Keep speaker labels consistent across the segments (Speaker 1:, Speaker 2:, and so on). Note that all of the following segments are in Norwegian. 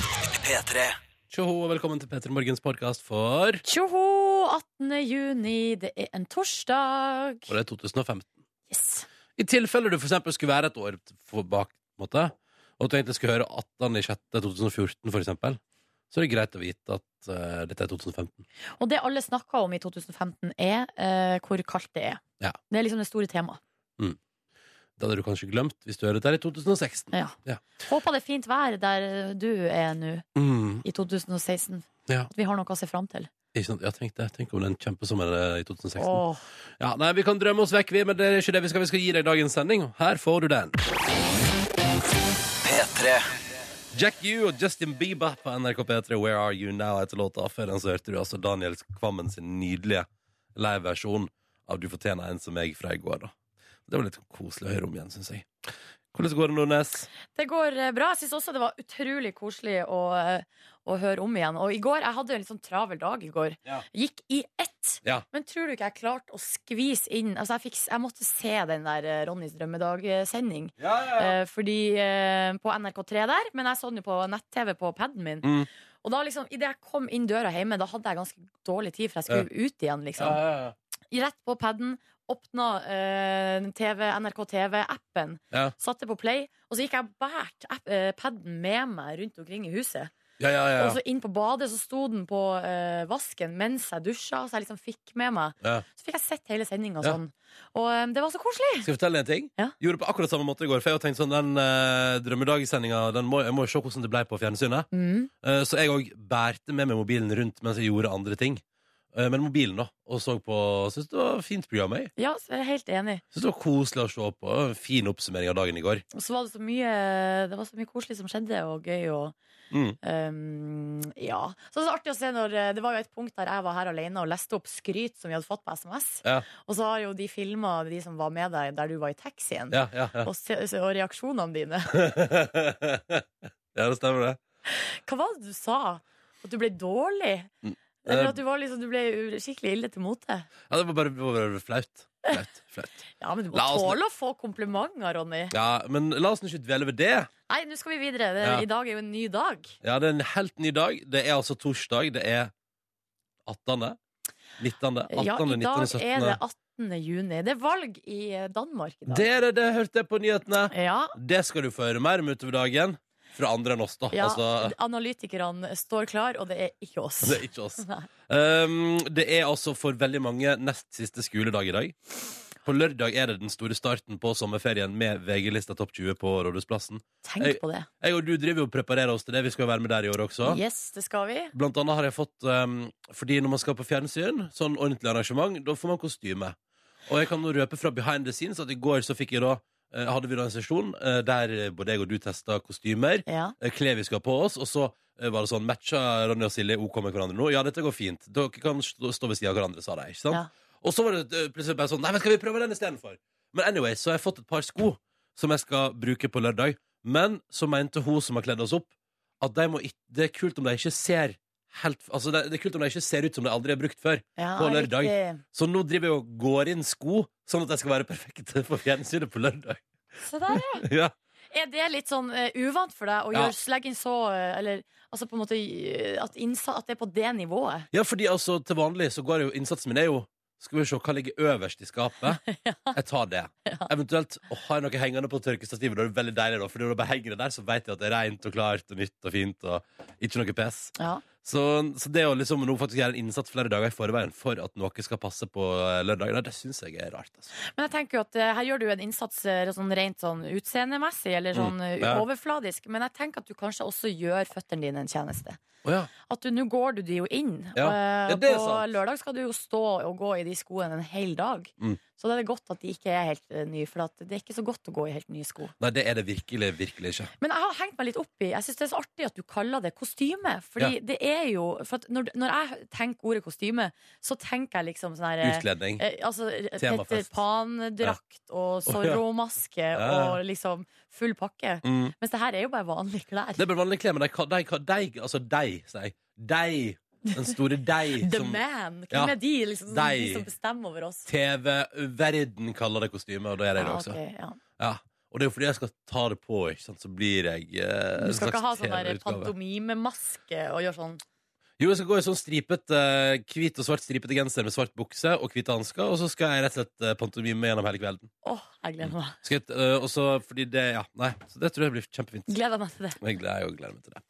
Speaker 1: P3.
Speaker 2: Tjoho, og velkommen til Petter Morgens podkast for
Speaker 3: Tjoho! 18. juni, det er en torsdag.
Speaker 2: Og det er 2015.
Speaker 3: Yes.
Speaker 2: I tilfelle du for eksempel skulle være et år for bak, på en måte, og at du egentlig skulle høre 18.06.2014, for eksempel, så er det greit å vite at eh, dette er 2015.
Speaker 3: Og det alle snakker om i 2015, er eh, hvor kaldt det er.
Speaker 2: Ja.
Speaker 3: Det er liksom det store temaet.
Speaker 2: Det Mm. hadde du kanskje glemt hvis du hører dette her i 2016.
Speaker 3: Ja.
Speaker 2: Ja.
Speaker 3: Håper det er fint vær der du er nå,
Speaker 2: Mm.
Speaker 3: i 2016.
Speaker 2: Ja.
Speaker 3: At vi har noe å se fram til.
Speaker 2: Ikke sant? Ja, tenk det. Tenk om det er en kjempesommer eh, i 2016.
Speaker 3: Åh.
Speaker 2: Ja, nei, Vi kan drømme oss vekk, vi, men det er ikke det vi skal. Vi skal gi deg dagens sending. og Her får du den.
Speaker 1: P3.
Speaker 2: Jack U og Justin Bieber på NRK P3 Where Are You Now etter låta. Før den så hørte du altså Daniel Kvammen sin nydelige liveversjon av Du fortjener en som meg fra i går. da Det var litt koselig å høre om igjen, syns jeg. Hvordan går det, Nordnes?
Speaker 3: Det går eh, bra. Jeg syns også det var utrolig koselig å, eh, å høre om igjen. Og i går, jeg hadde en litt sånn travel dag i går.
Speaker 2: Ja.
Speaker 3: Gikk i ett.
Speaker 2: Ja.
Speaker 3: Men tror du ikke jeg klarte å skvise inn Altså, jeg, fikk, jeg måtte se den der eh, Ronnys drømmedag-sending. Eh, fordi eh, På NRK3 der, men jeg så den jo på nett-TV på paden min.
Speaker 2: Mm.
Speaker 3: Og da liksom, idet jeg kom inn døra hjemme, da hadde jeg ganske dårlig tid, for jeg skulle ut igjen, liksom.
Speaker 2: Ja,
Speaker 3: Rett på paden, åpna eh, TV, NRK TV-appen,
Speaker 2: Ja.
Speaker 3: satte på play, og så gikk jeg og bært app- eh, paden med meg rundt omkring i huset.
Speaker 2: ja, ja. ja.
Speaker 3: Og så inn på badet, så sto den på eh, vasken mens jeg dusja, så jeg liksom fikk med meg.
Speaker 2: Ja.
Speaker 3: Så fikk jeg sett hele sendinga
Speaker 2: Ja.
Speaker 3: sånn. Og eh, det var så koselig!
Speaker 2: Skal jeg fortelle deg en ting?
Speaker 3: Ja.
Speaker 2: Gjorde det på akkurat samme måte i går. For jeg har tenkt sånn, den uh, drømmedagssendinga den må- Jeg må jo se hvordan det ble på fjernsynet.
Speaker 3: Mm.
Speaker 2: Eh, Så jeg òg bærte med meg mobilen rundt mens jeg gjorde andre ting. Eh, Men mobilen, da. Og så på Syns det var fint program, jeg.
Speaker 3: Ja, så jeg er helt enig.
Speaker 2: Syns det var koselig å se på. En Fin oppsummering av dagen i går.
Speaker 3: Og så var det så mye Det var så mye koselig som skjedde, og gøy og
Speaker 2: Mm.
Speaker 3: um, Ja. Så det var så artig å se når eh, Det var jo et punkt der jeg var her alene og leste opp skryt som vi hadde fått på SMS.
Speaker 2: Ja.
Speaker 3: Og så har jo de filma de som var med deg der du var i taxien,
Speaker 2: Ja, ja, ja.
Speaker 3: og, se, og reaksjonene dine.
Speaker 2: ja, det stemmer, det.
Speaker 3: Hva var det du sa? At du ble dårlig?
Speaker 2: Mm. Eh.
Speaker 3: Eller at du, var liksom, du ble u- skikkelig ille til mote?
Speaker 2: Ja, det var bare, det var bare flaut. Flaut. flaut.
Speaker 3: Ja, men du må
Speaker 2: La oss-
Speaker 3: tåle å få komplimenter, Ronny.
Speaker 2: Ja, men la oss nå ikke dvele ved det.
Speaker 3: Nei, nå skal vi videre. Det,
Speaker 2: Ja.
Speaker 3: I dag er jo en ny dag.
Speaker 2: Ja, det er en helt ny dag. Det er altså torsdag. Det er 18. 19. 18.
Speaker 3: ja, i
Speaker 2: 19.
Speaker 3: dag
Speaker 2: 17.
Speaker 3: er det 18. juni. Det er valg i eh, Danmark i dag.
Speaker 2: Det er det, det hørte jeg på nyhetene.
Speaker 3: Ja,
Speaker 2: Det skal du få høre mer om utover dagen fra andre enn oss, da.
Speaker 3: ja
Speaker 2: Altså,
Speaker 3: analytikerne står klar, og det er ikke oss.
Speaker 2: det er ikke oss.
Speaker 3: Nei.
Speaker 2: Um, det er altså for veldig mange nest siste skoledag i dag. På lørdag er det den store starten på sommerferien med VG-lista Topp 20 på Rådhusplassen.
Speaker 3: Tenk
Speaker 2: Jeg-
Speaker 3: på det.
Speaker 2: Jeg og du driver jo og preparerer oss til det. Vi skal jo være med der i år også.
Speaker 3: Yes, det skal vi.
Speaker 2: Blant annet har jeg fått um, Fordi når man skal på fjernsyn, sånn ordentlig arrangement, da får man kostyme. Og jeg kan nå røpe fra behind the scenes at i går så fikk jeg da eh, hadde vi da en sesjon eh, der både jeg og du testa kostymer,
Speaker 3: Ja.
Speaker 2: eh, klær vi skal ha på oss, og så eh, var det sånn matcha Ronny og Silje OK med hverandre nå? Ja, dette går fint. Dere kan stå, stå ved siden av hverandre, sa de. Ikke sant?
Speaker 3: Ja.
Speaker 2: Og så var det eh, plutselig bare sånn Nei, men skal vi prøve den istedenfor? Men anyway, så har jeg fått et par sko som jeg skal bruke på lørdag. Men så mente hun som har kledd oss opp, at de må ikke, det er kult om de ikke ser helt, altså det, det er kult om de ikke ser ut som de aldri har brukt før.
Speaker 3: Ja,
Speaker 2: På lørdag.
Speaker 3: riktig.
Speaker 2: Så nå driver jeg og går inn sko, sånn at de skal være perfekte for fjernsynet på lørdag.
Speaker 3: Se der, ja.
Speaker 2: ja.
Speaker 3: Er det litt sånn eh, uvant for deg å
Speaker 2: Ja.
Speaker 3: gjøre legge inn så eh, Eller altså på en måte eh, at, innsa, at det er på det nivået?
Speaker 2: ja, fordi altså til vanlig så går jo innsatsen min er jo skal vi se hva ligger øverst i skapet. Jeg tar det. Eventuelt å ha noe hengende på tørkestativet. Det er det veldig deilig, da, for når det bare henger det der, så vet jeg at det er rent og klart og nytt og fint og ikke noe pes.
Speaker 3: Ja.
Speaker 2: Så, så det å liksom nå faktisk gjøre en innsats flere dager i forveien for at noe skal passe på eh, lørdag, nei, det syns jeg er rart. Altså.
Speaker 3: Men jeg tenker jo at eh, her gjør du en innsats eh, sånn rent sånn utseendemessig eller sånn eh,
Speaker 2: Mm. ja.
Speaker 3: overfladisk, men jeg tenker at du kanskje også gjør føttene dine en tjeneste.
Speaker 2: Å ja.
Speaker 3: At du, nå går du de jo inn.
Speaker 2: Ja.
Speaker 3: og, eh,
Speaker 2: Ja, det er
Speaker 3: på
Speaker 2: sant.
Speaker 3: lørdag skal du jo stå og gå i de skoene en hel dag.
Speaker 2: Mm.
Speaker 3: Så da er det godt at de ikke er helt eh, nye, for at det er ikke så godt å gå i helt nye sko.
Speaker 2: Nei, det er det virkelig, virkelig ikke.
Speaker 3: Men jeg har hengt meg litt opp i Jeg syns det er så artig at du kaller det kostyme. Fordi det er jo for at når, når jeg tenker ordet kostyme, så tenker jeg liksom sånn her eh,
Speaker 2: Utkledning.
Speaker 3: Eh, altså, Petter
Speaker 2: Temafest.
Speaker 3: Pan-drakt og Zorro-maske
Speaker 2: Ja.
Speaker 3: og liksom full pakke.
Speaker 2: Mm.
Speaker 3: Mens det her er jo bare vanlige klær.
Speaker 2: Det er bare vanlige klær, men de, ka- de, ka- de, altså de, sier jeg. De. Den store de
Speaker 3: The
Speaker 2: som
Speaker 3: man! Hvem
Speaker 2: Ja.
Speaker 3: er de, liksom, som,
Speaker 2: Dei.
Speaker 3: de som bestemmer over oss?
Speaker 2: TV-verden kaller det kostyme, og da er det det
Speaker 3: Ja,
Speaker 2: også.
Speaker 3: Ah, ok, ja.
Speaker 2: Ja. Og det er jo fordi jeg skal ta det på, ikke sant? så blir jeg eh,
Speaker 3: Du skal
Speaker 2: en
Speaker 3: ikke ha
Speaker 2: slags
Speaker 3: sånn der
Speaker 2: TV-utgave.
Speaker 3: pantomimemaske og gjøre sånn
Speaker 2: Jo, jeg skal gå i sånn stripet eh, hvit og svart stripete genser med svart bukse og hvite hansker, og så skal jeg rett og slett eh, pantomime gjennom hele kvelden.
Speaker 3: Å, jeg gleder meg.
Speaker 2: Skal jeg, eh, og så, fordi det, ja, nei, så det tror jeg blir kjempefint.
Speaker 3: Gleder meg til det.
Speaker 2: Jeg gleder, jeg gleder meg til det.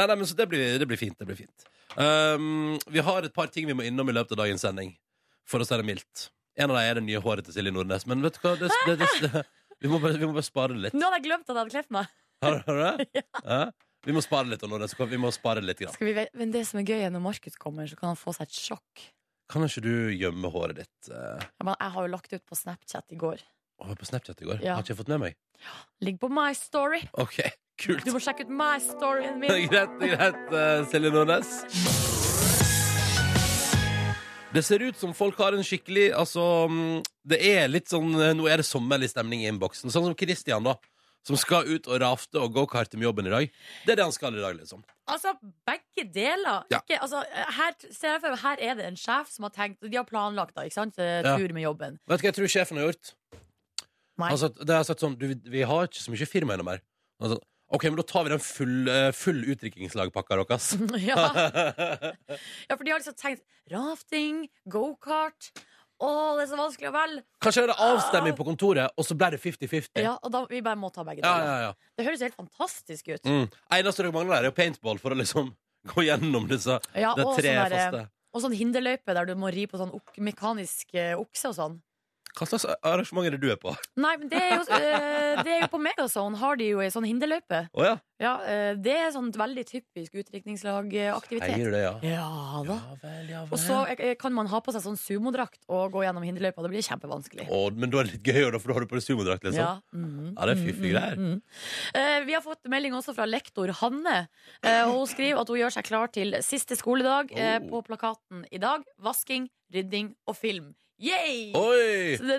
Speaker 2: Nei, nei, men så det blir, det blir fint. Det blir fint. Um, vi har et par ting vi må innom i løpet av dagens sending, for å si det mildt. En av dem er det nye håret til Silje Nordnes, men vet du hva? Det, det, det, vi, må bare, vi må bare spare det litt.
Speaker 3: Nå hadde jeg glemt at jeg hadde kledd meg.
Speaker 2: Har du har du det? Ja. Vi må spare litt, og Nordnes, vi må spare litt. Grann.
Speaker 3: Skal vi ve- Men det som er gøy, er når Markus kommer, så kan han få seg et sjokk.
Speaker 2: Kan ikke du gjemme håret ditt? eh,
Speaker 3: Jeg bare- jeg har jo lagt ut på Snapchat i går.
Speaker 2: Å, på Snapchat i går.
Speaker 3: Ja.
Speaker 2: Har ikke jeg fått med meg.
Speaker 3: Ligg på my story.
Speaker 2: Ok, kult.
Speaker 3: Du må sjekke ut my storyen min.
Speaker 2: greit, greit, eh, Silje Nordnes. Det ser ut som folk har en skikkelig Altså, mm, det er litt sånn eh, Nå er det sommerlig stemning i innboksen. Sånn som Christian, da. Som skal ut og rafte og gokarte med jobben i dag. Det er det han skal i dag, liksom.
Speaker 3: Altså, begge deler.
Speaker 2: Ja.
Speaker 3: Ikke, altså, her, ser jeg for, meg, her er det en sjef som har tenkt De har planlagt da, ikke sant? Eh,
Speaker 2: Ja.
Speaker 3: tur med jobben.
Speaker 2: Vet du hva jeg tror sjefen har gjort?
Speaker 3: Nei.
Speaker 2: Han har sagt, det har sagt sånn, du, vi har ikke så mye firma ennå mer. Han har sagt, OK, men da tar vi den full, eh, full utdrikningslagpakka deres.
Speaker 3: ja. ja, for de har liksom tenkt rafting, gokart. Å, det er så vanskelig å velge!
Speaker 2: Kanskje det er avstemning på kontoret, og så ble det 50-50. Ja,
Speaker 3: Ja, og da vi bare må ta begge
Speaker 2: ja,
Speaker 3: deler.
Speaker 2: ja,
Speaker 3: Det høres helt fantastisk ut.
Speaker 2: Mm. Eneste dere mangler, er jo paintball for å liksom gå gjennom disse
Speaker 3: Ja,
Speaker 2: det
Speaker 3: og,
Speaker 2: tre
Speaker 3: sånn der,
Speaker 2: faste.
Speaker 3: og sånn hinderløype der du må ri på sånn ok mekanisk eh, okse og sånn.
Speaker 2: Hva slags arrangement er det du er på? Å
Speaker 3: Nei, men det er jo, eh, det er jo på Megazone har de jo ei sånn hinderløype.
Speaker 2: ja.
Speaker 3: Ja, eh, det er sånn veldig typisk
Speaker 2: Heier
Speaker 3: utdrikningslagaktivitet.
Speaker 2: du det, ja?
Speaker 3: Ja da.
Speaker 2: Ja vel, ja vel.
Speaker 3: Og så eh, kan man ha på seg sånn sumodrakt og gå gjennom hinderløypa. Det blir kjempevanskelig.
Speaker 2: Å, men da er det litt gøy, da, for da har du på deg sumodrakt, liksom.
Speaker 3: Ja. mhm,
Speaker 2: Ja, det er fiffige
Speaker 3: mhm,
Speaker 2: greier.
Speaker 3: mhm. Eh, vi har fått melding også fra lektor Hanne. Eh, og hun skriver at hun gjør seg klar til siste skoledag. Eh,
Speaker 2: Oh.
Speaker 3: på plakaten i dag vasking, rydding og film. Yay!
Speaker 2: Oi!
Speaker 3: Så det er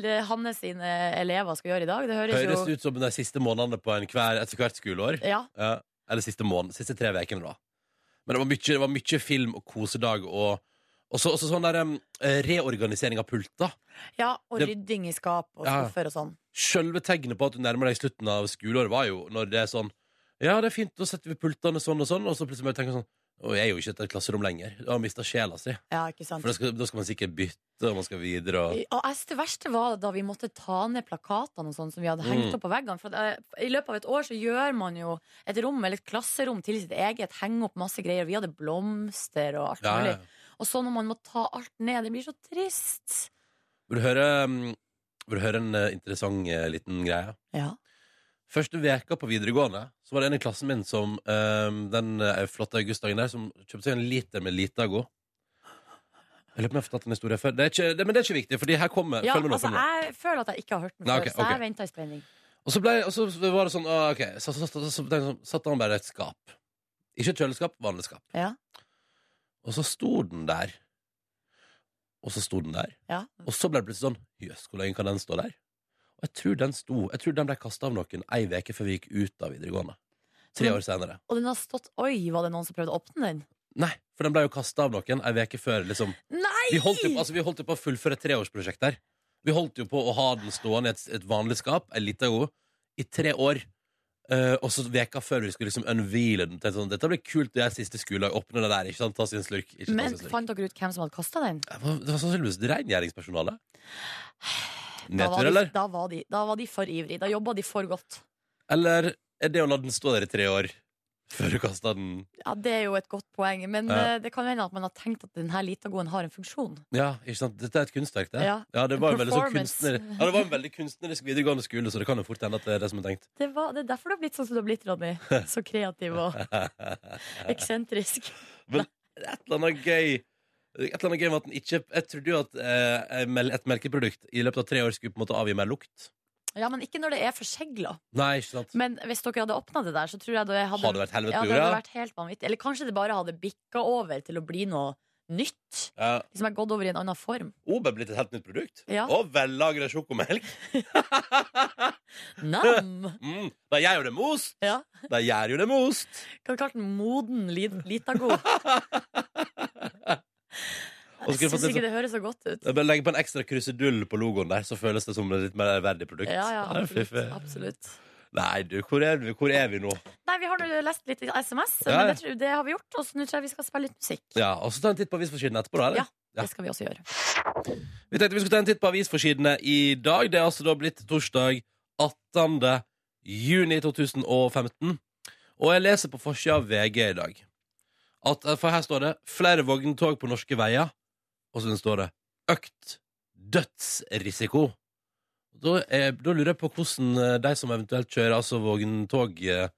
Speaker 3: det eh, Hanne sine elever skal gjøre i dag. Det høres,
Speaker 2: Høres
Speaker 3: jo
Speaker 2: ut som de siste månedene på en hver, etter hvert skoleår.
Speaker 3: ja,
Speaker 2: Ja. Eller siste måned, siste tre vekene da Men det var mye, det var mye film og kosedag Og og så også sånn der em, eh, reorganisering av pulta
Speaker 3: ja, og
Speaker 2: Det-
Speaker 3: rydding i skap og
Speaker 2: Ja.
Speaker 3: skuffer og sånn.
Speaker 2: Selve tegnet på at du nærmer deg slutten av skoleåret Var jo når det er sånn Ja, det er fint, da setter vi pultene sånn og sånn Og så plutselig må jeg tenke sånn «Å, jeg er jo ikke i et klasserom lenger Jeg har mistet sjela si
Speaker 3: Ja, ikke sant.
Speaker 2: For da skal, da skal man sikkert bytte Og man skal videre og...
Speaker 3: Ja, jeg synes det verste var da vi måtte ta ned plakatene og sånn som vi hadde hengt
Speaker 2: Mm.
Speaker 3: opp på veggene. For at, eh, I løpet av et år så gjør man jo et rom eller et klasserom til sitt eget. Henge opp masse greier. Vi hadde blomster og alt
Speaker 2: ja, ja.
Speaker 3: mulig. Og så når man må ta alt ned, det blir så trist.
Speaker 2: Vil du høre em, Vil du høre en eh, interessant eh, liten greie?
Speaker 3: Ja.
Speaker 2: Første veka på videregående Så var det en i klassen min som ehm, Den eh, flotte augustdagen der Som kjøpte seg en liter med Litago Jeg lurer på om jeg har fortalt en historie før det er ikke, det, Men det er ikke viktig, fordi her kommer
Speaker 3: ja
Speaker 2: følg med nå,
Speaker 3: altså,
Speaker 2: følg med nå.
Speaker 3: jeg føler at jeg ikke har hørt den
Speaker 2: Nei,
Speaker 3: før,
Speaker 2: ok,
Speaker 3: så
Speaker 2: ok.
Speaker 3: jeg venter i spenning.
Speaker 2: Og så, ble, og så var det sånn ah, Ok, så, så, så, så, så, så satte han bare et skap Ikke et kjøleskap, vanlig skap
Speaker 3: Ja.
Speaker 2: Og så sto den der Og så sto den der
Speaker 3: Ja.
Speaker 2: Og så ble det plutselig sånn Jøss, hvor lenge kan den stå der? Og jeg tror den sto Jeg tror den ble kastet av noen Ei veke før vi gikk ut av videregående Tre år senere
Speaker 3: Og den har stått Oi, var det noen som prøvde å åpne den?
Speaker 2: Nei, for den ble jo kasta av noen ei uke før. Liksom.
Speaker 3: Nei!
Speaker 2: Vi, holdt jo, på- altså, vi holdt jo på å fullføre et treårsprosjekt der. Vi holdt jo på å ha den stående i et, et vanlig skap, ei lita god, i tre år. Eh, og så veka før vi skulle liksom unveile den. Tenkte sånn, Dette blir kult, det er siste skoledag. Åpne det der, ikke sant? Ta sin slurk. Ikke ta
Speaker 3: Men
Speaker 2: sin slurk.
Speaker 3: fant dere ut hvem som hadde kasta den?
Speaker 2: Det var, det var sannsynligvis rengjøringspersonalet.
Speaker 3: Da var,
Speaker 2: Nedtur,
Speaker 3: de,
Speaker 2: eller?
Speaker 3: da, var de, da var de for ivrig. Da jobba de for godt.
Speaker 2: Eller er det å la den stå der i tre år før du kasta den?
Speaker 3: Ja, Det er jo et godt poeng, men
Speaker 2: Ja.
Speaker 3: eh, det kan hende at man har tenkt at denne litagoen har en funksjon.
Speaker 2: Ja, ikke sant? Dette er et kunstverk, det.
Speaker 3: Ja.
Speaker 2: det, var en veldig sånn
Speaker 3: Performance.
Speaker 2: kunstner, ja, det var en veldig kunstnerisk videregående skole, så det kan jo fort hende at det er det som er tenkt.
Speaker 3: Det, var, det er derfor du har blitt sånn som du har blitt, Ronny. Så kreativ og eksentrisk.
Speaker 2: Det er et eller annet gøy Et eller annet gøy med at den ikke Jeg trodde jo at eh, en mel- et melkeprodukt i løpet av tre år skulle på en måte avgi mer lukt.
Speaker 3: Ja, Men ikke når det er forsegla.
Speaker 2: Nei, ikke sant?
Speaker 3: Men hvis dere hadde åpna det der, så tror jeg det hadde,
Speaker 2: Hadde det vært helvete
Speaker 3: ja,
Speaker 2: på
Speaker 3: det hadde
Speaker 2: jorda?
Speaker 3: vært helt vanvittig. Eller kanskje det bare hadde bikka over til å bli noe nytt.
Speaker 2: Ja.
Speaker 3: Liksom har gått over i en annen form.
Speaker 2: Obe er blitt et helt nytt produkt.
Speaker 3: Ja.
Speaker 2: Og vellagra sjokomelk.
Speaker 3: Nam!
Speaker 2: Mm, de gjør jo det med ost!
Speaker 3: Ja.
Speaker 2: De gjør jo det med ost!
Speaker 3: Kan du kalle den moden li- litago?
Speaker 2: Og så kunne
Speaker 3: Jeg syns
Speaker 2: du fått litt
Speaker 3: ikke
Speaker 2: sånn-
Speaker 3: det høres så godt ut.
Speaker 2: Bare legg på en ekstra krusedull på logoen der, så føles det som et litt mer verdig produkt.
Speaker 3: Ja, ja,
Speaker 2: Det er
Speaker 3: absolutt.
Speaker 2: fiffig.
Speaker 3: absolutt.
Speaker 2: Nei, du, hvor er vi, hvor er vi nå?
Speaker 3: Nei, vi har nå lest litt SMS,
Speaker 2: Ja, ja.
Speaker 3: men det, tror- det har vi gjort. Og så nå tror jeg vi skal spille litt musikk.
Speaker 2: Ja, og så ta en titt på avisforsidene etterpå, da. eller?
Speaker 3: Ja. Det skal vi også gjøre.
Speaker 2: Vi tenkte vi skulle ta en titt på avisforsidene i dag. Det er altså da blitt torsdag 18. juni 2015. Og jeg leser på forsida av VG i dag. At, eh, for her står det 'Flere vogntog på norske veier'. Og så står det 'Økt dødsrisiko'. Da, er, da lurer jeg på hvordan eh, de som eventuelt kjører altså vogntog, eh,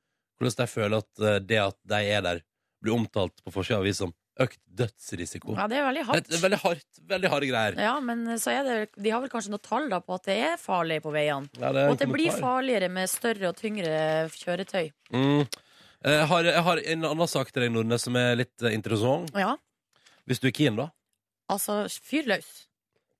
Speaker 2: hvordan de føler at eh, det at de er der, blir omtalt på forsida av avisa som 'økt dødsrisiko'.
Speaker 3: Ja, det er veldig
Speaker 2: Det
Speaker 3: hardt.
Speaker 2: er veldig hardt, veldig harde greier.
Speaker 3: Ja, men eh, så er det, de har vel kanskje noen tall da på at det er farlig på veiene.
Speaker 2: Ja, det er
Speaker 3: Og
Speaker 2: en
Speaker 3: at det blir
Speaker 2: kommentar.
Speaker 3: farligere med større og tyngre kjøretøy.
Speaker 2: Mm. Jeg har, jeg har en annen sak til deg, Nordnes, som er litt eh, interessant.
Speaker 3: Ja,
Speaker 2: Hvis du er keen, da.
Speaker 3: altså fyr løs.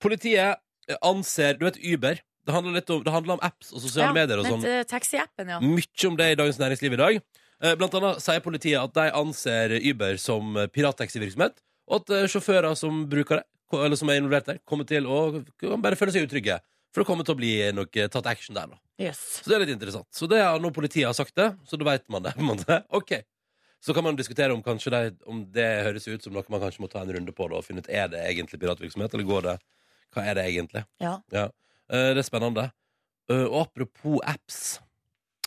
Speaker 2: Politiet eh, anser Du vet Uber? Det handler, litt om, det handler om apps og sosiale
Speaker 3: Ja,
Speaker 2: medier og
Speaker 3: men,
Speaker 2: sånn.
Speaker 3: eh, Taxi-appen, ja.
Speaker 2: Mye om det i Dagens Næringsliv i dag. Eh, Blant annet sier politiet at de anser Uber som eh, pirattaxivirksomhet, og at eh, sjåfører som bruker det, ko- eller som er involvert der, kommer til å kan bare føle seg utrygge. For det kommer til å bli noe tatt action der, da.
Speaker 3: Yes.
Speaker 2: Så det er litt interessant. Så det er når politiet har sagt det, så da veit man det. på en måte. Ok. Så kan man diskutere om, kanskje det, om det høres ut som noe man kanskje må ta en runde på da, og finne ut er det egentlig piratvirksomhet, eller går det Hva er det egentlig?
Speaker 3: Ja.
Speaker 2: Eh, det er spennende. Eh, og apropos apps,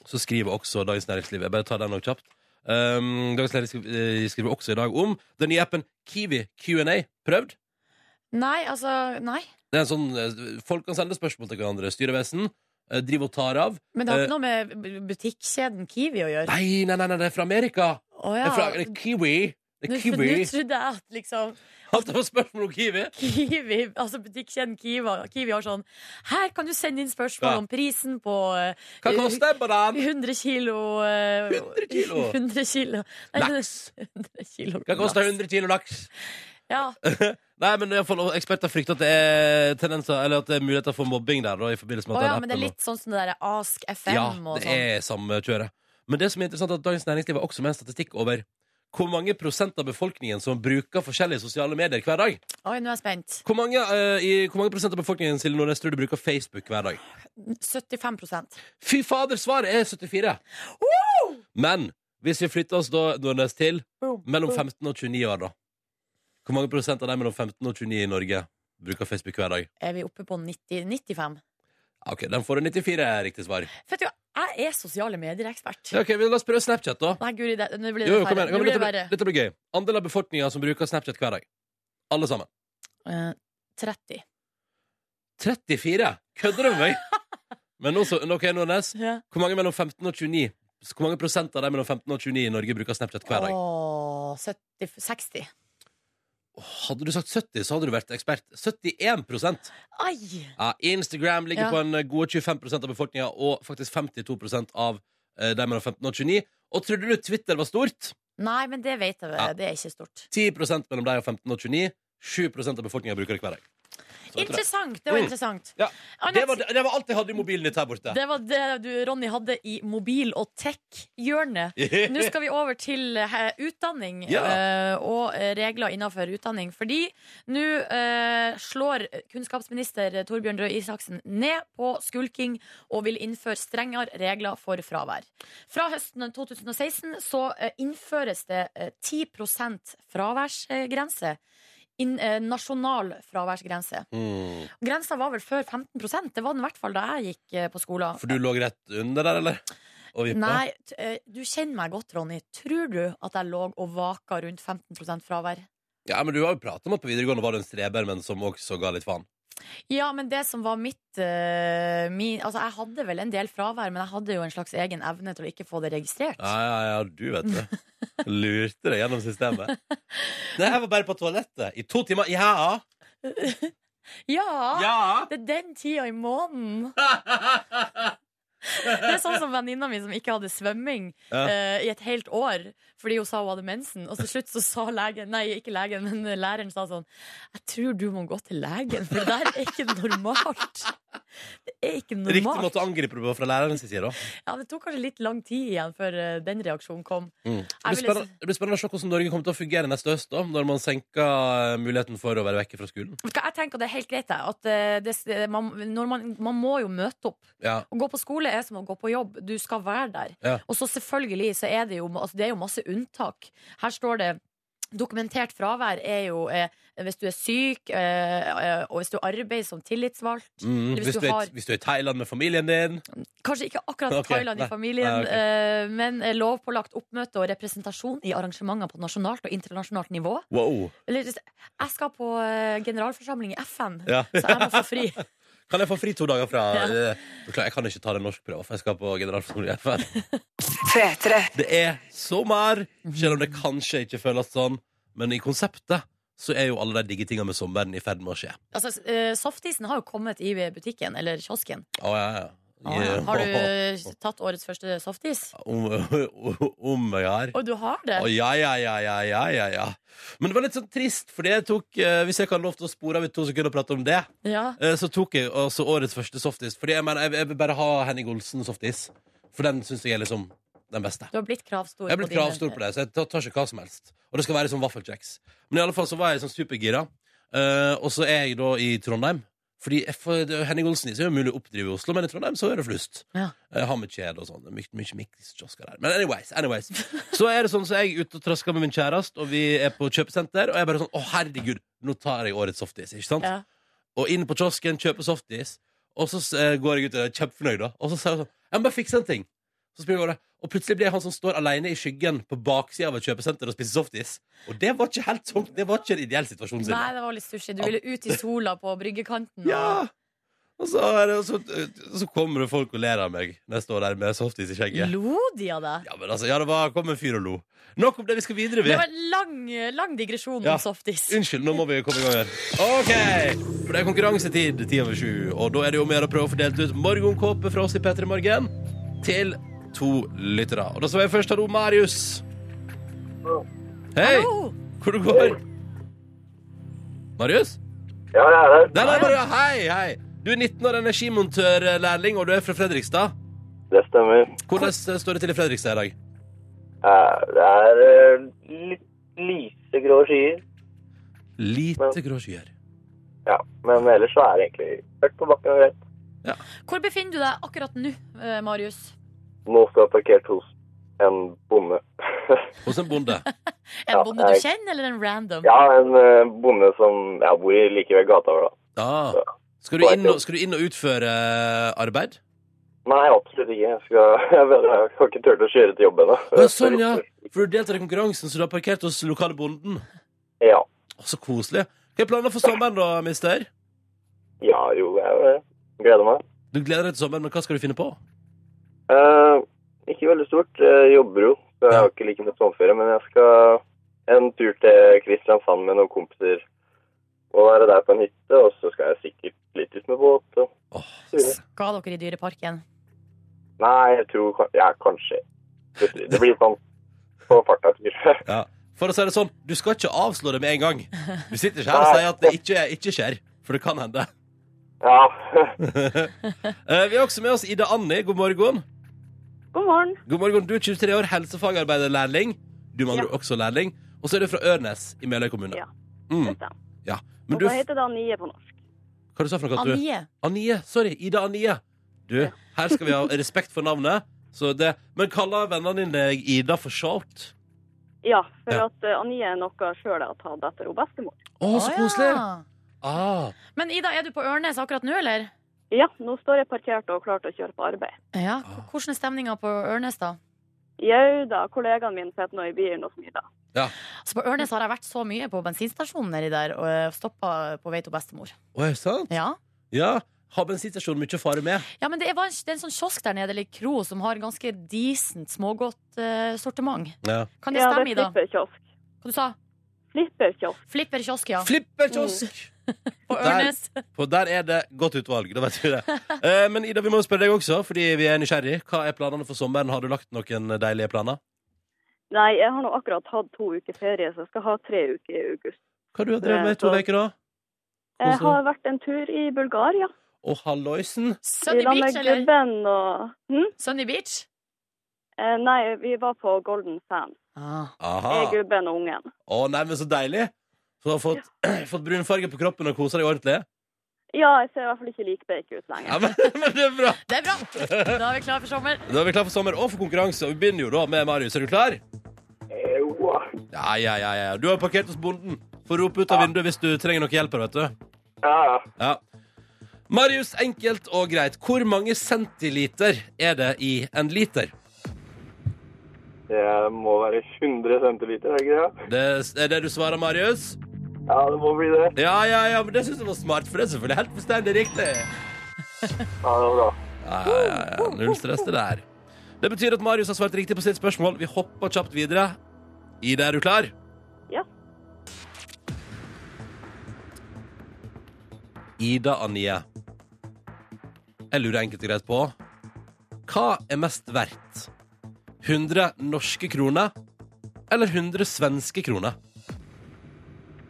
Speaker 2: så skriver også Dagens Næringsliv Jeg bare tar den òg kjapt. Um, Dagens Næringsliv eh, skriver også i dag om den nye appen Kiwi Q&A. Prøvd?
Speaker 3: Nei, altså, nei.
Speaker 2: Det er en sånn, eh, folk kan sende spørsmål til hverandre. Styrevesen eh, driver og tar av.
Speaker 3: Men det har ikke noe med b- butikkjeden Kiwi å gjøre.
Speaker 2: Eh. Nei, nei, nei, nei, det er fra Amerika!
Speaker 3: Å ja.
Speaker 2: Det er fra det er Kiwi. Det
Speaker 3: Nå
Speaker 2: er
Speaker 3: for
Speaker 2: Kiwi.
Speaker 3: nå trodde jeg at liksom
Speaker 2: At det var spørsmål om Kiwi?
Speaker 3: Kiwi, altså butikkjeden Kiwi, Kiwi har sånn Her kan du sende inn spørsmål
Speaker 2: Ja.
Speaker 3: om prisen på eh,
Speaker 2: Hva koster en banan?
Speaker 3: 100 kilo eh,
Speaker 2: 100 kilo?
Speaker 3: 100 kilo Nei, men- 100 kilo
Speaker 2: Hva koster
Speaker 3: laks.
Speaker 2: 100 kilo laks?
Speaker 3: Ja,
Speaker 2: Nei, men i alle fall, Eksperter frykter at det er tendenser Eller at det er muligheter for mobbing der. Da, i forbindelse
Speaker 3: Å
Speaker 2: med at
Speaker 3: ja,
Speaker 2: den
Speaker 3: men det er
Speaker 2: appen-
Speaker 3: litt sånn som det der Ask FM
Speaker 2: ja,
Speaker 3: og
Speaker 2: det
Speaker 3: sånn.
Speaker 2: er samme kjøret. Men det som er interessant er at Dagens Næringsliv har også med en statistikk over hvor mange prosent av befolkningen som bruker forskjellige sosiale medier hver dag.
Speaker 3: Oi, nå er jeg spent.
Speaker 2: Hvor mange, eh, i, hvor mange prosent av befolkningen Silje Nordnes, tror du bruker Facebook hver dag?
Speaker 3: 75
Speaker 2: Fy fader, svaret er 74. Men hvis vi flytter oss da Nordnes til
Speaker 3: Boom,
Speaker 2: mellom
Speaker 3: boom.
Speaker 2: 15 og 29 år, da Hvor mange prosent av de mellom 15 og 29 i Norge bruker Facebook hver dag?
Speaker 3: Er vi oppe på 90, 95?
Speaker 2: Ja, Ok, Den får du 94 er riktig svar.
Speaker 3: Vet du, jeg er sosiale medier-ekspert.
Speaker 2: Ja, ok, men La oss prøve Snapchat, da.
Speaker 3: Nei, guri, det, nå blir
Speaker 2: Jo,
Speaker 3: det
Speaker 2: jo, kom
Speaker 3: færre.
Speaker 2: igjen,
Speaker 3: Nå
Speaker 2: kom
Speaker 3: blir det
Speaker 2: igjen, dette,
Speaker 3: verre.
Speaker 2: blir- dette blir gøy. Andel av befolkninga som bruker Snapchat hver dag. Alle sammen.
Speaker 3: Eh, 30.
Speaker 2: 34! Kødder du med meg?! Men nå så, ok, Nordnes.
Speaker 3: Ja.
Speaker 2: Hvor mange mellom 15 og 29 Hvor mange prosent av de mellom 15 og 29 i Norge bruker Snapchat hver dag?
Speaker 3: Åh, 70, 60.
Speaker 2: Hadde du sagt 70, så hadde du vært ekspert. 71 prosent.
Speaker 3: Ai!
Speaker 2: Ja, Instagram ligger
Speaker 3: Ja.
Speaker 2: på en eh, gode 25 av befolkninga, og faktisk 52 av eh, de mellom 15 og 29. Og trodde du Twitter var stort?
Speaker 3: Nei, men det vet jeg,
Speaker 2: Ja.
Speaker 3: det er ikke stort.
Speaker 2: 10 mellom de og 15 og 29. 7 av befolkninga bruker det hver dag. Så jeg tror det.
Speaker 3: Interessant! Det var
Speaker 2: Mm.
Speaker 3: interessant.
Speaker 2: Ja,
Speaker 3: Annette,
Speaker 2: Det, var, det var alt jeg hadde i mobilen ditt her borte.
Speaker 3: det var det du, Ronny, hadde i mobil- og tech-hjørnet. Nå skal vi over til eh, utdanning
Speaker 2: Ja.
Speaker 3: eh, og regler innenfor utdanning. Fordi nå eh, slår kunnskapsminister Torbjørn Røe Isaksen ned på skulking og vil innføre strengere regler for fravær. Fra høsten 2016 så eh, innføres det eh, 10 fraværsgrense. In, eh, nasjonal fraværsgrense.
Speaker 2: Mm.
Speaker 3: Grensa var vel før 15 Det var den i hvert fall da jeg gikk eh, på skolen.
Speaker 2: For du lå rett under der, eller? Og vippa?
Speaker 3: Nei, t eh, du kjenner meg godt, Ronny. Tror du at jeg lå og vaka rundt 15 fravær?
Speaker 2: Ja, men du har jo prata om at på videregående var det en streber, men som også ga litt faen.
Speaker 3: Ja, men det som var mitt eh, min, Altså, jeg hadde vel en del fravær, men jeg hadde jo en slags egen evne til å ikke få det registrert.
Speaker 2: Ja, ja, ja, du vet det. Lurte deg gjennom systemet. Nei, jeg var bare på toalettet i to timer. Ja!
Speaker 3: Ja!
Speaker 2: Ja!
Speaker 3: Det er den tida i måneden! Det er sånn som venninna mi som ikke hadde svømming
Speaker 2: Ja.
Speaker 3: eh, i et helt år fordi hun sa hun hadde mensen, og til slutt så sa legen, nei, ikke legen, men læreren sa sånn Jeg tror du må gå til legen, for det der er ikke normalt. Det er ikke
Speaker 2: Riktig
Speaker 3: normalt.
Speaker 2: måte å angripe det på fra lærerens side, da.
Speaker 3: Ja, det tok kanskje litt lang tid igjen før eh, den reaksjonen kom.
Speaker 2: Mm. Det,
Speaker 3: Jeg
Speaker 2: blir
Speaker 3: vil
Speaker 2: spennende, det blir spennende å se hvordan Norge kommer til å fungere neste høst, da, når man senker eh, muligheten for å være vekke fra skolen.
Speaker 3: Vet du hva, Jeg tenker at det er helt greit. jeg, At eh, det, man, når man, man må jo møte opp.
Speaker 2: Ja.
Speaker 3: Å gå på skole er som å gå på jobb. Du skal være der.
Speaker 2: Ja.
Speaker 3: Og så selvfølgelig så er det jo, altså det er jo masse unntak. Her står det Dokumentert fravær er jo eh, hvis du er syk, eh, eh, og hvis du arbeider som tillitsvalgt.
Speaker 2: Mm.
Speaker 3: Hvis
Speaker 2: Hvis,
Speaker 3: du
Speaker 2: du er,
Speaker 3: har-
Speaker 2: hvis du er i Thailand med familien din.
Speaker 3: Kanskje ikke akkurat
Speaker 2: Ok,
Speaker 3: Thailand i
Speaker 2: nei,
Speaker 3: familien,
Speaker 2: nei, ok.
Speaker 3: eh, men eh, lovpålagt oppmøte og representasjon i arrangementer på nasjonalt og internasjonalt nivå.
Speaker 2: Wow.
Speaker 3: Eller, jeg skal på eh, generalforsamling i FN,
Speaker 2: Ja.
Speaker 3: så jeg må få fri.
Speaker 2: Kan jeg få fri to dager fra
Speaker 3: Ja.
Speaker 2: eh, Beklager, Jeg kan ikke ta den norskprøven, for jeg skal på generalforsamling i FN.
Speaker 1: P3.
Speaker 2: Det er sommer, selv om det kanskje ikke føles sånn. Men i konseptet så er jo alle de digge tinga med sommeren i ferd med å skje.
Speaker 3: Altså, eh, Softisen har jo kommet i butikken, eller kiosken.
Speaker 2: Å, ja, ja. Yeah.
Speaker 3: Har du tatt årets første softis?
Speaker 2: Om, om jeg har.
Speaker 3: Og du har det?
Speaker 2: Å, ja, ja, ja, ja, ja, ja, ja. Men det var litt sånn trist, fordi jeg tok eh, Hvis jeg kan lov til å spore av i to sekunder og prate om det,
Speaker 3: Ja.
Speaker 2: eh, så tok jeg altså årets første softis. Fordi jeg mener, jeg, jeg vil bare ha Henning Olsen-softis. For den syns jeg er liksom den beste.
Speaker 3: Du har blitt kravstor.
Speaker 2: Jeg er blitt
Speaker 3: dine-
Speaker 2: kravstor på det, så jeg tar, tar ikke hva som helst. Og det skal være sånn vaffelkjeks. Men i alle fall så var jeg sånn supergira. Eh, og så er jeg da i Trondheim. Fordi jeg får- det- Henning Olsen is er jo mulig å oppdrive i Oslo, men i Trondheim så er det flust.
Speaker 3: Ja.
Speaker 2: Eh, Har med kjede og sånn. Det er Mye, mye mikskiosker der. Men anyways, anyways. Så er det sånn så jeg er ute og trasker med min kjæreste, og vi er på kjøpesenter, og jeg er bare sånn Å, herregud, nå tar jeg årets softis, ikke sant?
Speaker 3: Ja.
Speaker 2: og inn på kiosken, kjøper softis. Og så eh, går jeg ut og er kjempefornøyd, da. Og så sier hun sånn Jeg må bare fikse en ting. Så spiller jeg over det. Og plutselig blir jeg han som står alene i skyggen på baksida av et kjøpesenter og spiser softis. Og det var ikke helt sånn Det var ikke en ideell situasjon. Silje.
Speaker 3: Nei, det var litt sushi. Du ville ut i sola på bryggekanten. og-
Speaker 2: Ja! Og så, er det, og så, og så kommer det folk og ler av meg når jeg står der med softis i skjegget.
Speaker 3: Lo de av deg?
Speaker 2: Ja, men altså, ja, det var, kom en fyr og lo. Nok om det, vi skal videre, vi.
Speaker 3: Det var en lang, lang digresjon
Speaker 2: Ja.
Speaker 3: om softis.
Speaker 2: Unnskyld, nå må vi komme i gang her. OK! For det er konkurransetid, ti over sju. Og da er det jo om å gjøre å prøve å få delt ut morgenkåpe fra oss i P3 Morgen til to lyttere. Og da skal jeg først ha ro Marius. Hei!
Speaker 3: Hallo!
Speaker 2: Hvor du går Marius?
Speaker 4: Ja, det er det.
Speaker 2: Der er Marius. Hei, hei. Du er 19 år, energimontørlærling, og du er fra Fredrikstad.
Speaker 4: Det stemmer.
Speaker 2: Hvordan eh, står det til i Fredrikstad i dag?
Speaker 4: Eh, Det er eh, litt lysegrå skyer.
Speaker 2: Lite grå skyer.
Speaker 4: Ja, men ellers så er det egentlig hørt på bakken og greit.
Speaker 3: Hvor befinner du deg akkurat nå, eh, Marius?
Speaker 4: Nå skal jeg parkert hos en bonde.
Speaker 2: Hos en bonde.
Speaker 3: En
Speaker 4: Ja,
Speaker 3: bonde du
Speaker 4: jeg-
Speaker 3: kjenner, eller en random?
Speaker 4: ja, en eh, bonde som ja, bor i like ved gata vår, da.
Speaker 2: Ah. Skal, du inn og, skal du inn og utføre eh, arbeid?
Speaker 4: Nei, absolutt ikke. Jeg, skal, jeg, vet, jeg har ikke turt å kjøre til jobb ennå.
Speaker 2: Å, sånn, ja. For du deltar i konkurransen, så du har parkert hos lokale bonden.
Speaker 4: Ja.
Speaker 2: Å, så koselig. Hva er planene for sommeren, da, mister?
Speaker 4: Ja, jo, jeg eh, gleder meg.
Speaker 2: Du gleder deg til sommeren, men hva skal du finne på?
Speaker 4: Eh, ikke veldig stort. Jeg jobber jo, så jeg
Speaker 2: Ja.
Speaker 4: har ikke like mye sommerferie. Men jeg skal en tur til Kristiansand med noen kompiser og være der på en hytte. Og så skal jeg sikkert litt ut med båt. Og...
Speaker 2: Åh,
Speaker 3: Ga dere i Dyreparken?
Speaker 4: Nei, jeg tror kan- Ja, kanskje. Det det blir sånn på farta. tror jeg.
Speaker 2: ja. For å si det sånn, du skal ikke avslå det med en gang. Du sitter ikke her og sier at det ikke, ikke skjer, for det kan hende.
Speaker 4: Ja.
Speaker 2: Eh, Vi har også med oss Ida Anni. God morgen.
Speaker 5: God morgen.
Speaker 2: God morgen, Du er 23 år, helsefagarbeiderlærling. Du mangler
Speaker 5: Ja.
Speaker 2: også lærling. Og så er du fra Ørnes i Meløy kommune.
Speaker 5: Ja.
Speaker 2: Mm.
Speaker 5: Dette.
Speaker 2: ja.
Speaker 5: Og
Speaker 2: Men du,
Speaker 5: hva heter det Anie på norsk?
Speaker 2: hva du sa for noe? at du-
Speaker 3: Anie.
Speaker 2: Anie, sorry, Ida Anie Du, her skal vi ha respekt for navnet så det, Men kaller vennene dine deg Ida for short?
Speaker 5: Ja, for
Speaker 2: Ja.
Speaker 5: at eh, Anie er noe sjøl jeg har tatt etter hun bestemor.
Speaker 2: Å, så
Speaker 3: Å,
Speaker 2: koselig
Speaker 3: ja.
Speaker 2: ah,
Speaker 3: Men Ida, er du på Ørnes akkurat nå, eller?
Speaker 5: Ja, nå står jeg parkert og klar til å kjøre på arbeid.
Speaker 3: Ja. Hvordan er stemninga på Ørnes, da?
Speaker 5: Jau da, kollegaen min sitter nå i bilen og smiler.
Speaker 3: Altså På Ørnes har jeg vært så mye på bensinstasjonen nedi der og stoppa på vei til bestemor.
Speaker 2: Å, er det sant?
Speaker 3: Ja.
Speaker 2: Ja, har bensinstasjonen mye å fare med?
Speaker 3: ja, men det er, var en, det er en sånn kiosk der nede, eller kro, som har ganske decent smågodt eh, sortiment.
Speaker 2: Ja.
Speaker 3: Kan det
Speaker 5: Ja,
Speaker 3: stemme,
Speaker 5: det
Speaker 3: Ida?
Speaker 5: er flipperkiosk.
Speaker 3: Hva du sa
Speaker 5: Flipperkiosk.
Speaker 3: Flipper kiosk, ja.
Speaker 2: Flipperkiosk!
Speaker 3: På
Speaker 2: Der.
Speaker 3: Ørnes.
Speaker 2: For der er det godt utvalg, da vet vi det Eh, Men Ida, vi må spørre deg også, fordi vi er nysgjerrig Hva er planene for sommeren? Har du lagt noen deilige planer?
Speaker 5: Nei, jeg har nå akkurat hatt to uker ferie, så jeg skal ha tre uker i august.
Speaker 2: Hva har du drevet med i to
Speaker 5: Nei, så-
Speaker 2: veker da?
Speaker 5: Jeg
Speaker 2: Hvordan?
Speaker 5: har vært en tur i Bulgaria.
Speaker 2: og Halloisen.
Speaker 5: I
Speaker 3: Sunny
Speaker 5: lag
Speaker 3: Beach,
Speaker 5: med
Speaker 3: eller?
Speaker 5: gubben og hm?
Speaker 3: Sunny Beach?
Speaker 5: eh, Nei, vi var på Golden Sand.
Speaker 2: Aha.
Speaker 5: Jeg, gubben og ungen.
Speaker 2: Å, nei, men så deilig! Så du har fått, fått brunfarge på kroppen og koser deg ordentlig?
Speaker 5: Ja, jeg ser i hvert fall ikke likbeik ut
Speaker 2: Ja,
Speaker 5: lenger.
Speaker 2: men, men det er bra!
Speaker 3: Det er bra! Da er vi klare for sommer.
Speaker 2: Da er vi klar for sommer og for konkurranse, og vi begynner jo da med Marius. Er du klar?
Speaker 4: Jo,
Speaker 2: Ja, ja, ja. ja. Du har parkert hos bonden. Få rope ut av vinduet hvis du trenger noe hjelp her, vet du.
Speaker 4: ja.
Speaker 2: Ja. Marius, enkelt og greit. Hvor mange centiliter er det i en liter?
Speaker 4: Det må være 100 centiliter, er det ikke det?
Speaker 2: Det er det du svarer, Marius?
Speaker 4: Ja, det må bli det.
Speaker 2: Ja, ja, ja, men det syns jeg var smart, for det er selvfølgelig helt fullstendig riktig.
Speaker 4: Ja, det var bra.
Speaker 2: Ja, ja, ja, ja. Null stress, det der. Det betyr at Marius har svart riktig på sitt spørsmål. Vi hopper kjapt videre. Ida, er du klar?
Speaker 5: Ja.
Speaker 2: Ida Anie. Jeg lurer enkelt og greit på Hva er mest verdt? 100 norske kroner eller 100 svenske kroner?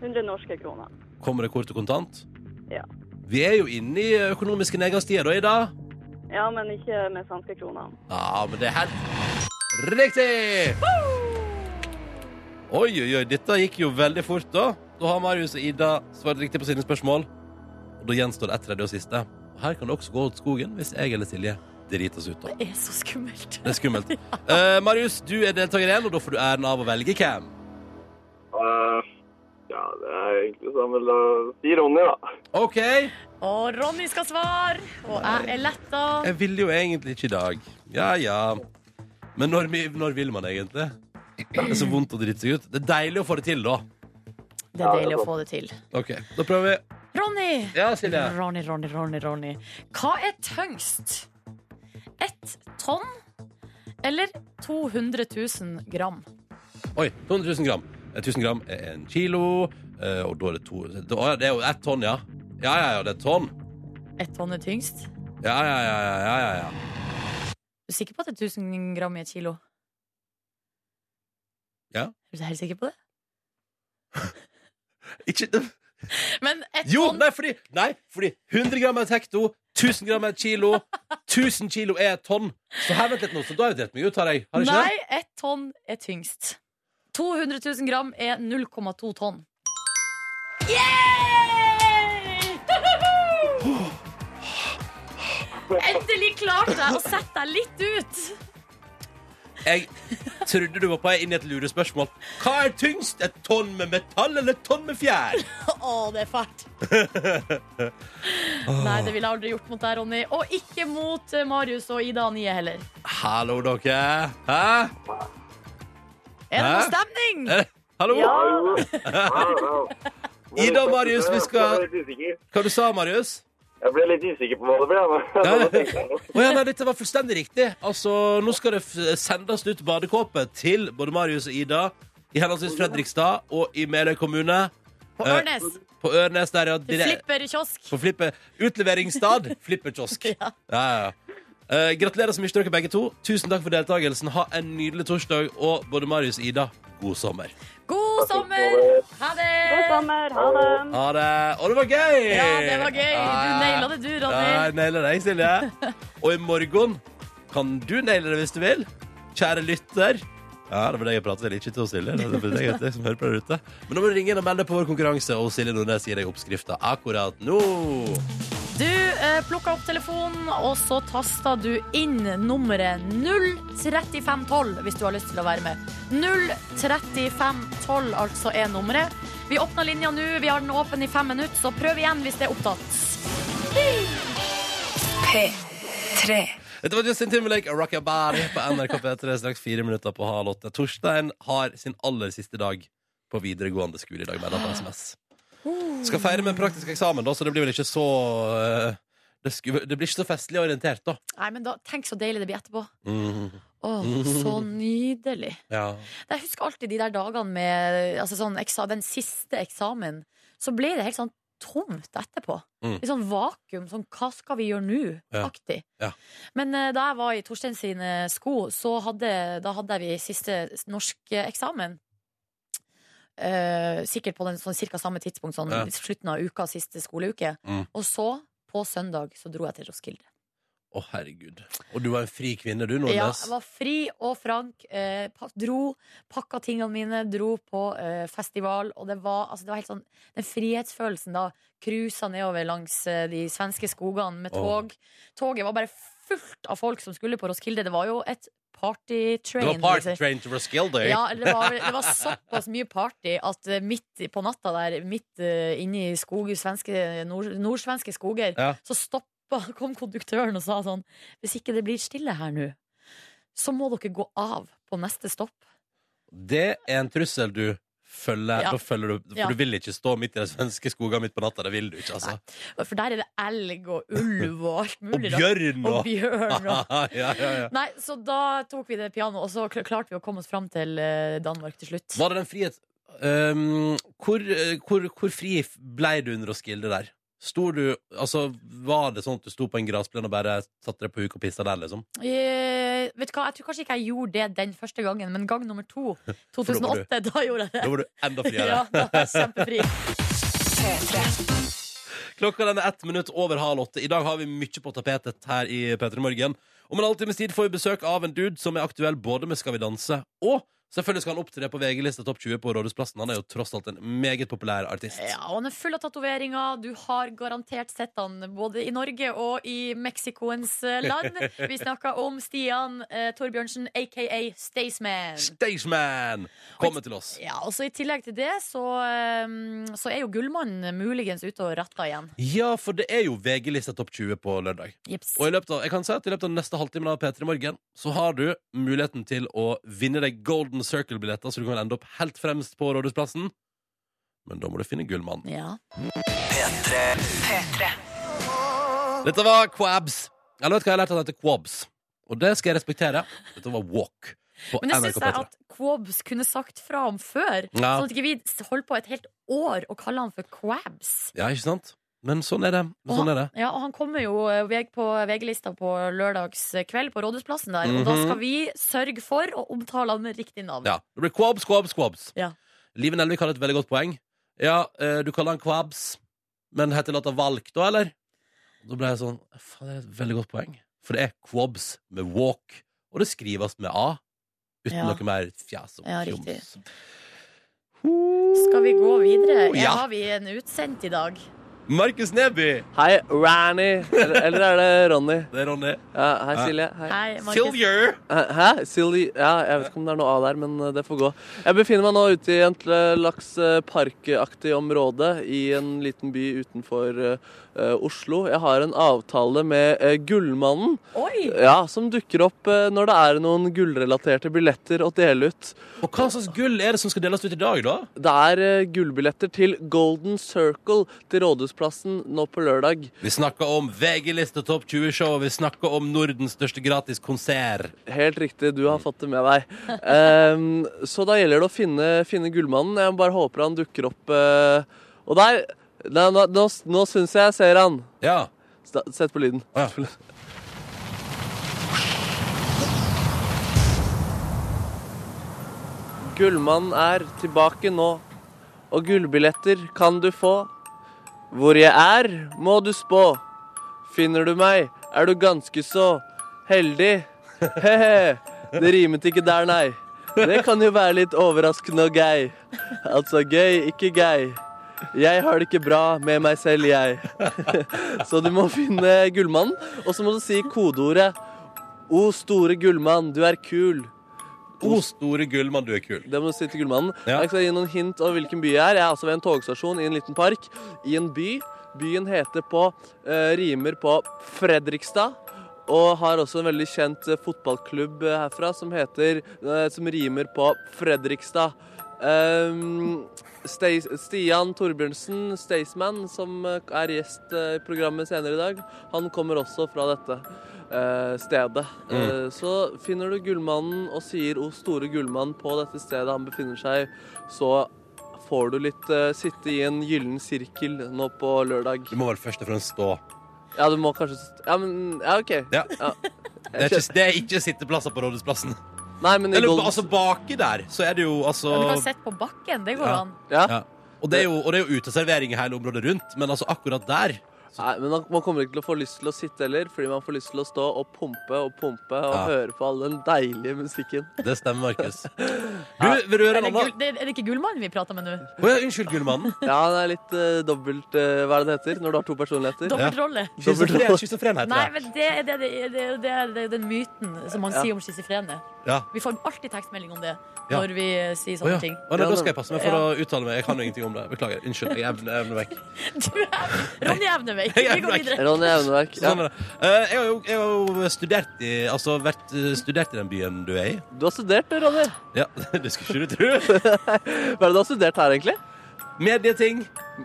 Speaker 5: 100 norske kroner.
Speaker 2: Kommer det kort og kontant?
Speaker 5: Ja.
Speaker 2: Vi er jo inne i økonomiske nedgangstider da, Ida.
Speaker 5: Ja, men ikke med svenske kroner.
Speaker 2: Ja, men det er helt riktig! Oi, oi, oi, dette gikk jo veldig fort, da. Da har Marius og Ida svart riktig på sine spørsmål. Og da gjenstår det ett tredje og siste. Og her kan det også gå ut skogen hvis jeg eller Silje driter oss ut. da.
Speaker 3: Det er så skummelt.
Speaker 2: Det er skummelt. Eh, Marius, du er deltaker én, og da får du æren av å velge hvem.
Speaker 4: Eh, ja, det er egentlig sammen da. Si Ronny, da.
Speaker 2: OK. Jeg
Speaker 3: Og Ronny skal svare, og jeg er letta.
Speaker 2: ville jo egentlig ikke i dag. Ja, ja. Men når, vi- når vil man egentlig? Det er så vondt å drite seg ut. Det er deilig å få det til, da.
Speaker 3: Det er deilig å få det til.
Speaker 2: OK, da prøver vi.
Speaker 3: Ronny!
Speaker 2: Ja, Silje.
Speaker 3: Ronny, Ronny, Ronny, Ronny. Hva er tyngst? Ett tonn eller 200 000 gram?
Speaker 2: Oi, 200 000 gram. Eh, 1000 gram er en kilo, eh, og da er det to da, å ja, Det er jo ett tonn, ja. Ja, ja, ja, det er et tonn.
Speaker 3: Ett tonn er tyngst?
Speaker 2: Ja, ja, ja, ja, ja, ja, ja.
Speaker 3: Du er sikker på at det er 1000 gram i et kilo?
Speaker 2: Ja.
Speaker 3: Er du helt sikker på det?
Speaker 2: Ikke
Speaker 3: Men ett
Speaker 2: Jo,
Speaker 3: tonn
Speaker 2: nei, fordi, nei, fordi 100 gram er et hekto, 1000 gram er et kilo, 1000 kilo er et tonn. Så her, vent litt nå, så da har jeg drept meg ut, har jeg? Har jeg ikke
Speaker 3: Nei, ett tonn er tyngst. 200 000 gram er 0,2 tonn. Yeah! Endelig klarte jeg å sette deg litt ut.
Speaker 2: det? Jeg trodde du var på vei inn i et lurespørsmål. Hva er tyngst? Et tonn med metall eller et tonn med fjær?
Speaker 3: Å, det er fælt. Nei, det ville jeg aldri gjort mot deg, Ronny. Og ikke mot eh, Marius og Ida Anie heller.
Speaker 2: Hallo, dere. Hæ?
Speaker 3: Er det
Speaker 2: Hæ?
Speaker 3: noe stemning?
Speaker 2: Eh, Hallo?
Speaker 5: Ja.
Speaker 4: Jo. Ja, ja.
Speaker 2: Ida og Marius, vi skal-
Speaker 4: Jeg ble litt usikker.
Speaker 2: Hva du sa du, Marius?
Speaker 4: Jeg ble litt usikker på hva det ble.
Speaker 2: Ja,
Speaker 4: Men
Speaker 2: ja.
Speaker 4: jeg tenkte jeg nå.
Speaker 2: Å ja, nei, dette var fullstendig riktig. Altså, Nå skal det f sendes ut badekåpe til både Marius og Ida i henholdsvis Fredrikstad og i Meløy kommune.
Speaker 3: På
Speaker 2: Eh,
Speaker 3: Ørnes.
Speaker 2: På Ørnes der, ja.
Speaker 3: Til
Speaker 2: Direk
Speaker 3: Flipper kiosk.
Speaker 2: på flippe. Utleveringsstad. Flipperkiosk.
Speaker 3: Ja.
Speaker 2: Ja, ja. Eh, gratulerer så mye til dere begge to. Tusen takk for deltakelsen. Ha en nydelig torsdag. Og både Marius og Ida, god sommer.
Speaker 3: God sommer! Ha det!
Speaker 5: God sommer. Ha det.
Speaker 2: Ha det. Og det var gøy!
Speaker 3: Ja, det var gøy. Du naila det, du,
Speaker 2: Ja,
Speaker 3: Ronny.
Speaker 2: jeg nailer deg, Silje. Og i morgen kan du naile det hvis du vil. Kjære lytter. Ja, det var det jeg pratet vel ikke til hos Silje. Det var det jeg det som hører på der ute. Men nå må du ringe inn og melde deg på vår konkurranse, og Silje Nordnes gir deg oppskrifta akkurat nå.
Speaker 3: Du eh, plukka opp telefonen, og så tasta du inn nummeret 03512 hvis du har lyst til å være med. 03512 altså er nummeret. Vi åpner linja nå. Vi har den åpen i fem minutter, så prøv igjen hvis det er opptatt.
Speaker 1: P3.
Speaker 2: Dette var Justin Timberlake og Rock Your Body på NRK P3 straks fire minutter på halv åtte. Torstein har sin aller siste dag på videregående skole i dag, melder han på SMS.
Speaker 3: Oh.
Speaker 2: Skal feire med en praktisk eksamen, da, så det blir vel ikke så eh, det, sku- det blir ikke så festlig orientert, da.
Speaker 3: Nei, men da, Tenk så deilig det blir etterpå.
Speaker 2: Mm.
Speaker 3: Å, så nydelig.
Speaker 2: Ja.
Speaker 3: Jeg husker alltid de der dagene med altså sånn, eksa, den siste eksamen. Så ble det helt sånn tomt etterpå.
Speaker 2: Mm.
Speaker 3: Litt sånn vakuum. Sånn hva skal vi gjøre
Speaker 2: Ja.
Speaker 3: nå-aktig.
Speaker 2: Ja.
Speaker 3: Men eh, da jeg var i Torstein sine sko, så hadde, da hadde vi siste norskeksamen. Eh, Uh, sikkert på den, sånn, cirka samme tidspunkt, sånn
Speaker 2: Ja.
Speaker 3: slutten av uka, siste skoleuke.
Speaker 2: Mm.
Speaker 3: Og så På søndag så dro jeg til Roskilde.
Speaker 2: Å, herregud. Og du var en fri kvinne, du,
Speaker 3: Ja,
Speaker 2: Nordnes.
Speaker 3: jeg var fri og frank. Eh, pa- dro, pakka tingene mine, dro på eh, festival. Og det var, altså, det var helt sånn Den frihetsfølelsen da cruisa nedover langs eh, de svenske skogene med
Speaker 2: Åh.
Speaker 3: tog. Toget var bare fullt av folk som skulle på Roskilde. Det var jo et
Speaker 2: Det
Speaker 3: partytrain.
Speaker 2: var party train to Roskilde.
Speaker 3: Ja, eller det var, det var såpass mye party at eh, midt i- på natta der, midt eh, inne i skog, svenske, nord, nordsvenske skoger,
Speaker 2: Ja.
Speaker 3: så stoppa, kom konduktøren og sa sånn Hvis ikke det blir stille her nå, så må dere gå av på neste stopp.
Speaker 2: Det er en trussel du følger.
Speaker 3: Ja.
Speaker 2: Da følger du, for
Speaker 3: Ja.
Speaker 2: du vil ikke stå midt i de svenske skogene midt på natta. Det vil du ikke, altså.
Speaker 3: For der er det elg og ulv og alt
Speaker 2: Og
Speaker 3: mulig. rart.
Speaker 2: bjørn
Speaker 3: Og
Speaker 2: og
Speaker 3: bjørn og
Speaker 2: ja, ja, ja.
Speaker 3: Nei, så da tok vi det pianoet, og så kl- klarte vi å komme oss fram til eh, Danmark til slutt.
Speaker 2: Var det den frihet Ehm, hvor, eh, hvor, hvor fri f- ble du under Roskilde der? Sto du, altså, var det sånn at du sto på en gressplen og bare satte deg på huk og pissa der, liksom?
Speaker 3: Eh, vet du hva, Jeg tror kanskje ikke jeg gjorde det den første gangen, men gang nummer to,
Speaker 2: da var du-
Speaker 3: 2008, da gjorde jeg det.
Speaker 2: Da var du enda friere.
Speaker 3: Ja, da er jeg kjempefri.
Speaker 2: Klokka den er ett minutt over halv åtte. I dag har vi mye på tapetet her i P3 Morgen. Om en halvtimes tid får vi besøk av en dude som er aktuell både med Skal vi danse og Selvfølgelig skal han opptre på VG-lista Topp 20 på Rådhusplassen. Han er jo tross alt en meget populær artist.
Speaker 3: Ja, og han er full av tatoveringer. Du har garantert sett han både i Norge og i Mexicoens eh, land. Vi snakker om Stian eh, Torbjørnsen, aka Staysman.
Speaker 2: Stageman! Kommer til oss.
Speaker 3: Ja, og så I tillegg til det så, eh, så er jo Gullmannen muligens ute og ratta igjen.
Speaker 2: Ja, for det er jo VG-lista Topp 20 på lørdag.
Speaker 3: Jips.
Speaker 2: Og i løpet av, jeg kan si at i løpet av neste halvtimen av P3 Morgen så har du muligheten til å vinne deg Golden Circle-billetter, så du kan ende opp helt fremst på Rådhusplassen. Men da må du finne Gullmannen.
Speaker 3: Ja.
Speaker 2: Dette var Quabs. Eller vet du hva jeg har lært at det heter Quabs? Og det skal jeg respektere. Dette var Walk på
Speaker 3: Men det
Speaker 2: NRK
Speaker 3: syns jeg
Speaker 2: P3.
Speaker 3: at Quabs kunne sagt fra om før.
Speaker 2: Ja.
Speaker 3: Sånn at ikke vi holder på et helt år og kaller han for Quabs.
Speaker 2: Ja, ikke sant? Men sånn er det.
Speaker 3: Og
Speaker 2: Sånn er det.
Speaker 3: Ja, og han kommer jo eh, veg- på VG-lista på lørdagskveld på Rådhusplassen der. Og da
Speaker 2: Mhm.
Speaker 3: skal vi sørge for å omtale han med riktig navn.
Speaker 2: Ja, det blir Quabs, Quabs, Quabs.
Speaker 3: Ja.
Speaker 2: Live Nelvik har et veldig godt poeng. Ja, eh, du kaller han Quabs, men heter låta Valk da, eller? Da ble jeg sånn Faen, det er et veldig godt poeng. For det er Quabs med Walk, og det skrives med A. Uten
Speaker 3: Ja.
Speaker 2: noe mer fjas og
Speaker 3: Ja,
Speaker 2: fjoms.
Speaker 3: Skal vi gå videre?
Speaker 2: Oh,
Speaker 3: Ja.
Speaker 2: ja.
Speaker 3: Har vi en utsendt i dag?
Speaker 2: Markus Neby!
Speaker 1: Hei, Ranny. Eller, eller er det Ronny?
Speaker 2: Det er Ronny.
Speaker 1: Ja, hei,
Speaker 2: Hei.
Speaker 1: Silje. Hei.
Speaker 3: Hei, Markus.
Speaker 2: Silver!
Speaker 1: Eh, Hæ? Silje? Ja, jeg vet ikke om det er noe A der, men eh, det får gå. Jeg befinner meg nå ute i et slags eh, parkaktig område i en liten by utenfor eh, eh, Oslo. Jeg har en avtale med eh, Gullmannen,
Speaker 3: Oi!
Speaker 1: ja, som dukker opp eh, når det er noen gullrelaterte billetter å dele ut.
Speaker 2: Og hva slags gull er det som skal deles ut i dag, da?
Speaker 1: Det er eh, gullbilletter til Golden Circle til Rådhusplassen nå på lørdag.
Speaker 2: Vi snakker om VG-liste Topp 20-show, og vi snakker om Nordens største gratis konsert.
Speaker 1: Helt riktig, du har fått det med deg. Ehm, så da gjelder det å finne, finne gullmannen. Jeg bare håper han dukker opp. eh, og der Nei, nå, nå, nå syns jeg jeg ser han.
Speaker 2: Ja.
Speaker 1: Sta- Sett på lyden.
Speaker 2: Å, ja.
Speaker 1: Gullmannen er tilbake nå, og gullbilletter kan du få. Hvor jeg er, må du spå. Finner du meg, er du ganske så heldig. He-he. Det rimet ikke der, nei. Det kan jo være litt overraskende og gøy. Altså gøy, ikke gøy. Jeg har det ikke bra med meg selv, jeg. Så du må finne gullmannen, og så må du si kodeordet. O store gullmann, du er kul.
Speaker 2: O store gullmann, du er kul.
Speaker 1: Det må du si til gullmannen.
Speaker 2: Ja.
Speaker 1: Jeg skal gi noen hint om hvilken by jeg er. Jeg er altså ved en togstasjon i en liten park i en by. Byen heter på eh, rimer på Fredrikstad. Og har også en veldig kjent eh, fotballklubb eh, herfra som heter eh, Som rimer på Fredrikstad. Ehm, Stas- Stian Torbjørnsen, Staysman, som eh, er gjest eh, i programmet senere i dag, han kommer også fra dette eh, stedet.
Speaker 2: Mm.
Speaker 1: Eh, så finner du gullmannen og sier 'O store gullmann' på dette stedet han befinner seg, så får du litt eh, sitte i en gyllen sirkel nå på lørdag.
Speaker 2: Du må vel først og fremst stå.
Speaker 1: Ja, du må kanskje s- Ja, men Ja, OK.
Speaker 2: Ja.
Speaker 1: Ja.
Speaker 2: Det er ikke, det er ikke sitteplasser på Rådhusplassen.
Speaker 1: Nei, men i
Speaker 2: Eller
Speaker 1: Golden
Speaker 2: altså baki der, så er det jo altså
Speaker 3: Ja, Du kan sitte på bakken, det går
Speaker 2: Ja.
Speaker 3: an.
Speaker 1: ja.
Speaker 2: ja. og, det er jo, og det er jo uteservering i hele området rundt, men altså akkurat der
Speaker 1: Nei, men man- Man kommer ikke til å få lyst til å sitte heller, fordi man får lyst til å stå og pumpe og pumpe og
Speaker 2: Ja.
Speaker 1: høre på all den deilige musikken.
Speaker 2: Det stemmer, Markus. Du, vil du
Speaker 3: Er
Speaker 2: høre en
Speaker 3: det,
Speaker 2: annen?
Speaker 3: gull, det, er det ikke Gullmannen vi prater med nå?
Speaker 2: Å ja, unnskyld, Gullmannen.
Speaker 1: Ja, det er litt eh, dobbelt eh, Hva er det det heter når du har to personligheter?
Speaker 3: Dobbeltrolle?
Speaker 2: Schizofren
Speaker 3: Nei,
Speaker 2: schizofren heter det.
Speaker 3: men det er, det, det, det, det er det er den myten som man
Speaker 1: Ja.
Speaker 3: sier om schizofrene.
Speaker 2: Ja.
Speaker 3: Vi får alltid tekstmelding om det
Speaker 2: Ja.
Speaker 3: når vi eh, sier
Speaker 2: Å
Speaker 3: sånne
Speaker 2: ja.
Speaker 3: ting.
Speaker 2: Å, nei, da skal jeg passe meg for å uttale meg. Jeg kan jo ingenting om det. Beklager. Unnskyld. Jeg evner jeg evner vekk.
Speaker 3: Du er Ronny Evnevik,
Speaker 2: Jeg er
Speaker 3: vi går
Speaker 2: Evnevik.
Speaker 3: videre.
Speaker 1: Ronny Evneverk. Ja.
Speaker 2: Sånn er det. Eh, Jeg har jo, jeg har jo studert, i, altså, vært, eh, studert i den byen du er i.
Speaker 1: Du har studert, du, Ronny.
Speaker 2: Ja, Det skulle ikke du tro.
Speaker 1: Hva er det du har studert her, egentlig?
Speaker 2: Medieting.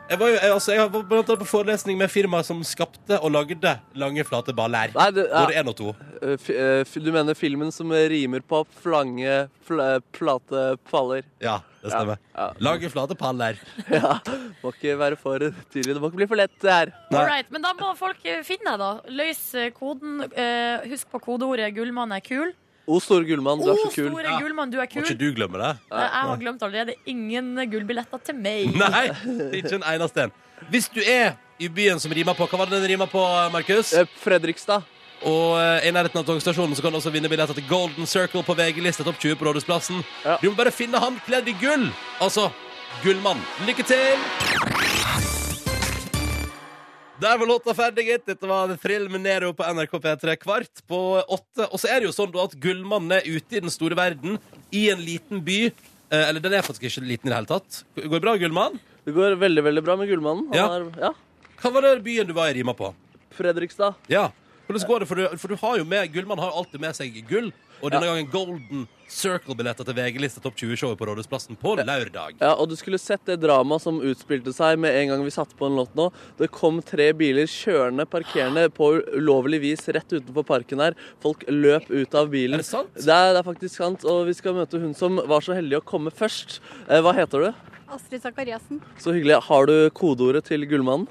Speaker 2: Jeg var jo, jeg, altså, jeg var blant annet på forelesning med firmaer som skapte og lagde lange, flate baller.
Speaker 1: Nei, du, ja,
Speaker 2: Både én og to.
Speaker 1: eh, fi- eh, fi- du mener filmen som rimer på flange, fl plate paller.
Speaker 2: Ja, det stemmer.
Speaker 1: Ja.
Speaker 2: Lange, flate paller.
Speaker 1: Ja, Må ikke være for tydelig. Det må ikke bli for lett, det her.
Speaker 2: Nei.
Speaker 3: All right, men da må folk eh, finne deg, da. Løs eh, koden. Eh, Husk på kodeordet 'Gullmann er kul'.
Speaker 1: O store gullmann, du
Speaker 3: Å,
Speaker 1: er så kul.
Speaker 3: store
Speaker 2: Ja.
Speaker 3: Gullmann, du er
Speaker 2: Må
Speaker 3: kul.
Speaker 2: ikke du glemme det?
Speaker 3: Eh, Jeg har glemt allerede ingen gullbilletter til meg.
Speaker 2: Nei, ikke en eneste en. Hvis du er i byen som rimer på Hva var det den rimer på, Markus?
Speaker 1: Eh, Fredrikstad.
Speaker 2: Og eh, i nærheten av togstasjonen så kan du også vinne billetter til Golden Circle på VG-lista Topp 20 på Rådhusplassen.
Speaker 1: Ja.
Speaker 2: Du må bare finne han kledd i gull. Altså Gullmann. Lykke til! Der var låta ferdig, gitt. Dette var The Thrill med Nero på NRK P3 kvart på åtte. Og så er det jo sånn da at Gullmann er ute i den store verden, i en liten by. Eh, eller den er faktisk ikke liten i det hele tatt. Går det bra, Gullmann?
Speaker 1: Det går veldig veldig bra med Gullmannen. Han
Speaker 2: Ja.
Speaker 1: er, ja,
Speaker 2: Hva var det byen du var i rima på?
Speaker 1: Fredrikstad.
Speaker 2: Ja. Hvordan går det? For du, for du har jo med Gullmann har jo alltid med seg gull. Og denne gangen Golden Circle-billetter til VG-lista Topp 20-showet på Rådhusplassen på lørdag.
Speaker 1: Ja, og du skulle sett det dramaet som utspilte seg med en gang vi satte på en låt nå. Det kom tre biler kjørende, parkerende på ulovlig vis rett utenfor parken her. Folk løp ut av bilen.
Speaker 2: Er det sant?
Speaker 1: Det er, det er faktisk sant, og vi skal møte hun som var så heldig å komme først. Eh, hva heter du?
Speaker 6: Astrid Sakariassen.
Speaker 1: Så hyggelig. Har du kodeordet til Gullmannen?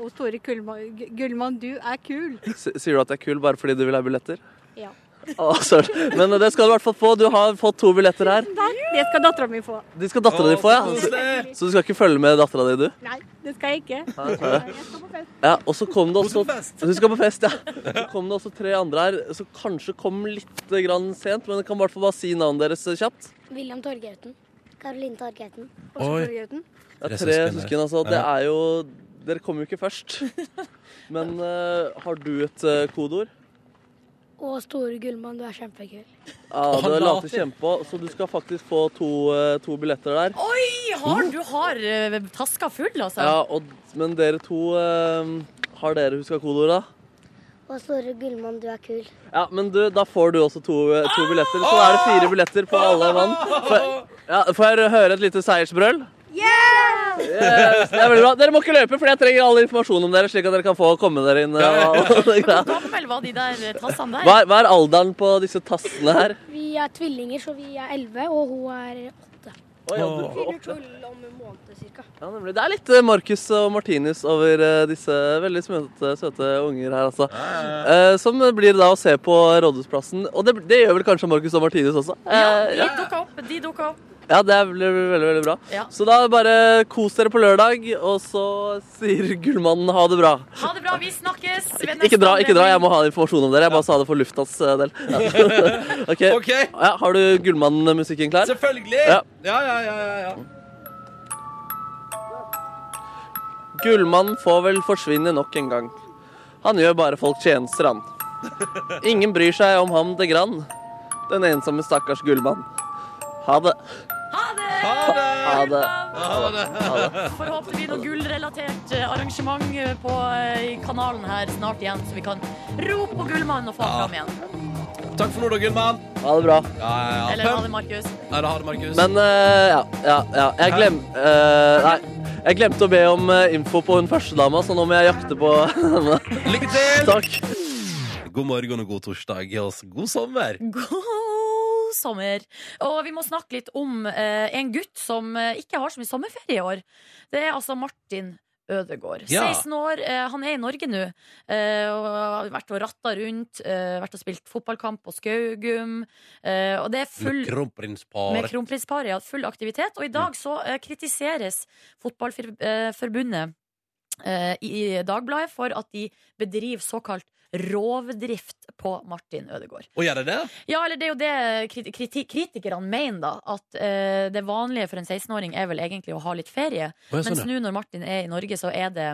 Speaker 6: Og Tore Gullmann, Gullmann, du er kul.
Speaker 1: S sier du at jeg er kul bare fordi du vil ha billetter?
Speaker 6: Ja.
Speaker 1: Å, søren. Men eh, det skal du i hvert fall få. Du har fått to billetter her.
Speaker 6: Det skal dattera mi få.
Speaker 1: De skal dattera di få, ja. Så, så du skal ikke følge med dattera di, du?
Speaker 6: Nei, det skal jeg ikke.
Speaker 1: Nei, nei.
Speaker 6: Jeg skal på fest.
Speaker 1: Ja, og så kom det også
Speaker 2: Hun skal på fest.
Speaker 1: Hun skal på fest, ja. Så kom det også tre andre her, så kanskje kom litt grann sent, men jeg kan i hvert fall bare si navnet deres kjapt.
Speaker 7: William Torgerten. Karoline Torgerten.
Speaker 6: Og så
Speaker 2: Oi.
Speaker 6: Torgerten.
Speaker 1: Det
Speaker 2: Tre
Speaker 1: er tre
Speaker 2: søsken,
Speaker 1: søsken, altså. Det
Speaker 2: Ja.
Speaker 1: er jo Dere kommer jo ikke først. Men eh, har du et eh, kodeord?
Speaker 7: Og Store Gullmann, du er kjempekul.
Speaker 1: Ja,
Speaker 2: Å,
Speaker 1: du
Speaker 2: han
Speaker 1: later
Speaker 2: later.
Speaker 1: kjempe, så du skal faktisk få to, eh, to billetter der.
Speaker 3: Oi, har, du har eh, taska full, altså.
Speaker 1: Ja, og, men dere to eh, Har dere huska kodeord, da?
Speaker 7: Og Store Gullmann, du er kul.
Speaker 1: Ja, men du, da får du også to, eh, to billetter. Så da er det fire billetter på alle mann. Får- Ja, får jeg høre et lite seiersbrøl? Yes, det er veldig bra. Dere må ikke løpe, for jeg trenger all informasjon om dere. slik at dere kan få komme dere inn. og- og det greia.
Speaker 3: Gammel var de der eh, tassene der.
Speaker 1: Hva er, hva er alderen på disse tassene her?
Speaker 7: Vi er tvillinger, så vi er elleve, og hun er åtte.
Speaker 1: Oi, ja, du- åtte.
Speaker 7: om en måned cirka.
Speaker 1: Ja, nemlig. det er litt eh, Marcus og Martinus over eh, disse veldig smøte, søte unger her, altså. Eh, Som blir da å se på Rådhusplassen. Og det, det gjør vel kanskje Marcus og Martinus også?
Speaker 3: Ja,
Speaker 1: Eh,
Speaker 3: de dukka opp. De dukka opp.
Speaker 1: Ja, det blir veldig, veldig, veldig bra.
Speaker 3: Ja.
Speaker 1: Så da bare kos dere på lørdag, og så sier gullmannen ha det bra.
Speaker 3: Ha det bra, vi snakkes. ved
Speaker 1: Ik
Speaker 3: neste
Speaker 1: ikke dra, ikke dra, jeg
Speaker 3: anledning.
Speaker 1: må ha informasjon om dere. Jeg bare sa det for luftas eh, del. Ja. Ok.
Speaker 2: OK,
Speaker 1: Ja, har du gullmannen-musikken klar?
Speaker 2: selvfølgelig! Ja,
Speaker 1: Ja.
Speaker 2: ja, ja. ja, ja.
Speaker 1: Gullmannen får vel forsvinne nok en gang. Han gjør bare folk tjenester, han. Ingen bryr seg om ham det grann. Den ensomme stakkars gullmann. Ha det.
Speaker 3: Ha det!
Speaker 1: Ha det.
Speaker 3: Forhåper vi noe gullrelatert eh, arrangement eh, på eh, i kanalen her snart igjen, så vi kan rope på Gullmannen og få
Speaker 2: Ja.
Speaker 3: han fram igjen.
Speaker 2: Takk for nå, da, Gullmann.
Speaker 1: Ha det bra.
Speaker 2: Ja, ja, ja.
Speaker 3: Eller ha det, Markus.
Speaker 2: Nei, da har det, Markus.
Speaker 1: Men eh, ja, ja, ja. Jeg, glem, eh, nei, jeg glemte å be om eh, info på hun førstedama, så nå må jeg jakte på henne.
Speaker 2: Lykke til!
Speaker 1: Takk.
Speaker 2: God morgen og god torsdag. og God sommer.
Speaker 3: God sommer! Og vi må snakke litt om eh, en gutt som eh, ikke har så mye sommerferie i år. Det er altså Martin. Ødegård.
Speaker 2: Ja.
Speaker 3: 16 år, eh, han er i Norge nå. eh, og har vært og ratta rundt, eh, vært og spilt fotballkamp på Skaugum. eh, og det er full
Speaker 2: Med kronprinspar.
Speaker 3: Med kronprinsparet, ja. Full aktivitet. Og i dag så eh, kritiseres Fotballforbundet eh, i Dagbladet for at de bedriver såkalt rovdrift på Martin Ødegaard.
Speaker 2: Og gjør de det?
Speaker 3: Ja, eller det er jo det kriti kriti kritikerne mener, da. At eh, det vanlige for en 16-åring er vel egentlig å ha litt ferie.
Speaker 2: Å, jeg
Speaker 3: Mens
Speaker 2: skjønner.
Speaker 3: nå når Martin er i Norge, så er det,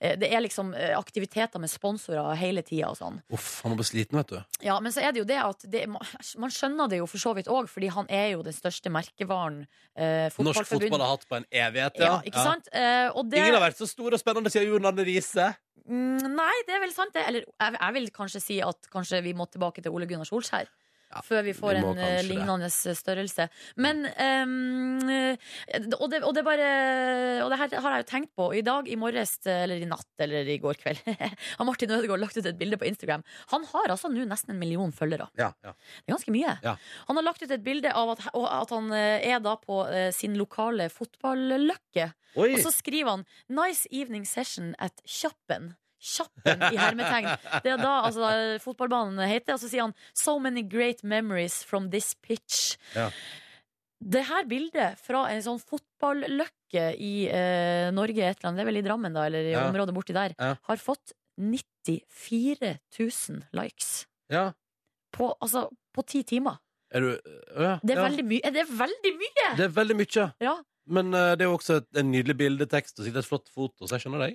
Speaker 3: eh, det er liksom eh, aktiviteter med sponsorer hele tida og sånn.
Speaker 2: Uff, han må bli sliten, vet du.
Speaker 3: Ja, men så er det jo det at det, man skjønner det jo for så vidt òg, fordi han er jo den største merkevaren eh,
Speaker 2: Norsk fotball
Speaker 3: fotballforbundet
Speaker 2: har hatt på en evighet,
Speaker 3: ja, ikke sant? Eh, og det,
Speaker 2: Ingen har vært så stor og spennende siden Jon Arne Riise.
Speaker 3: Mm, Nei, det er vel sant, det. Eller jeg, jeg vil kanskje si at kanskje vi må tilbake til Ole Gunnar Solskjær.
Speaker 2: Ja,
Speaker 3: før vi får
Speaker 2: vi må
Speaker 3: en eh,
Speaker 2: kanskje det.
Speaker 3: lignende størrelse. Men ehm, eh, og, det, og det bare Og det her har jeg jo tenkt på. I dag, i morges, eller i natt, eller i går kveld, har Martin Ødegaard lagt ut et bilde på Instagram. Han har altså nå nesten en million følgere.
Speaker 2: Ja, ja.
Speaker 3: Det er ganske mye.
Speaker 2: Ja.
Speaker 3: Han har lagt ut et bilde av at, og at han eh, er da på eh, sin lokale fotballøkke.
Speaker 2: Oi!
Speaker 3: Og så skriver han 'Nice evening session at Kjappen'. Kjappen i hermetegn. Det er da altså, fotballbanen heter. Og så sier han 'So many great memories from this pitch'.
Speaker 2: Ja.
Speaker 3: Det her bildet fra en sånn fotballøkke i eh, Norge, et eller annet, det er vel i Drammen, da, eller i
Speaker 2: Ja.
Speaker 3: området borti der,
Speaker 2: Ja.
Speaker 3: har fått 94 000 likes
Speaker 2: Ja.
Speaker 3: på, altså, på ti timer.
Speaker 2: Er du Å, ja.
Speaker 3: Det er
Speaker 2: ja.
Speaker 3: veldig mye. Det er veldig mye!
Speaker 2: Det er veldig mye.
Speaker 3: Ja.
Speaker 2: Men eh, det er jo også et, en nydelig bildetekst og sikkert et flott foto, så jeg skjønner deg.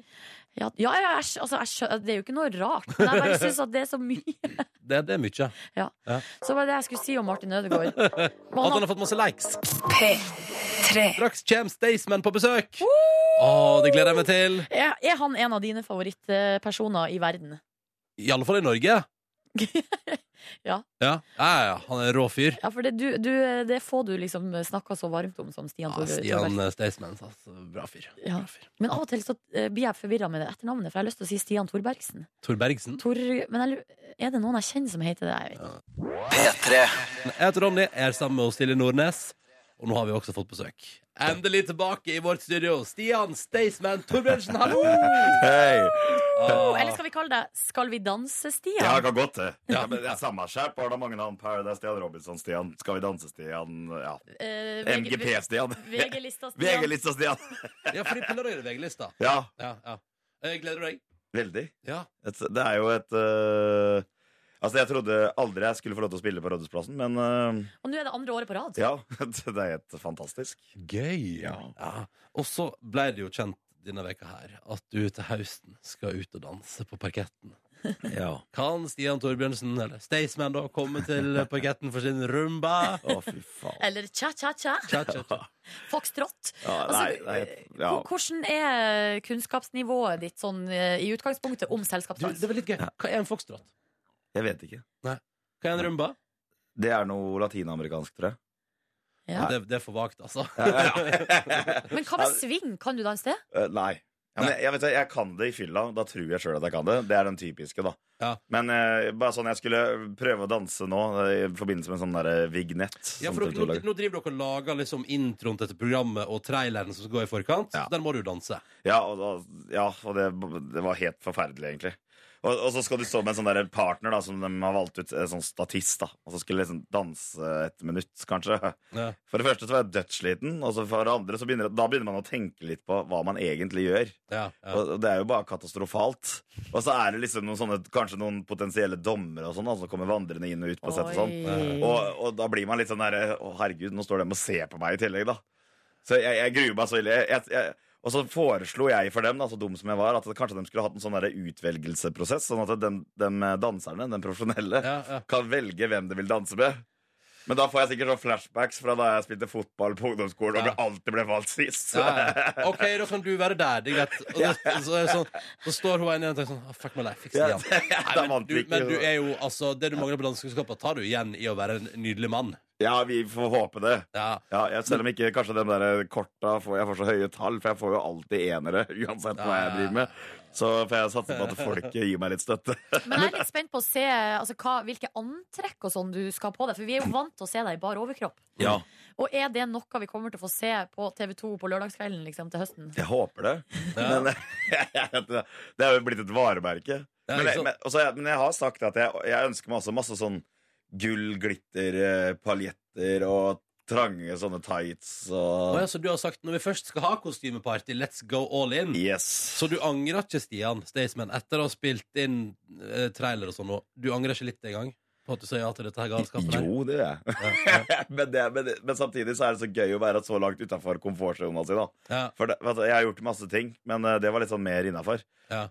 Speaker 3: Ja, ja, ja jeg, skj- altså, jeg, skjø- det er jo ikke noe rart, men jeg bare syns at det er så mye.
Speaker 2: Det, det er mye.
Speaker 3: Så var det det jeg skulle si om Martin Ødegaard.
Speaker 2: Og at han har fått masse likes. Straks kommer Staysman på besøk. Å, det gleder jeg meg til.
Speaker 3: er, er han en av dine favorittpersoner i verden?
Speaker 2: I alle fall i Norge.
Speaker 3: Ja.
Speaker 2: Ja, ja, ja. Han er en rå fyr.
Speaker 3: Ja, for det, du, du, det får du liksom snakka så varmt om som Stian
Speaker 2: Ja,
Speaker 3: Torve-
Speaker 2: Stian
Speaker 3: Torvald.
Speaker 2: eh, Staysman. Altså, bra fyr.
Speaker 3: Ja.
Speaker 2: Bra fyr.
Speaker 3: Men av og til så eh, blir jeg forvirra med det etternavnet, for jeg har lyst til å si Stian Torbergsen.
Speaker 2: Tor Bergsen.
Speaker 3: Tor, men jeg, lu- er det noen jeg kjenner som heter det? Jeg vet. ikke.
Speaker 2: Jeg heter Ronny, jeg er sammen med Silje Nordnes. Og nå har vi også fått besøk. Endelig tilbake i vårt studio. Stian Staysman Torbjørnsen, hallo!
Speaker 8: Hei.
Speaker 2: Ah,
Speaker 3: Eller skal vi kalle deg Skal vi danse-Stian?
Speaker 8: Ja, det kan godt det. Ja, men det er samme skjerp. Har da mange navn. Paradise Stian Robinson-Stian. Skal vi danse-Stian. Ja.
Speaker 3: Eh, VG
Speaker 8: MGP-Stian.
Speaker 3: VG-lista-Stian.
Speaker 8: VG-lista-Stian.
Speaker 2: ja, fordi på lørdag er det VG-lista.
Speaker 8: Ja,
Speaker 2: Ja, ja. Eh, Gleder du deg?
Speaker 8: veldig.
Speaker 2: Ja.
Speaker 8: Et, det er jo et øh, Altså, jeg trodde aldri jeg skulle få lov til å spille på Rådhusplassen, men øh,
Speaker 3: Og nå er det andre året på rad.
Speaker 8: ja. Det er helt fantastisk.
Speaker 2: Gøy. Ja. Og så ble det jo kjent denne veka her at du til høsten skal ut og danse på parketten.
Speaker 8: Ja.
Speaker 2: Kan Stian Torbjørnsen, eller Staysman, da komme til parketten for sin rumba?
Speaker 8: Å, fy faen.
Speaker 3: Eller cha-cha-cha.
Speaker 2: Tja, tja, tja.
Speaker 3: Foxtrot.
Speaker 8: Ja, nei,
Speaker 3: Altså,
Speaker 8: nei, ja.
Speaker 3: Hvor- Hvordan er kunnskapsnivået ditt sånn, eh, i utgangspunktet om
Speaker 2: Du,
Speaker 3: selskapsdans?
Speaker 2: det var litt gøy. Hva er en foxtrot?
Speaker 8: Jeg vet ikke.
Speaker 2: Hva er en rumba?
Speaker 8: Det er noe latinamerikansk, tror jeg.
Speaker 3: Ja.
Speaker 2: Det, det er for vagt, altså.
Speaker 3: Men hva med sving? Kan du danse det?
Speaker 8: Eh, nei. Ja, men jeg, jeg, vet, det, jeg kan det i fylla. Da tror jeg sjøl at jeg kan det. Det er den typiske, da.
Speaker 2: Ja.
Speaker 8: Men eh, bare sånn jeg skulle prøve å danse nå, eh, i forbindelse med en sånn der eh, vignett.
Speaker 2: Ja,
Speaker 8: som
Speaker 2: for
Speaker 8: TV2
Speaker 2: dere, nå,
Speaker 8: lager.
Speaker 2: nå driver dere og lager liksom introen til dette programmet og traileren som skal gå i forkant.
Speaker 8: Ja.
Speaker 2: Den må du danse.
Speaker 8: ja, og, da- ja, og det, det var helt forferdelig, egentlig. Og, og så skal du stå med en sånn der partner da, som de har valgt ut, en sånn statist, da. Og så skulle jeg liksom danse et minutt, kanskje.
Speaker 2: Ja.
Speaker 8: For det første så var jeg dødssliten, og så for det andre så begynner, da begynner man å tenke litt på hva man egentlig gjør.
Speaker 2: Ja, ja.
Speaker 8: Og og det er jo bare katastrofalt. Og så er det liksom noen sånne, kanskje noen potensielle dommere og sånn, da, som kommer vandrende inn og ut på sett og sånn.
Speaker 3: Oi.
Speaker 8: Og, og da blir man litt sånn der Å, herregud, nå står de og ser på meg i tillegg, da. Så jeg, jeg gruer meg så ille. Jeg, jeg, jeg, og så foreslo jeg for dem, da, så dum som jeg var, at kanskje de skulle hatt en sånn der utvelgelseprosess, sånn at de, danserne, den profesjonelle,
Speaker 2: Ja, ja.
Speaker 8: kan velge hvem de vil danse med. Men da får jeg sikkert sånn flashbacks fra da jeg spilte fotball på ungdomsskolen og
Speaker 2: Ja.
Speaker 8: ble alltid ble valgt sist.
Speaker 2: Ja, ja. OK, da kan du være der. Det er greit. Og det, så, er det sånn, så står hun ene igjen og tenker sånn «Ah, Fuck my life. Fiks det
Speaker 8: Ja,
Speaker 2: igjen.
Speaker 8: da
Speaker 2: Nei, men,
Speaker 8: vant
Speaker 2: du,
Speaker 8: vi ikke,
Speaker 2: men du
Speaker 8: så-
Speaker 2: er jo altså Det du mangler på dansekunnskaper, tar du igjen i å være en nydelig mann.
Speaker 8: Ja, vi får håpe det.
Speaker 2: Ja.
Speaker 8: Ja, jeg, Selv om ikke kanskje de der korta får jeg får så høye tall, for jeg får jo alltid enere uansett hva jeg driver med. Så får jeg satse på at folket gir meg litt støtte.
Speaker 3: Men jeg er litt spent på å se altså, hva, hvilke antrekk og sånn du skal ha på deg. For vi er jo vant til å se deg i bar overkropp.
Speaker 8: Ja.
Speaker 3: Og er det noe vi kommer til å få se på TV2 på lørdagskvelden liksom, til høsten?
Speaker 8: Jeg håper det.
Speaker 2: Ja.
Speaker 8: Men det er jo blitt et varemerke.
Speaker 2: Ja,
Speaker 8: Men
Speaker 2: ikke
Speaker 8: jeg,
Speaker 2: sant?
Speaker 8: men, også, jeg- men jeg har sagt at jeg, jeg ønsker meg også masse sånn gull, glitter, eh, paljetter og trange sånne tights
Speaker 2: Og
Speaker 8: og
Speaker 2: ja, så du har sagt når vi først skal ha kostymeparty, let's go all in.
Speaker 8: Yes.
Speaker 2: Så du angrer ikke, Stian Staysman, etter å ha spilt inn eh, trailer og sånn nå? Du angrer ikke litt engang på at du sa ja til dette her galskapet? der?
Speaker 8: Jo, det gjør jeg.
Speaker 2: Ja,
Speaker 8: men, det, men, men samtidig så er det så gøy å være så langt utafor komfortsona si, da.
Speaker 2: ja,
Speaker 8: For det, vet du, jeg har gjort masse ting, men eh, det var litt sånn mer innafor.
Speaker 2: ja.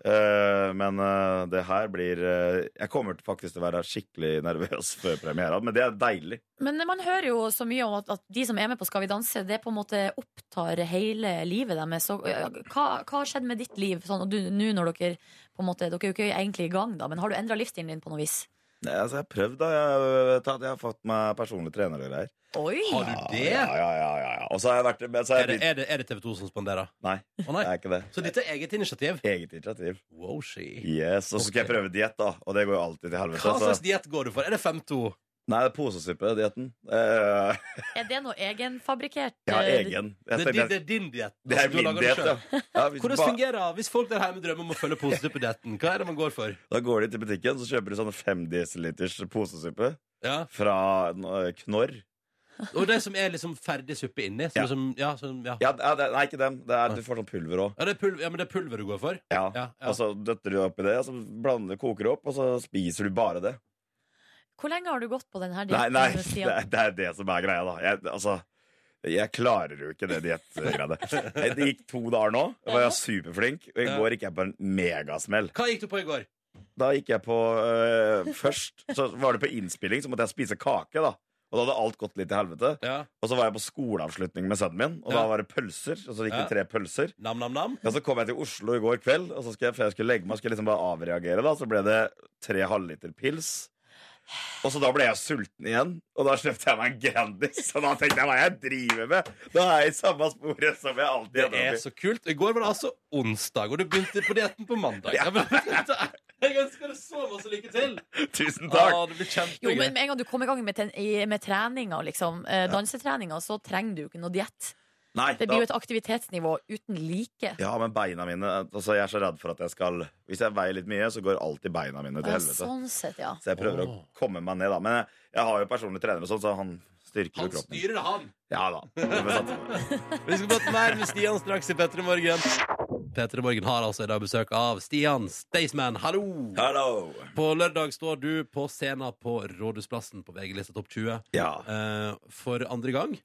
Speaker 8: men eh, det her blir eh, Jeg kommer til faktisk til å være skikkelig nervøs før premiera, men det er deilig.
Speaker 3: Men man hører jo så mye om at, at de som er med på Skal vi danse, det på en måte opptar hele livet deres. Så, eh, hva, hva har skjedd med ditt liv sånn, og du, nå når dere på en måte, Dere er jo ikke egentlig i gang, da, men har du endra livsstilen din på noe vis?
Speaker 8: Nei, altså, jeg har prøvd, da. Jeg vet at jeg har fått meg personlig trener og greier.
Speaker 3: Oi!
Speaker 2: Har du det?
Speaker 8: Ja, ja, ja, ja, ja. Og så har jeg vært men så har
Speaker 2: Er
Speaker 8: jeg
Speaker 2: det,
Speaker 8: begynt-
Speaker 2: er det, er det TV 2 som spanderer?
Speaker 8: Nei,
Speaker 2: Å nei.
Speaker 8: det er ikke det.
Speaker 2: Så dette er eget initiativ?
Speaker 8: Eget initiativ.
Speaker 2: Wow, she.
Speaker 8: Yes, Og så skal jeg prøve diett, da. Og det går jo alltid til
Speaker 2: Hva
Speaker 8: helvete.
Speaker 2: slags
Speaker 8: Så.
Speaker 2: diett går du for? Er det 5-2?
Speaker 8: Nei, det er posesuppe-dietten. Eh,
Speaker 3: Er det noe egenfabrikkert?
Speaker 8: jeg har
Speaker 3: eh,
Speaker 8: egen.
Speaker 2: Det,
Speaker 8: Jeg
Speaker 2: er din-
Speaker 8: tenkte,
Speaker 2: det er din diett. Altså,
Speaker 8: det er
Speaker 2: Du lager
Speaker 8: min
Speaker 2: det
Speaker 8: diett,
Speaker 2: selv.
Speaker 8: ja. ja hvis
Speaker 2: Hvordan
Speaker 8: ba-
Speaker 2: fungerer Hvis folk der hjemme drømmer om å følge posesuppedietten, hva er det man går for?
Speaker 8: Da går de til butikken, så kjøper de sånne 5 dl posesuppe
Speaker 2: Ja.
Speaker 8: fra eh, Knorr.
Speaker 2: Og de som er liksom ferdig suppe inni? Som
Speaker 8: Ja.
Speaker 2: liksom, ja, som, ja.
Speaker 8: Ja, ja, det, nei, ikke dem. Det er, du får sånn pulver òg.
Speaker 2: Ja, det er pulver, ja, men det er pulver du går for?
Speaker 8: Ja.
Speaker 2: Ja, ja.
Speaker 8: Og så døtter du oppi det, og så blander, koker du opp, og så spiser du bare det.
Speaker 3: Hvor lenge har du gått på denne
Speaker 8: Nei,
Speaker 3: dietten?
Speaker 8: nei, det,
Speaker 3: Stian?
Speaker 8: er- det er det som er greia, da. Jeg, altså, jeg klarer jo ikke det diettgreiene. Jeg- Det gikk to dager nå, og jeg var superflink. Og i
Speaker 2: Ja.
Speaker 8: går gikk jeg på en megasmell.
Speaker 2: Hva gikk du på i går?
Speaker 8: Da gikk jeg på øh, Først så var det på innspilling, så måtte jeg spise kake, da. Og da hadde alt gått litt til helvete.
Speaker 2: Ja.
Speaker 8: Og så var jeg på skoleavslutning med sønnen min, og
Speaker 2: Ja.
Speaker 8: da var det pølser. Og så gikk
Speaker 2: Ja.
Speaker 8: det tre pølser.
Speaker 2: Nam-nam-nam?
Speaker 8: Ja, så kom jeg til Oslo i går kveld, og så skulle jeg, før jeg skulle legge meg, skulle jeg liksom bare avreagere. da, Så ble det tre halvliter pils. Og så da ble jeg sulten igjen, og da kjøpte jeg meg en Grandis. Og da tenkte jeg hva jeg driver med? Da er jeg i samme sporet som jeg alltid
Speaker 2: Det
Speaker 8: ender
Speaker 2: er
Speaker 8: opp i.
Speaker 2: så kult. I går var det altså onsdag, og du begynte på dietten på mandag.
Speaker 8: Ja.
Speaker 2: Ja, men vet du, Jeg ønsker deg så masse lykke til!
Speaker 8: Tusen takk!
Speaker 2: Å, det blir
Speaker 3: Jo,
Speaker 2: kjempegøy.
Speaker 3: men med en gang du kommer i gang med, ten- i- med treninga, liksom, eh, dansetreninga, så trenger du jo ikke noe diett.
Speaker 8: Nei,
Speaker 3: Det
Speaker 8: da,
Speaker 3: blir jo et aktivitetsnivå uten like.
Speaker 8: ja, men beina mine altså Jeg er så redd for at jeg skal Hvis jeg veier litt mye, så går alltid beina mine til
Speaker 3: Ja,
Speaker 8: helvete.
Speaker 3: sånn sett, ja.
Speaker 8: Så jeg prøver å
Speaker 2: Åh.
Speaker 8: komme meg ned, da. Men jeg, jeg har jo personlig trener og sånn, så han styrker jo
Speaker 2: Han
Speaker 8: kroppen.
Speaker 2: styrer det, han.
Speaker 8: Ja da. Det får vi satse på.
Speaker 2: Vi skal prate mer med Stian straks i P3 Morgen. P3 Morgen har altså i dag besøk av Stian Staysman. Hallo!
Speaker 8: Hello.
Speaker 2: På lørdag står du på scenen på Rådhusplassen på VG-lista Topp 20
Speaker 8: Ja.
Speaker 2: eh, for andre gang.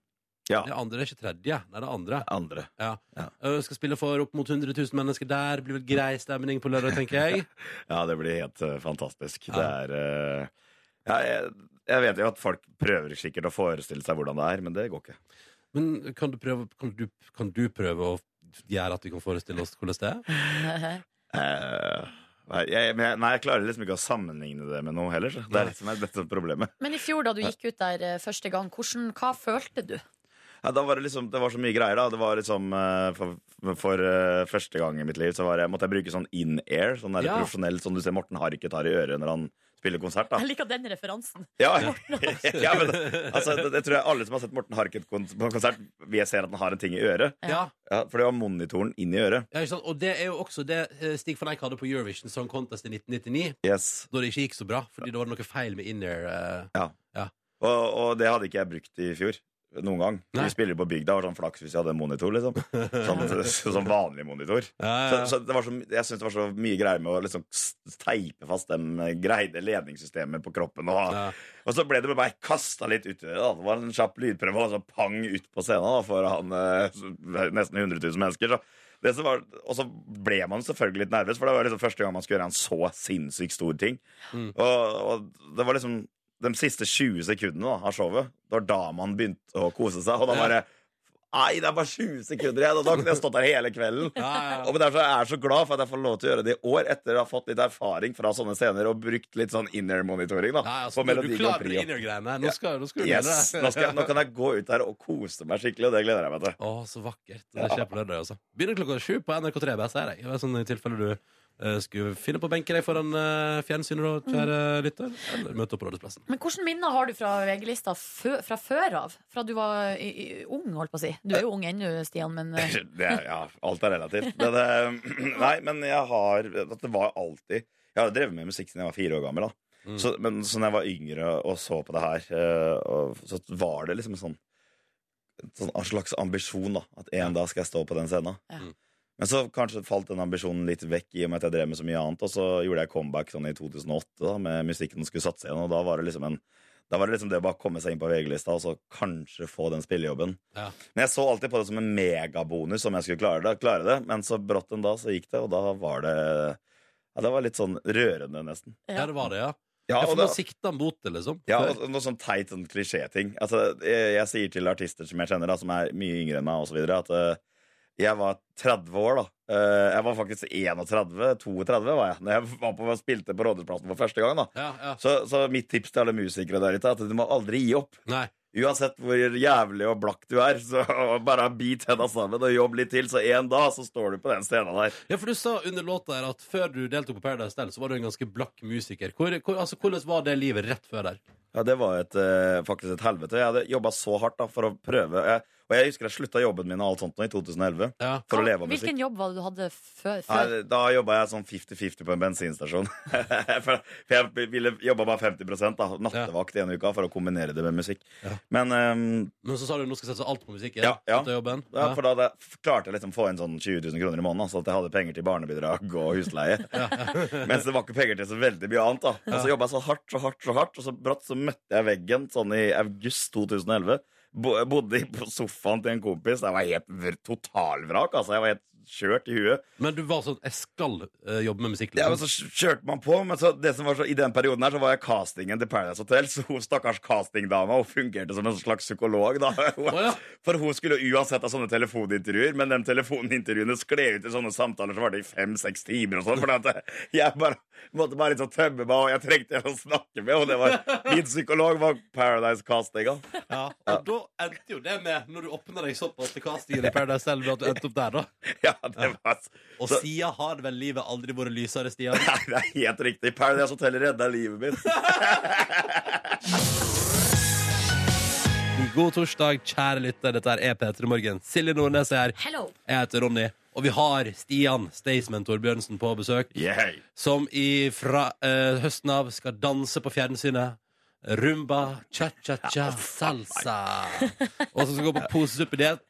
Speaker 8: Ja.
Speaker 2: Det andre er ikke tredje. Nei, det er andre.
Speaker 8: Andre.
Speaker 2: Eh, skal spille for opp mot 100 000 mennesker der. Blir vel grei stemning på lørdag, tenker jeg.
Speaker 8: Ja, det blir helt eh, fantastisk.
Speaker 2: Ja.
Speaker 8: Det er eh, ja, jeg, jeg vet jo at folk prøver sikkert å forestille seg hvordan det er, men det går ikke.
Speaker 2: Men kan du prøve, kan du, kan du prøve å gjøre at vi kan forestille oss hvordan det er?
Speaker 8: Eh, nei, jeg, men jeg, nei, jeg klarer liksom ikke å sammenligne det med noe heller. Så. Det
Speaker 2: Nei.
Speaker 8: er det som er dette problemet.
Speaker 3: Men i fjor, da du gikk ut der eh, første gang, hvordan, hva følte du?
Speaker 8: Ja, da var det liksom, det var så mye greier, da. Det var liksom eh, For, for eh, første gang i mitt liv så var jeg, måtte jeg bruke sånn in-air. Sånn der
Speaker 2: Ja.
Speaker 8: profesjonell som du ser Morten Harket har i øret når han spiller konsert. da
Speaker 3: Jeg liker den referansen.
Speaker 8: Ja, ja men altså, det, det tror jeg alle som har sett Morten Harket kon- på konsert, vi ser at han har en ting i øret.
Speaker 2: Ja,
Speaker 8: Ja, For det var monitoren inn i øret.
Speaker 2: ja ikke sant? Og det er jo også det eh, Stig van Eijk hadde på Eurovision Song Contest i 1999,
Speaker 8: Yes.
Speaker 2: da det ikke gikk så bra, fordi da var det noe feil med in-air. eh.
Speaker 8: Og, og det hadde ikke jeg brukt i fjor. Noen gang.
Speaker 2: Nei.
Speaker 8: Vi spiller på bygda, var sånn flaks hvis jeg hadde en monitor. liksom Sånn, sånn vanlig monitor. Så,
Speaker 2: Ja, ja.
Speaker 8: så Altså, det var så, my- jeg syns det var så mye greier med å liksom s- teipe fast de greide ledningssystemet på kroppen. Og,
Speaker 2: Ja.
Speaker 8: og så ble det bare kasta litt uti det. da. Det var en kjapp lydprøve, og så pang ut på scenen da, foran eh, så- nesten 100 000 mennesker. Så. Det som var, og så ble man selvfølgelig litt nervøs, for det var liksom første gang man skulle gjøre en så sinnssykt stor ting.
Speaker 2: Mm.
Speaker 8: Og, og det var liksom de siste 20 sekundene da, av showet. Det var da man begynte å kose seg. Og da
Speaker 2: Ja.
Speaker 8: bare Nei, det er bare 20 sekunder igjen! Og da kunne jeg stått der hele kvelden.
Speaker 2: Ja, ja,
Speaker 8: Og
Speaker 2: ja.
Speaker 8: derfor er jeg så glad for at jeg får lov til å gjøre det i år, etter å ha fått litt erfaring fra sånne scener og brukt litt sånn in-air-monitoring. da
Speaker 2: Nei, altså,
Speaker 8: på
Speaker 2: du
Speaker 8: Melodi Grand
Speaker 2: klarer
Speaker 8: Prix. og-
Speaker 2: in-air-greiene. Nå skal, nå skal du
Speaker 8: Yes,
Speaker 2: gjøre
Speaker 8: nå, skal, jeg-
Speaker 2: det.
Speaker 8: nå kan jeg gå ut der og kose meg skikkelig, og det gleder jeg meg til.
Speaker 2: Å, så vakkert. Det skjer på lørdag, altså. Begynner klokka sju på NRK3 bare sier jeg. Det er Sånn i tilfelle du eh, skulle finne på å benke deg foran eh, fjernsynet, da, kjære
Speaker 8: Mm.
Speaker 2: lytter, eller møte opp på Rådhusplassen.
Speaker 3: Men hvilke minner har du fra VG-lista fø, fra før av? Fra du var i, i, ung, holdt på å si. Du er jo ung ennå, Stian, men eh,
Speaker 8: Det, er- ja, alt er relativt. Men, eh, nei, men jeg har at Det var alltid Jeg har drevet med musikk siden jeg var fire år gammel. da
Speaker 2: Mm.
Speaker 8: så, Men så når jeg var yngre og så på det her, eh, og, så var det liksom sånn sånn, en slags ambisjon, da. At en dag skal jeg stå på den scenen.
Speaker 3: Ja.
Speaker 2: Mm.
Speaker 8: Men så kanskje falt den ambisjonen litt vekk i og med at jeg drev med så mye annet. Og så gjorde jeg comeback sånn i 2008 da, med musikken og skulle satse igjen. Og da var det liksom en da var det liksom det å bare komme seg inn på VG-lista og så kanskje få den spillejobben.
Speaker 2: Ja.
Speaker 8: Men jeg så alltid på det som en megabonus om jeg skulle klare det. Klare det. Men så brått en dag så gikk det, og da var det ja, Det var litt sånn rørende, nesten.
Speaker 3: Ja.
Speaker 2: Ja, det var det, ja.
Speaker 8: Ja,
Speaker 2: ja for
Speaker 8: og
Speaker 2: nå
Speaker 8: da,
Speaker 2: sikta han mot det, liksom.
Speaker 8: ja, og noe sånn teit sånn klisjéting. Altså, jeg, jeg sier til artister som jeg kjenner, da, som er mye yngre enn meg, og så videre, at eh, jeg var 30 år, da. Eh, jeg var faktisk 31. 32 var jeg da jeg var på, spilte på Rådhusplassen for første gang. da
Speaker 2: ja, ja.
Speaker 8: så, så mitt tips til alle musikere der ute er at du må aldri gi opp.
Speaker 2: Nei.
Speaker 8: Uansett hvor jævlig og blakk du er, så bare bit henda sammen og jobb litt til, så en dag så står du på den scenen der.
Speaker 2: Ja, for du sa under låta her at før du deltok på Paradise Hotel, så var du en ganske blakk musiker. Hvor, hvor, altså, hvordan var det livet rett før der?
Speaker 8: Ja, det var et, eh, faktisk et helvete. Jeg hadde jobba så hardt da, for å prøve. Jeg, og jeg husker jeg slutta jobben min og alt sånt nå i 2011
Speaker 2: Ja.
Speaker 8: for å
Speaker 3: Hva-
Speaker 8: leve av musikk.
Speaker 3: Hvilken jobb var det du hadde før? før?
Speaker 8: Nei, da jobba jeg sånn 50-50 på en bensinstasjon. for for jeg ville jobba bare 50 da, nattevakt i en uke for å kombinere det med musikk.
Speaker 2: Ja.
Speaker 8: Men ehm,
Speaker 2: Men så sa du nå skal satse alt på musikken.
Speaker 8: Ja, ja.
Speaker 2: etter Jobben.
Speaker 8: Ja, for da hadde jeg f- klarte jeg liksom å få inn sånn 20 000 kroner i måneden, så at jeg hadde penger til barnebidrag og husleie. Mens det var ikke penger til så veldig mye annet. da. Og så jobba jeg så hardt, så hardt, så hardt, og så brått så møtte jeg veggen sånn i august 2011. Bo jeg bodde i- på sofaen til en kompis. Jeg var helt vr- totalvrak. altså. Jeg var helt kjørt i huet.
Speaker 2: Men du var sånn Jeg skal eh, jobbe med musikk.
Speaker 8: Ja, men
Speaker 2: Liksom.
Speaker 8: så kj- kjørte man på, men så, det som var så, i den perioden her så var jeg castingen til Paradise Hotel, så hun stakkars castingdama hun fungerte som en slags psykolog, da.
Speaker 2: ja.
Speaker 8: For hun skulle jo uansett ha sånne telefonintervjuer, men de telefonintervjuene skled ut i sånne samtaler som varte i fem-seks timer og sånn, for at jeg bare måtte bare liksom tømme meg, og jeg trengte en å snakke med, og det var min psykolog var Paradise-castinga.
Speaker 2: Ja. Og da endte jo det med, når du åpna deg såpass til castingen i Paradise Hotel, med at du endte opp der, da.
Speaker 8: Ja, det var
Speaker 2: Og
Speaker 8: Så-
Speaker 2: siden har vel livet aldri vært lysere, Stian.
Speaker 8: Nei, det er helt riktig. Paradise Hotel redda livet mitt.
Speaker 2: God torsdag, kjære lytter. Dette er E P3 Morgen. Silje Nordnes er her.
Speaker 3: Hello!
Speaker 2: Jeg heter Ronny. Og vi har Stian Staysman Torbjørnsen på besøk.
Speaker 8: Yeah.
Speaker 2: Som i fra eh, høsten av skal danse på fjernsynet. Rumba, cha-cha-cha, salsa. Og så skal gå på posesuppediett.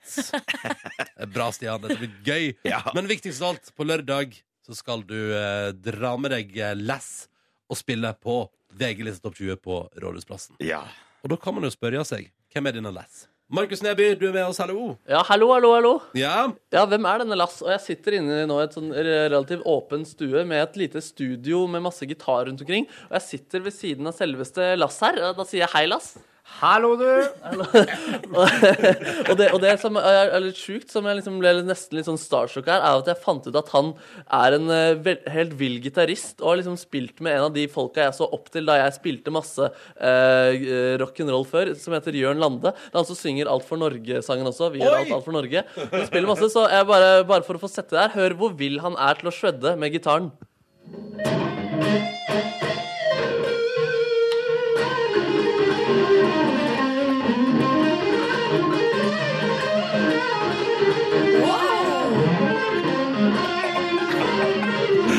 Speaker 2: Bra, Stian. Dette blir gøy.
Speaker 8: Ja.
Speaker 2: Men viktigst av alt, på lørdag så skal du eh, dra med deg eh, Lass og spille på VG-lista Topp 20 på Rådhusplassen.
Speaker 8: Ja.
Speaker 2: Og da kan man jo spørre seg hvem er denne Lass? Markus Neby, du er med oss, hallo.
Speaker 1: Ja, hallo, hallo, hallo.
Speaker 2: Ja,
Speaker 1: Ja, hvem er denne Lass? Og jeg sitter inne nå i et sånn relativt åpen stue med et lite studio med masse gitar rundt omkring. Og jeg sitter ved siden av selveste Lass her. og Da sier jeg hei, Lass. Hallo, du! og, det, og det som er er litt sjukt, som jeg liksom ble litt- nesten litt sånn starstruck her, er at jeg fant ut at han er en eh, vel, helt vill gitarist og har liksom spilt med en av de folka jeg så opp til da jeg spilte masse eh, rock'n'roll før, som heter Jørn Lande. Det er han som synger Alt for Norge-sangen også. Vi gjør
Speaker 2: Oi!
Speaker 1: alt, alt for Norge. Han spiller masse, så jeg bare, bare for å få sette det her, hør hvor vill han er til å shredde med gitaren.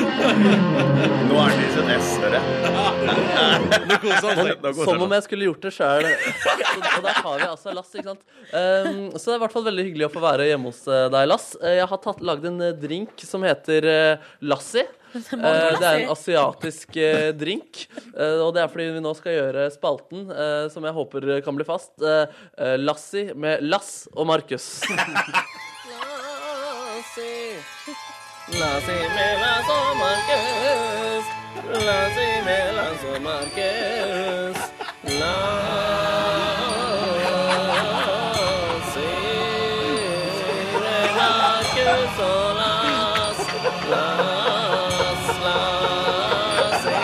Speaker 8: Nå er det sin S-øre.
Speaker 2: nå koser han seg.
Speaker 8: Nå går
Speaker 1: Som
Speaker 8: det.
Speaker 1: om jeg skulle gjort det sjøl. Og der har vi altså Lass, ikke sant. Ehm, så det er i hvert fall veldig hyggelig å få være hjemme hos eh, deg, Lass. Eh, Jeg har tatt, lagd en eh, drink som heter eh, Lassi. Eh, det er en asiatisk eh, drink. Eh, og det er fordi vi nå skal gjøre spalten, eh, som jeg håper eh, kan bli fast, eh, eh, Lassi med Lass og Markus. Lassi. Lassi med Lass og Markus. Lassi med Lass og Markus. Lassi med Markus og Lass. Lass, Lassi.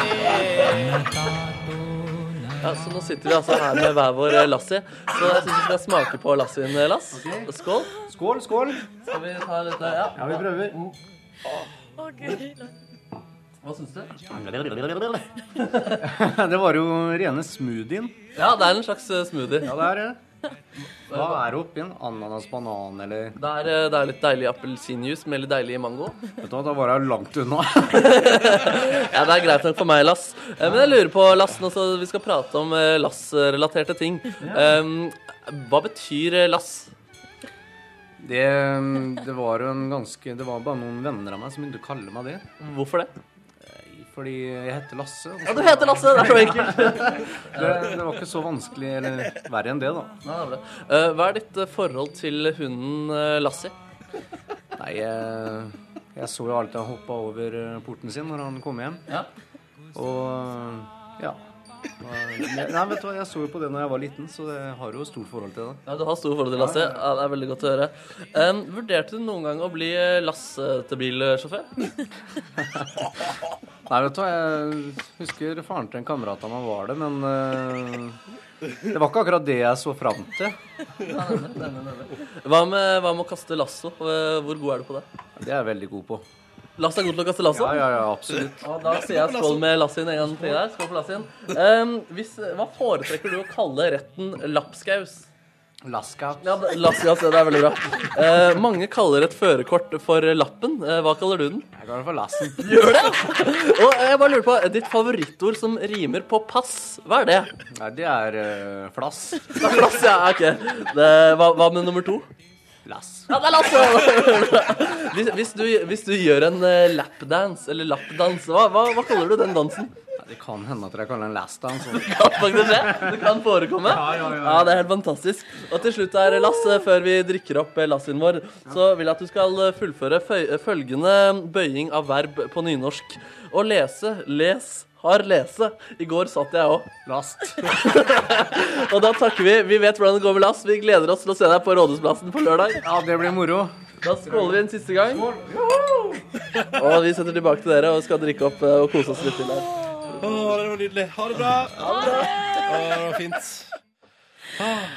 Speaker 1: Ja, så nå sitter vi altså her med hver vår eh, Lassi. Så jeg syns vi skal smake på Lassien, eh, Lass. Skål.
Speaker 9: Skål, skål.
Speaker 1: Skal vi ta litt der, ja?
Speaker 9: Ja, vi prøver.
Speaker 1: Hva syns du?
Speaker 9: Det var jo rene smoothien.
Speaker 1: Ja, det er en slags eh, smoothie.
Speaker 9: Ja, det er det. Hva er det oppi en ananas, banan eller
Speaker 1: Det er, eh, det er litt deilig appelsinjuice med litt deilig mango.
Speaker 9: Vet du hva, da var jeg langt unna.
Speaker 1: Ja, Det er greit nok for meg, Lass. Eh, Men jeg lurer på, Lass, nå så vi skal prate om eh, Lass-relaterte ting. Um, hva Ehm, betyr eh, Lass?
Speaker 9: Det, det var jo en ganske Det var bare noen venner av meg som begynte å kalle meg det. Eh,
Speaker 1: Hvorfor det?
Speaker 9: Fordi jeg heter Lasse. og
Speaker 1: Ja,
Speaker 9: så-
Speaker 1: du heter Lasse! Det er så enkelt.
Speaker 9: Det, det var ikke så vanskelig, eller verre enn det, da.
Speaker 1: Nei, det er bra. Eh, Hva er ditt eh, forhold til hunden eh, Lassie?
Speaker 9: Nei, jeg, jeg så jo alltid han hoppa over eh, porten sin når han kom hjem.
Speaker 1: Ja.
Speaker 9: Og ja. Og- Nei, vet du hva, jeg så jo på det når jeg var liten, så jeg har jo stort forhold til det.
Speaker 1: Ja, du har stor forhold til Lasse. Ja, det er veldig godt å høre. Um, vurderte du noen gang å bli eh, lastebilsjåfør?
Speaker 9: Nei, vet du hva, jeg husker faren til en kamerat av meg var det, men eh, det var ikke akkurat det jeg så fram til.
Speaker 1: Hva med, hva med å kaste lasso? Eh, Hvor god er du på det?
Speaker 9: Det er jeg veldig god på.
Speaker 1: Lasse er god til å kaste lasso?
Speaker 9: Ja, ja, ja, absolutt.
Speaker 1: Og da sier jeg skål med Lassien en gang til der. Skål for Lassien. Um, hvis, hva foretrekker du å kalle retten lapskaus?
Speaker 9: Laska.
Speaker 1: Ja, det- lapskaus, ja, det er veldig bra. Eh, mange kaller et førerkort for lappen. Eh, hva kaller du den?
Speaker 9: Jeg kaller det for Lassen.
Speaker 1: Og jeg bare lurer på, eh, ditt favorittord som rimer på pass, hva er det?
Speaker 9: Nei, det er eh, flass.
Speaker 1: Det er Lasse, ja, ok. Det, hva, hva med nummer to?
Speaker 9: Lass.
Speaker 1: Ja, det er Lasse! Hvis, hvis, du, hvis du gjør en eh, lapdance, eller lappdans, hva, hva, hva kaller du den dansen?
Speaker 9: Nei, det kan hende at jeg kaller den Last Dance. altså.
Speaker 1: Ja, faktisk det. Det kan forekomme.
Speaker 9: ja, ja, ja.
Speaker 1: det er helt fantastisk. Og til slutt her, Lasse, før vi drikker opp eh, lassien vår, så vil jeg at du skal eh, fullføre føy- følgende bøying av verb på nynorsk. Å lese, les, har lese. I går satt jeg òg.
Speaker 9: Last.
Speaker 1: Og da takker vi. Vi vet hvordan det går med Lass. Vi gleder oss til å se deg på Rådhusplassen på lørdag.
Speaker 9: Ja, det blir moro.
Speaker 1: Da skåler vi en siste gang. Og vi setter tilbake til dere og skal drikke opp eh, og kose oss litt til her.
Speaker 2: Å, det var nydelig. Ha det bra. Ha det, det var fint. Ah.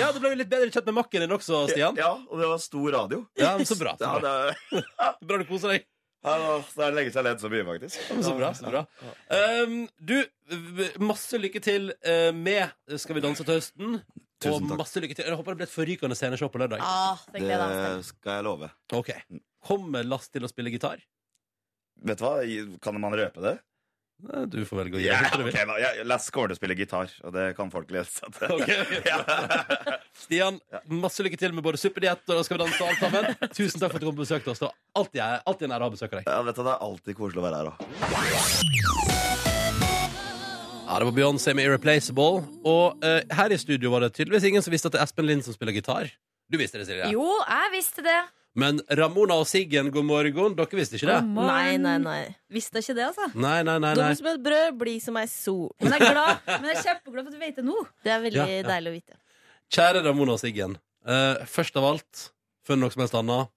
Speaker 2: Ja, det ble jo litt bedre kjent med makken din også, Stian.
Speaker 8: Ja, og det var stor radio.
Speaker 2: Ja, men så bra. Så
Speaker 8: Ja,
Speaker 2: bra.
Speaker 8: det, er-
Speaker 2: bra du koser deg.
Speaker 8: ja, det er lenge siden jeg har ledd så mye, faktisk.
Speaker 2: Ja, men Så bra, så bra. Um, du, v- masse lykke til eh, med Skal vi danse til høsten.
Speaker 8: Tusen
Speaker 2: og
Speaker 8: takk.
Speaker 2: masse lykke til. Jeg håper det blir et forrykende sceneshow på lørdag.
Speaker 3: Ah, det gleder jeg meg til.
Speaker 8: Det skal jeg love. Mm.
Speaker 2: Ok, Kommer Lass til å spille gitar?
Speaker 8: Vet du hva, kan man røpe det?
Speaker 2: Nei, Du får velge å
Speaker 8: Ja,
Speaker 2: gjøre som du
Speaker 8: ok,
Speaker 2: vil.
Speaker 8: da. Ja, Lass kommer til å spille gitar, og det kan folk lese. at-
Speaker 2: Ok, ok.
Speaker 8: Ja.
Speaker 2: Stian, masse lykke til med både suppediett og Skal vi danse og alt sammen. Tusen takk for at du kom og besøkte oss. Det var alltid, alltid en ære å besøke deg.
Speaker 8: Ja, vet du, Det er alltid koselig å være her òg.
Speaker 2: Ja, Det var Beyoncé med Irreplaceable. Og eh, her i studio var det tydeligvis ingen som visste at det er Espen Lind som spiller gitar. Du visste det, Silje.
Speaker 3: Jo, jeg visste det.
Speaker 2: Men Ramona og Siggen, god morgen. Dere visste ikke det?
Speaker 10: Nei, nei, nei. Visste ikke det, altså.
Speaker 2: Nei, nei, nei. nei.
Speaker 10: Dum som et brød, blid som ei sol.
Speaker 3: Men jeg er glad Men jeg er kjempeglad for at du vet det nå.
Speaker 10: Det er veldig
Speaker 2: Ja, ja.
Speaker 10: deilig å vite.
Speaker 2: Kjære Ramona og Siggen. eh, først av alt, før noe som helst annet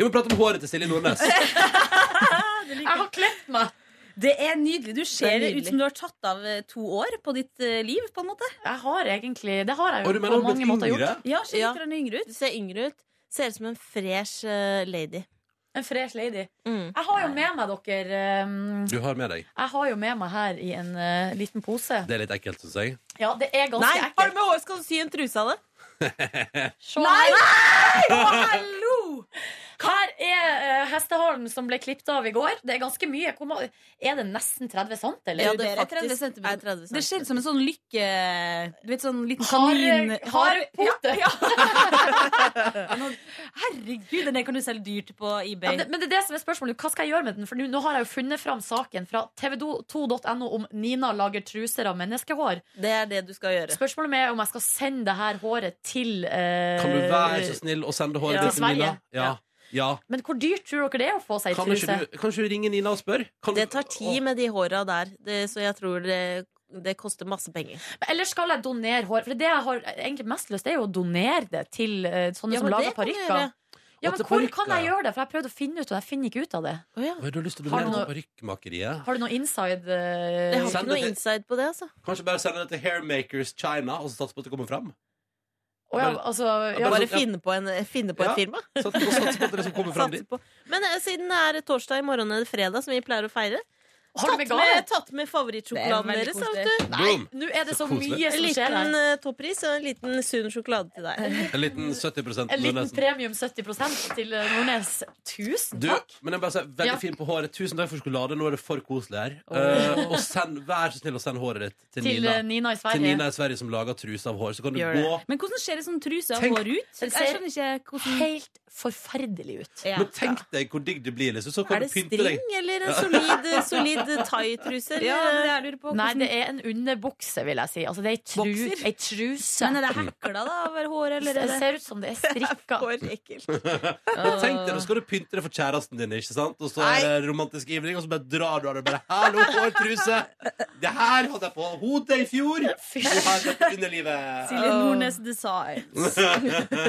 Speaker 2: Vi må prate om håret til Silje Nordnes.
Speaker 3: Jeg har klept meg.
Speaker 10: Det er nydelig. Du
Speaker 3: ser ut som
Speaker 10: du har tatt av
Speaker 11: eh,
Speaker 10: to år på ditt liv, på en måte.
Speaker 3: Jeg har egentlig Det har jeg
Speaker 2: Og du
Speaker 3: jo
Speaker 2: mener
Speaker 3: på
Speaker 2: hun har
Speaker 3: mange
Speaker 2: blitt
Speaker 3: måter
Speaker 2: yngre?
Speaker 3: gjort. Ja, ser
Speaker 10: Ja.
Speaker 3: litt grann yngre
Speaker 10: Du
Speaker 3: ut.
Speaker 10: ser yngre ut. Ser ut som en fresh eh, lady.
Speaker 3: En fresh lady.
Speaker 10: Mm.
Speaker 3: Jeg har jo med meg dere um,
Speaker 2: Du har med deg.
Speaker 3: Jeg har jo med meg her i en eh, liten pose.
Speaker 2: Det er litt ekkelt, syns jeg.
Speaker 3: Ja, det er ganske
Speaker 10: Nei, har du
Speaker 3: ekkelt.
Speaker 10: med hår? Skal du sy en truse av det?
Speaker 3: Se her. Å, hallo! Her er eh, hestehalen som ble klippet av i går. Det er ganske mye. Hvor ma- Er det nesten 30 cm, eller?
Speaker 10: Ja, det er faktisk-
Speaker 11: 30 centimeter.
Speaker 10: er 30
Speaker 11: Det ser ut som en sånn lykke... Du vet, sånn liten kanin...
Speaker 3: Har, har pote. Ja,
Speaker 11: Herregud, den der kan du selge dyrt på eBay.
Speaker 3: det, men det er det som er spørsmålet. Hva skal jeg gjøre med den? For nå, nå har jeg jo funnet fram saken fra tv2.no om Nina lager truser av menneskehår.
Speaker 10: Det er det du skal gjøre.
Speaker 3: Spørsmålet er om jeg skal sende det her håret til eh,
Speaker 2: Kan du være så snill å sende håret
Speaker 10: Ja.
Speaker 2: ditt til Nina?
Speaker 3: Sverige.
Speaker 2: Ja. ja.
Speaker 3: Men hvor dyrt tror dere det er å få seg
Speaker 2: Kan, ikke
Speaker 3: truse?
Speaker 2: du, kan ikke du ringe Nina og spørre? Kan
Speaker 10: Det
Speaker 2: du-
Speaker 10: tar tid med de håra der, det, så jeg tror det, det koster masse penger.
Speaker 3: Men Eller skal jeg donere hår? For det jeg har egentlig mest lyst til, er jo å donere det til eh, sånne
Speaker 10: Ja,
Speaker 3: som
Speaker 10: men
Speaker 3: lager
Speaker 10: det kan du
Speaker 3: parykker.
Speaker 10: gjøre.
Speaker 3: Ja,
Speaker 2: Og
Speaker 3: men
Speaker 2: til
Speaker 3: hvor
Speaker 2: parykker.
Speaker 3: kan jeg gjøre det? For jeg har prøvd å finne ut, og jeg finner ikke ut av det.
Speaker 10: Å ja.
Speaker 2: Oi, Du har lyst til å
Speaker 3: Har
Speaker 2: donere
Speaker 3: du
Speaker 2: til
Speaker 3: noe-
Speaker 2: parykkmakeriet?
Speaker 3: Har du noe inside
Speaker 10: Jeg
Speaker 3: eh,
Speaker 10: har
Speaker 2: Send
Speaker 10: ikke
Speaker 2: det
Speaker 10: noe
Speaker 2: til-
Speaker 10: inside på det, altså.
Speaker 2: Kanskje bare sende det til Hairmakers China og så satse på at det kommer fram?
Speaker 3: å ja, altså, ja,
Speaker 10: Bare
Speaker 2: sånn, ja.
Speaker 10: finne på, en, finne på
Speaker 2: Ja.
Speaker 10: et firma.
Speaker 2: Sats på, sats på at det liksom kommer fram
Speaker 10: Satse
Speaker 2: dit.
Speaker 10: på. Men eh, siden det er torsdag i morgen eller fredag, som vi pleier å feire,
Speaker 3: Har du
Speaker 10: Tatt
Speaker 3: med gave?
Speaker 10: med, tatt med favorittsjokoladen
Speaker 3: Det er veldig
Speaker 10: deres, da,
Speaker 3: koselig.
Speaker 10: vet du.
Speaker 2: Nei, Boom.
Speaker 3: nå er det så
Speaker 2: koselig.
Speaker 3: mye
Speaker 10: En
Speaker 3: som skjer her.
Speaker 10: liten eh, toppris og en liten sunn sjokolade til deg.
Speaker 2: En liten 70
Speaker 3: En liten
Speaker 2: Nordnesen.
Speaker 3: premium 70 til eh, Nordnes. Tusen
Speaker 2: Du,
Speaker 3: takk!
Speaker 2: men jeg bare sier, Veldig
Speaker 3: Ja.
Speaker 2: fin på håret. Tusen takk for sjokolade. Nå er det for koselig her.
Speaker 3: Åh.
Speaker 2: Eh, og send, vær så snill å sende håret ditt til,
Speaker 3: Til,
Speaker 2: Nina.
Speaker 3: eh, Nina i Sverige.
Speaker 2: Til Nina i Sverige som lager truse av hår. Så kan du gå
Speaker 11: Men hvordan ser det sånn truse av
Speaker 2: Tenk-
Speaker 11: hår ut?
Speaker 3: Den
Speaker 11: Jeg
Speaker 3: ser
Speaker 11: skjønner ikke hvordan
Speaker 3: Helt forferdelig ut.
Speaker 2: Men tenk deg hvor digg det blir. Liksom. Så kan
Speaker 10: Er det
Speaker 2: du pynte
Speaker 10: string
Speaker 2: deg.
Speaker 10: eller en
Speaker 2: Ja.
Speaker 10: solid, solid thaitruse?
Speaker 11: Ja, det
Speaker 10: eller?
Speaker 11: er det jeg lurer på.
Speaker 3: Nei,
Speaker 11: Hvordan-
Speaker 3: det er en underbukse, vil jeg si. Altså, det er ei tru, ei truse.
Speaker 11: Men er det hekla da over håret, eller er
Speaker 3: det
Speaker 11: det
Speaker 3: ser ut som det er strikka.
Speaker 2: Men tenk deg, da skal du pynte deg for kjæresten din, ikke sant? Og så er det romantisk ivning, og så bare drar du av deg bare Hallo, hårtruse! Det her hadde jeg på hodet i fjor! Du har sett underlivet!
Speaker 11: Silje Nordnes Designs.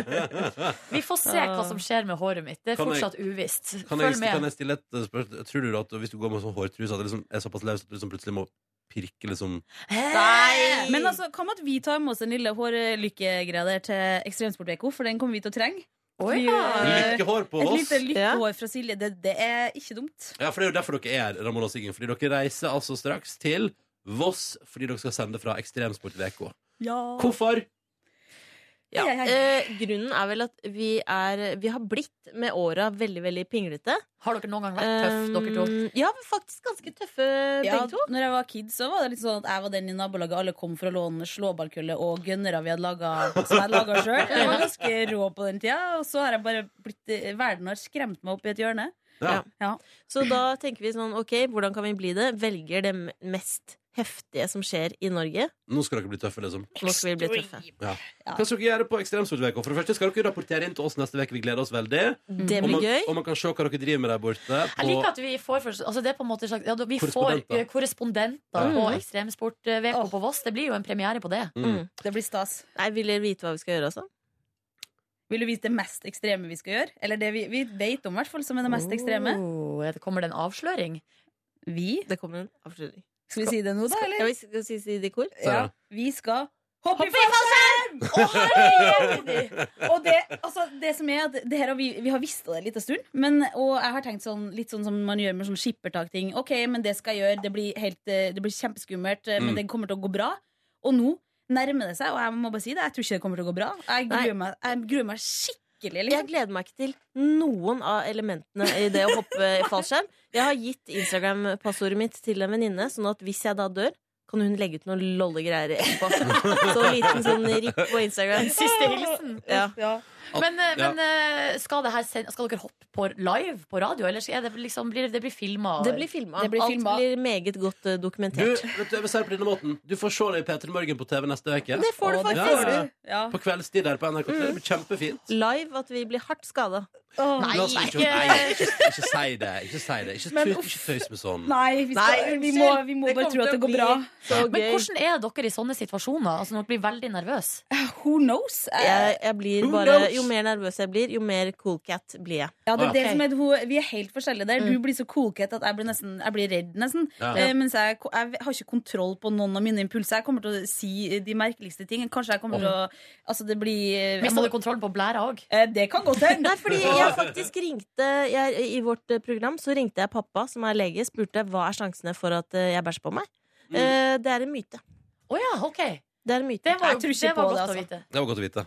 Speaker 3: Vi får se hva som skjer med håret mitt. Det er
Speaker 2: Kan jeg-
Speaker 3: fortsatt uvisst.
Speaker 2: Kan jeg,
Speaker 3: Følg
Speaker 2: kan
Speaker 3: med.
Speaker 2: jeg stille et spørsmål? Tror du at hvis du går med sånn hårtruse, at det liksom er såpass løst at du liksom plutselig må pirke liksom
Speaker 11: Nei! Men altså, hva med at vi tar med oss en lille hårlykkegreia der til Ekstremsportveko, for den kommer vi til å trenge.
Speaker 3: Oi,
Speaker 11: Vi, eh,
Speaker 2: Lykkehår på
Speaker 11: Et
Speaker 2: oss?
Speaker 11: lite lykkehår fra Silje, det, det er ikke dumt.
Speaker 2: Ja, for det er jo derfor dere er her, Ramona og Siggen. Fordi dere reiser altså straks til Voss fordi dere skal sende fra Ekstremsport i VK. Hvorfor?
Speaker 10: Ja. Eh, grunnen er vel at vi, er, vi har blitt med åra veldig veldig pinglete.
Speaker 3: Har dere noen gang vært tøff, dere to?
Speaker 10: Eh, Ja, vi er faktisk ganske tøffe
Speaker 11: Ja,
Speaker 10: begge to.
Speaker 11: eh, når jeg var kid, så var det litt sånn at jeg var den i nabolaget alle kom for å låne slåballkølle og gønnere vi hadde laget som jeg hadde laga sjøl. Jeg var ganske rå på den tida, og så har jeg bare blitt eh, Verden har skremt meg opp i et hjørne.
Speaker 10: Ja.
Speaker 11: Ja.
Speaker 10: Så da tenker vi sånn, ok, hvordan kan vi bli det? Velger det mest heftige som skjer i Norge.
Speaker 2: Nå skal dere bli tøffe, liksom.
Speaker 10: Nå skal vi bli tøffe.
Speaker 2: Ja. Hva skal dere gjøre på Ekstremsportveka? For det første skal dere rapportere inn til oss neste uke. Vi gleder oss veldig.
Speaker 10: Det
Speaker 2: og,
Speaker 10: blir
Speaker 2: man,
Speaker 10: gøy.
Speaker 2: og man kan se hva dere driver med der borte. På,
Speaker 3: Jeg liker at vi får for- altså det er på en måte en slags, ja, Vi får
Speaker 2: Korrespondenter.
Speaker 3: eh, korrespondenter
Speaker 2: Ja.
Speaker 3: på
Speaker 10: Mm.
Speaker 3: Ekstremsportveka på Voss. Det blir jo en premiere på det.
Speaker 2: Mm.
Speaker 11: Det blir stas.
Speaker 10: Nei, Vil dere vite hva vi skal gjøre også?
Speaker 11: Vil du vite det mest ekstreme vi skal gjøre? Eller det vi, vi vet om, i hvert fall, som er det mest ekstreme?
Speaker 3: Oh, er det- kommer det en avsløring?
Speaker 11: Vi?
Speaker 10: Det kommer en avslutning.
Speaker 11: Skal vi si det nå, da?
Speaker 10: Skal- Ja,
Speaker 11: Eller?
Speaker 10: vi skal si, si det i kor.
Speaker 11: Ja, vi skal hoppe i fallskjerm! Og det, altså, det som er at det her har vi, vi har visst det en liten stund, men, og jeg har tenkt sånn, litt sånn som man gjør med sånn skippertak-ting. Ok, men det skal jeg gjøre. Det blir, helt, eh, det blir kjempeskummelt, eh,
Speaker 10: Mm.
Speaker 11: men det kommer til å gå bra. Og nå nærmer det seg, og jeg må bare si det, jeg tror ikke det kommer til å gå bra. Jeg
Speaker 10: Nei.
Speaker 11: gruer meg, jeg gruer meg skikkelig.
Speaker 10: Jeg
Speaker 11: Liksom.
Speaker 10: gleder meg ikke til noen av elementene i det å hoppe i fallskjerm. Jeg har gitt Instagram-passordet mitt til en venninne, sånn at hvis jeg da dør, kan hun legge ut noen lollegreier etterpå. Så en liten sånn ripp på Instagram.
Speaker 3: Siste hilsen.
Speaker 10: Ja.
Speaker 3: Men, eh,
Speaker 2: ja.
Speaker 3: men eh, skal, det her send, skal dere hoppe på live på radio, eller er det liksom, blir det- det blir filma?
Speaker 10: Det blir filma.
Speaker 11: Det blir
Speaker 10: Alt
Speaker 11: filma.
Speaker 10: blir meget godt eh,
Speaker 2: Du,
Speaker 10: dokumentert.
Speaker 2: vet du, jeg vil si det på denne måten. Du får se deg i P3 Morgen på TV neste uke.
Speaker 10: Det får du
Speaker 2: Ja,
Speaker 10: faktisk.
Speaker 2: ja, ja.
Speaker 11: Ja.
Speaker 2: På kveldstid der på NRK3. Det blir kjempefint.
Speaker 10: Live at vi blir hardt skada.
Speaker 11: Åh,
Speaker 2: La oss
Speaker 3: ikke-
Speaker 2: ikke, nei, ikke, ikke si det. Ikke si det. Ikke,
Speaker 11: Men
Speaker 2: tut- ikke tøys med sånn.
Speaker 11: Nei, vi, skal,
Speaker 10: Nei,
Speaker 11: vi må,
Speaker 10: unnskyld.
Speaker 11: vi må
Speaker 10: Det
Speaker 11: bare
Speaker 10: kommer
Speaker 11: tro at det
Speaker 10: til å
Speaker 11: går
Speaker 10: bli
Speaker 11: bra.
Speaker 10: Så
Speaker 3: Men
Speaker 10: gøy.
Speaker 3: hvordan er dere i sånne situasjoner? Altså, når dere blir veldig nervøse?
Speaker 11: Who knows?
Speaker 10: Jeg, jeg blir
Speaker 2: Who
Speaker 10: bare,
Speaker 2: knows?
Speaker 10: jo mer nervøs jeg blir, jo mer cool cat blir jeg.
Speaker 11: Ja, det er
Speaker 2: Ah,
Speaker 11: det
Speaker 10: ok. Mm.
Speaker 11: som er, hun, vi er helt forskjellige der. Du blir så coolcat at jeg blir, nesten, jeg blir redd, nesten.
Speaker 2: Ja.
Speaker 11: Eh, mens jeg, ko- jeg har ikke kontroll på noen av mine impulser. Jeg kommer til å si eh, de merkeligste ting. Kanskje jeg kommer til å Altså, det blir eh, jeg
Speaker 3: Mister
Speaker 11: må,
Speaker 3: dere kontrollen på blæra òg?
Speaker 11: eh, Det kan godt hende.
Speaker 10: Nei, fordi jeg faktisk ringte jeg, I vårt eh, program så ringte jeg pappa, som er lege, spurte hva er sjansene for at eh, jeg bæsjer på meg. Eh, det er en myte.
Speaker 3: Å ja, OK.
Speaker 10: Det er en myte.
Speaker 3: Det var,
Speaker 11: Jeg tror
Speaker 3: jo,
Speaker 11: ikke
Speaker 3: det var
Speaker 11: på
Speaker 3: godt
Speaker 11: det,
Speaker 3: å
Speaker 11: altså.
Speaker 3: vite.
Speaker 2: Det var godt å vite.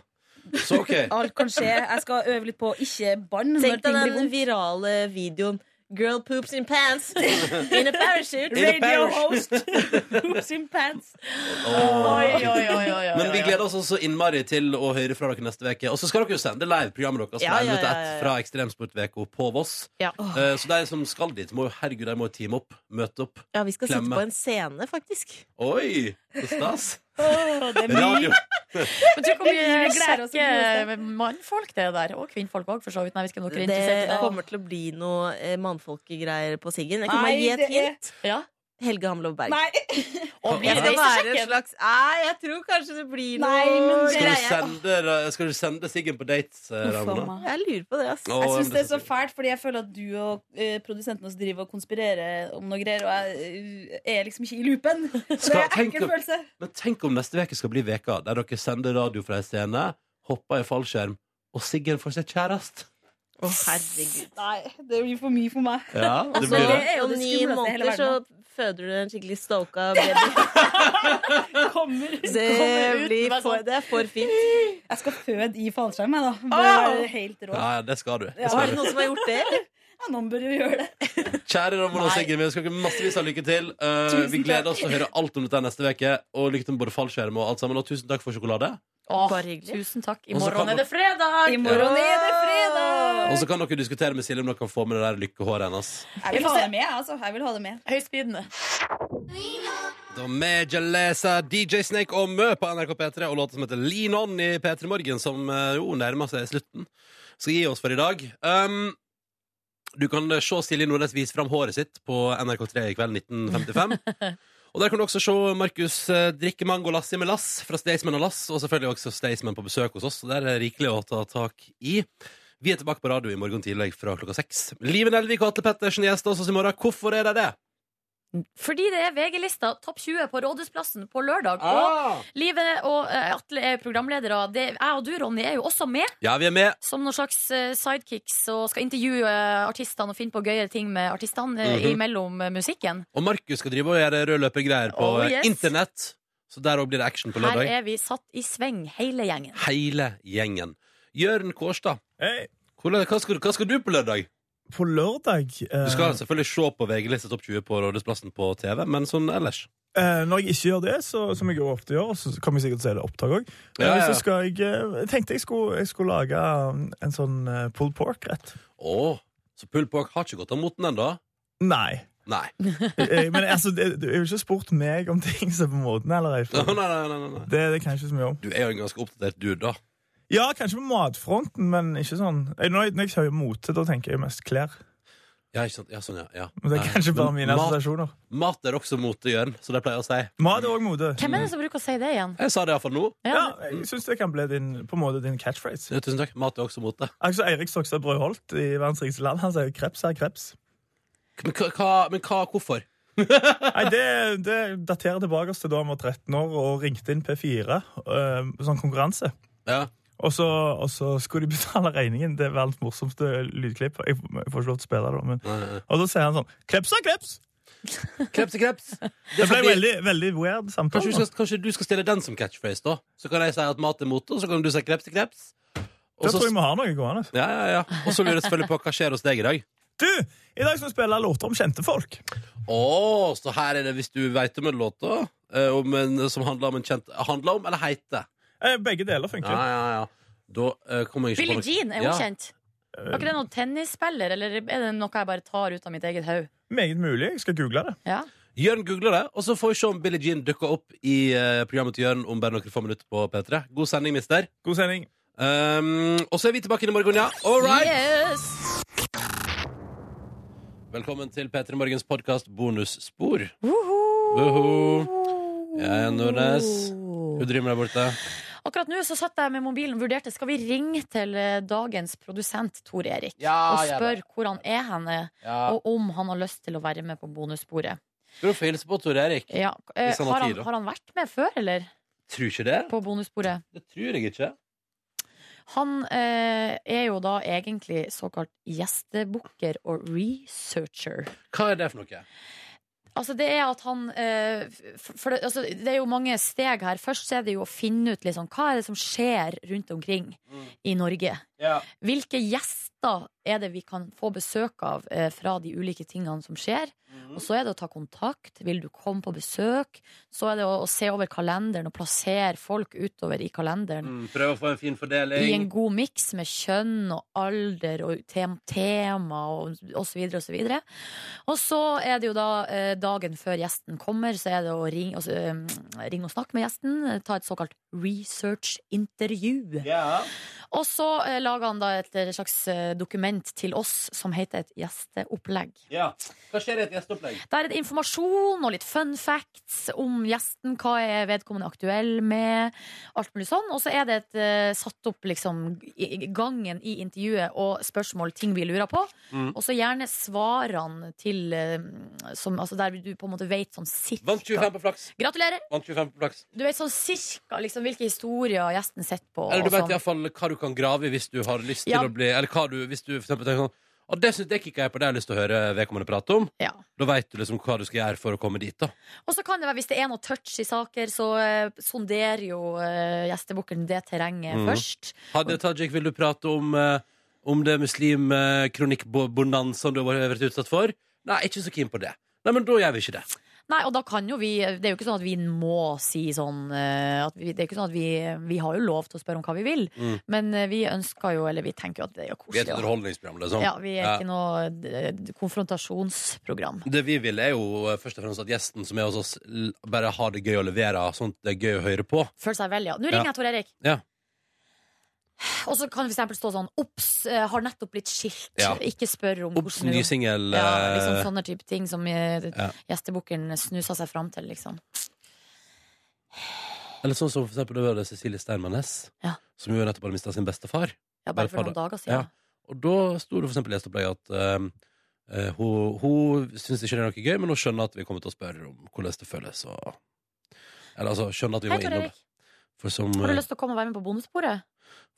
Speaker 2: Så OK.
Speaker 11: Alt kan skje. Jeg skal øve litt på å ikke bann når
Speaker 10: Tenk
Speaker 11: ting
Speaker 10: deg
Speaker 11: blir
Speaker 10: den
Speaker 11: vondt.
Speaker 10: virale videoen Girl poops in pants in a parachute.
Speaker 2: In a
Speaker 11: Radio
Speaker 2: parachute.
Speaker 11: host. Oops in pants.
Speaker 3: Oi, oi, oi, oi, oi,
Speaker 2: Men vi
Speaker 3: oi.
Speaker 2: gleder oss også innmari til å høre fra dere neste uke. Og så skal dere jo sende live programmet deres
Speaker 10: Ja,
Speaker 2: fra
Speaker 10: ja,
Speaker 2: 11 til
Speaker 10: ja, ja,
Speaker 2: 1
Speaker 10: ja.
Speaker 2: fra Ekstremsportveko på Voss.
Speaker 10: Ja.
Speaker 2: Eh, Så de som skal dit, må jo herregud, de må jo teame opp. Møte opp.
Speaker 10: ja, vi skal
Speaker 2: Klemme.
Speaker 10: sitte på en scene, faktisk.
Speaker 2: Oi! Så stas.
Speaker 11: Åh, det er mye.
Speaker 2: Radio.
Speaker 3: Men tror du hvor mye
Speaker 11: Vi gleder oss til å
Speaker 3: kjekke mannfolk det er der? Og kvinnfolk òg, for så vidt. Nei, vi skal nok være interessert i
Speaker 10: Det
Speaker 3: det.
Speaker 10: kommer til å bli noe eh, mannfolkegreier på Siggen. Jeg kan
Speaker 11: Nei,
Speaker 10: bare gi et
Speaker 11: det er-
Speaker 10: hint.
Speaker 3: Ja.
Speaker 10: Helge Hamlov Berg.
Speaker 11: Nei.
Speaker 3: Og blir
Speaker 10: Jeg skal
Speaker 3: det
Speaker 10: være en
Speaker 3: daisesjekken?
Speaker 10: slags Nei, jeg tror kanskje det blir noe
Speaker 11: Nei, men det-
Speaker 2: Skal du
Speaker 11: Greier.
Speaker 2: sende, skal du sende Siggen på dates, eh,
Speaker 11: Uff,
Speaker 2: Ramona?
Speaker 11: mamma.
Speaker 10: Jeg lurer på det, ass.
Speaker 2: Å,
Speaker 11: Jeg syns
Speaker 2: men
Speaker 11: det er så
Speaker 2: fint.
Speaker 11: fælt, fordi jeg føler at du og eh, produsenten oss driver og konspirerer om noe greier, og jeg eh, er liksom ikke i loopen. Så det
Speaker 2: Skal-
Speaker 11: er en
Speaker 2: tenk
Speaker 11: ekkel
Speaker 2: om-
Speaker 11: følelse.
Speaker 2: Men tenk om neste uke skal bli veka der dere sender radio fra en scene, hopper i fallskjerm, og Siggen får seg kjæreste.
Speaker 10: Å, herregud.
Speaker 11: Nei, det blir for mye for meg.
Speaker 2: Ja, det
Speaker 10: Så
Speaker 2: blir det.
Speaker 11: det er jo Altså,
Speaker 10: om
Speaker 11: det
Speaker 10: ni
Speaker 11: skumleste i hele
Speaker 10: måneder så føder du en skikkelig stoka baby.
Speaker 11: Kommer, sånn.
Speaker 10: det, blir for, det er for fint.
Speaker 11: Jeg skal føde i fallskjerm, jeg, da. Det er helt rå.
Speaker 2: Ja, ja, det skal du. Det
Speaker 11: Ja,
Speaker 2: skal
Speaker 11: har
Speaker 2: du.
Speaker 11: du
Speaker 10: Noen som har gjort det?
Speaker 11: Ja, noen bør jo gjøre det.
Speaker 2: Kjære Ramon og Sigrid, vi ønsker dere massevis av lykke til. Eh,
Speaker 11: Tusen
Speaker 2: vi gleder
Speaker 11: takk.
Speaker 2: oss til å høre alt om dette neste uke. Og lykke til med både fallskjerm og alt sammen. Og tusen takk for sjokolade.
Speaker 3: Bare hyggelig. Tusen takk. I
Speaker 2: Og så kan
Speaker 3: morgen er
Speaker 2: dere-
Speaker 3: det fredag!
Speaker 11: I morgen er det fredag!
Speaker 2: Og så kan dere diskutere med Silje om dere kan få med det der lykkehåret hennes.
Speaker 11: Jeg vil ha det med, altså. Jeg vil ha det med.
Speaker 3: Høyspydende.
Speaker 2: Da med Jalesa, DJ Snake og Mø på NRK P3 og låta som heter Lean On i P3 Morgen, som eh, jo nærmer seg slutten. Skal gi oss for i dag. Um, du kan eh, se Silje Nordnes vise fram håret sitt på NRK3 i kveld 1955. Og der kan du også se Markus eh, drikke mango lassi med lass fra Staysman og Lass, og selvfølgelig også Staysman på besøk hos oss. så Der er det rikelig å ta tak i. Vi er tilbake på radio i morgen tidlig fra klokka seks. Liven Elvik og Atle Pettersen gjester oss i morgen. Hvorfor er de det?
Speaker 3: Fordi det er VG-lista Topp 20 på Rådhusplassen på lørdag.
Speaker 2: Ah!
Speaker 3: Og Live og eh, Atle er programledere. Det, jeg og du, Ronny, er jo også med
Speaker 2: Ja, vi er med.
Speaker 3: som noen slags eh, sidekicks og skal intervjue eh, artistene og finne på gøyere ting med artistene eh,
Speaker 2: Mhm.
Speaker 3: imellom eh, musikken.
Speaker 2: Og Markus skal drive og gjøre rød løpergreier på
Speaker 3: Oh, yes.
Speaker 2: internett. Så der òg blir det action på
Speaker 3: Her
Speaker 2: lørdag.
Speaker 3: er vi satt i sving, hele gjengen.
Speaker 2: Hele gjengen. Jørn Kårstad, hvordan, hva, skal, du- hva skal du på lørdag?
Speaker 12: På lørdag eh,
Speaker 2: Du skal altså- selvfølgelig se på VG-lista Topp 20 på Rådhusplassen på TV, men sånn ellers.
Speaker 12: eh, Når jeg ikke gjør det, så, som jeg jo ofte gjør, så kommer jeg sikkert til å se det opptak òg,
Speaker 2: Ja, ja.
Speaker 12: så skal jeg eh, Jeg tenkte jeg skulle, jeg skulle lage um, en sånn eh, pulled pork-rett.
Speaker 2: Å, så pulled pork har ikke gått av moten ennå?
Speaker 12: Nei.
Speaker 2: Nei.
Speaker 12: Eh, Men altså, det, du har jo ikke spurt meg om ting som er på måten, eller? jeg
Speaker 2: Nei,
Speaker 12: tror.
Speaker 2: nei, nei, nei, nei.
Speaker 12: Det, det kan jeg ikke så mye om.
Speaker 2: Du er jo en ganske oppdatert dude, da.
Speaker 12: Ja, kanskje på matfronten, men ikke sånn Eh, Når jeg, når jeg sier mote, da tenker jeg mest klær.
Speaker 2: Ja, ikke sant? Ja, sånn, ja. ja.
Speaker 12: Men det er
Speaker 2: Nei.
Speaker 12: kanskje bare
Speaker 2: Men
Speaker 12: mine
Speaker 2: mat-
Speaker 12: assosiasjoner.
Speaker 2: Mat er også mote, Jørn, så de pleier å si.
Speaker 12: Mat er òg mote. Mm.
Speaker 3: Hvem er det som bruker å si det igjen?
Speaker 2: Jeg sa det iallfall nå.
Speaker 12: Ja, jeg syns det kan bli din, på en måte din catchphrase.
Speaker 2: Ja, tusen takk. Mat er også mote.
Speaker 12: Altså, Eirik Stokstad Brødholt i Verdens rikeste land, han sier jo 'kreps er kreps'.
Speaker 2: Men hva, men hva hvorfor?
Speaker 12: Nei, det, det daterer tilbake til da han var 13 år og ringte inn P4, eh, sånn konkurranse.
Speaker 2: Ja.
Speaker 12: Og så, og så skulle de betale regningen. Det er verdens morsomste lydklipp. Jeg jeg får ikke lov til å spille det, da, men Og da sier han sånn 'Kreps er kreps'!
Speaker 2: Kreps er kreps.
Speaker 12: Det ble veldig, veldig weird samtale.
Speaker 2: Kanskje du, skal, kanskje du skal stille den som catchphrase, da? Så kan jeg si at mat er mote, og så kan du si kreps til kreps. Og
Speaker 12: Da
Speaker 2: så-
Speaker 12: tror jeg vi har noe gående.
Speaker 2: Ja, ja, ja. Og så lurer jeg selvfølgelig på hva skjer hos deg i dag.
Speaker 12: Du, i dag skal vi spille låter om kjente folk.
Speaker 2: Å, så her er det hvis du veit om en låt, da. eh, Om en, som handler om en kjent Handler om eller heter?
Speaker 12: Eh, Begge deler funker.
Speaker 2: Ja, ja, ja. Da eh, kommer jeg ikke på
Speaker 3: Billie
Speaker 2: noe-
Speaker 3: Jean er hun
Speaker 2: ja.
Speaker 3: kjent.
Speaker 2: Eh.
Speaker 3: Var ikke det noen tennisspiller, eller er det noe jeg bare tar ut av mitt eget hode?
Speaker 12: Eh, Meget mulig. Jeg skal google det.
Speaker 3: Ja.
Speaker 2: Jørn googler det, og så får vi se om Billie Jean dukker opp i eh, programmet til Jørn om bare noen få minutter på P3. God sending, mister.
Speaker 12: God sending.
Speaker 2: Um, og så er vi tilbake inn i morgen, ja. All right.
Speaker 3: Yes!
Speaker 2: Velkommen til P3 Morgens podkast Bonusspor. Woho! Jeg er Nordnes. Hva driver med der borte?
Speaker 3: Akkurat nå så satt jeg med mobilen og vurderte Skal vi ringe til eh, dagens produsent Tor Erik
Speaker 2: Ja,
Speaker 3: og
Speaker 2: gjør
Speaker 3: spørre hvor han er henne,
Speaker 2: Ja.
Speaker 3: og om han har lyst til å være med på bonussporet.
Speaker 2: Skal du få hilse på Tor Erik?
Speaker 3: Ja, eh,
Speaker 2: Hvis han har
Speaker 3: har, han,
Speaker 2: tid, da.
Speaker 3: har han vært med før, eller?
Speaker 2: Tror ikke det.
Speaker 3: På bonussporet?
Speaker 2: Det tror jeg ikke.
Speaker 3: Han eh, er jo da egentlig såkalt gjestebooker og researcher.
Speaker 2: Hva er det for noe?
Speaker 3: Altså Det er at han eh, f- for det, altså det er jo mange steg her. Først så er det jo å finne ut liksom, hva er det som skjer rundt omkring
Speaker 2: Mm.
Speaker 3: i Norge. Hvilke gjester er det vi kan få besøk av eh, fra de ulike tingene som skjer? Og
Speaker 2: Mm.
Speaker 3: så er det å ta kontakt. Vil du komme på besøk? Så er det å, å se over kalenderen og plassere folk utover i kalenderen.
Speaker 2: Mm, prøv å få en fin fordeling.
Speaker 3: I en god miks med kjønn og alder og tem tema og og så videre og så videre. Og så er det jo da eh, dagen før gjesten kommer, så er det å ringe og, s- eh, ringe og snakke med gjesten. eh, Ta et såkalt research-intervju. Og så eh, lager han da et eh, slags eh, dokument til oss som heter et gjesteopplegg.
Speaker 2: Ja. Hva skjer i et gjesteopplegg?
Speaker 3: Der er det informasjon og litt fun facts om gjesten. Hva er vedkommende aktuell med? Alt mulig sånn. Og så er det et, eh, satt opp liksom, i- i- gangen i intervjuet og spørsmål, ting vi lurer på.
Speaker 2: Mm.
Speaker 3: Og så gjerne svarene til eh, som, altså Der du på en måte vet sånn cirka.
Speaker 2: Vant 25 på flaks.
Speaker 3: Gratulerer!
Speaker 2: Vant 25 på flaks.
Speaker 3: Du vet sånn cirka liksom, hvilke historier gjesten sitter på.
Speaker 2: Eller
Speaker 3: og
Speaker 2: du
Speaker 3: sånn.
Speaker 2: vet iallfall hva du kan grave i hvis du har lyst
Speaker 3: Ja.
Speaker 2: til å bli Eller hva du, hvis du for eksempel tenker sånn Og det synes jeg kikka jeg på, det har jeg lyst til å høre vedkommende prate om.
Speaker 3: Ja.
Speaker 2: Da veit du liksom hva du skal gjøre for å komme dit, da.
Speaker 3: Og så kan det være, hvis det er noe touch i saker, så eh, sonderer jo eh, gjestebukken det terrenget
Speaker 2: Mhm.
Speaker 3: først.
Speaker 2: Hadia Tajik, vil du prate om, eh, om det muslimkronikkbonanzaen du har vært utsatt for? Nei, ikke så keen på det. Nei, men da gjør vi ikke det.
Speaker 3: Nei, og da kan jo vi Det er jo ikke sånn at vi må si sånn eh, at vi, Det er ikke sånn at vi Vi har jo lov til å spørre om hva vi vil,
Speaker 2: Mm.
Speaker 3: men eh, vi ønsker jo Eller vi tenker jo at det er jo
Speaker 2: Vi er et
Speaker 3: koselig. da.
Speaker 2: underholdningsprogram, liksom.
Speaker 3: Ja, vi er ikke noe eh, konfrontasjonsprogram.
Speaker 2: Det vi vil, er jo eh, først og fremst at gjesten som er hos oss, l- bare har det gøy å levere, sånn at det er gøy å høre på.
Speaker 3: Føler seg vel, ja. Nå ringer
Speaker 2: Ja.
Speaker 3: jeg Tor Erik.
Speaker 2: Ja.
Speaker 3: Og så kan det for eksempel stå sånn Ops, eh, har nettopp blitt skilt.
Speaker 2: Ja.
Speaker 3: Ikke spør om
Speaker 2: Ops, ny singel.
Speaker 3: Ja,
Speaker 2: eh,
Speaker 3: liksom sånne type ting som eh,
Speaker 2: Ja.
Speaker 3: gjestebukken snusa seg fram til, liksom.
Speaker 2: Eller sånn som for eksempel det var det Cecilie Steinmann Næss,
Speaker 3: Ja.
Speaker 2: som jo nettopp hadde mista sin beste far.
Speaker 3: Ja, bare for noen dager siden.
Speaker 2: Og da sto det for eksempel i leseopplegget at ehm, eh, hun, hun syns ikke det er noe gøy, men hun skjønner at vi kommer til å spørre om hvordan det føles. Og... Eller altså, skjønner at vi
Speaker 3: Hei,
Speaker 2: må
Speaker 3: Tor
Speaker 2: innom.
Speaker 3: Erik.
Speaker 2: For som,
Speaker 3: Har du
Speaker 2: eh,
Speaker 3: lyst til å komme og være med på Bondesporet?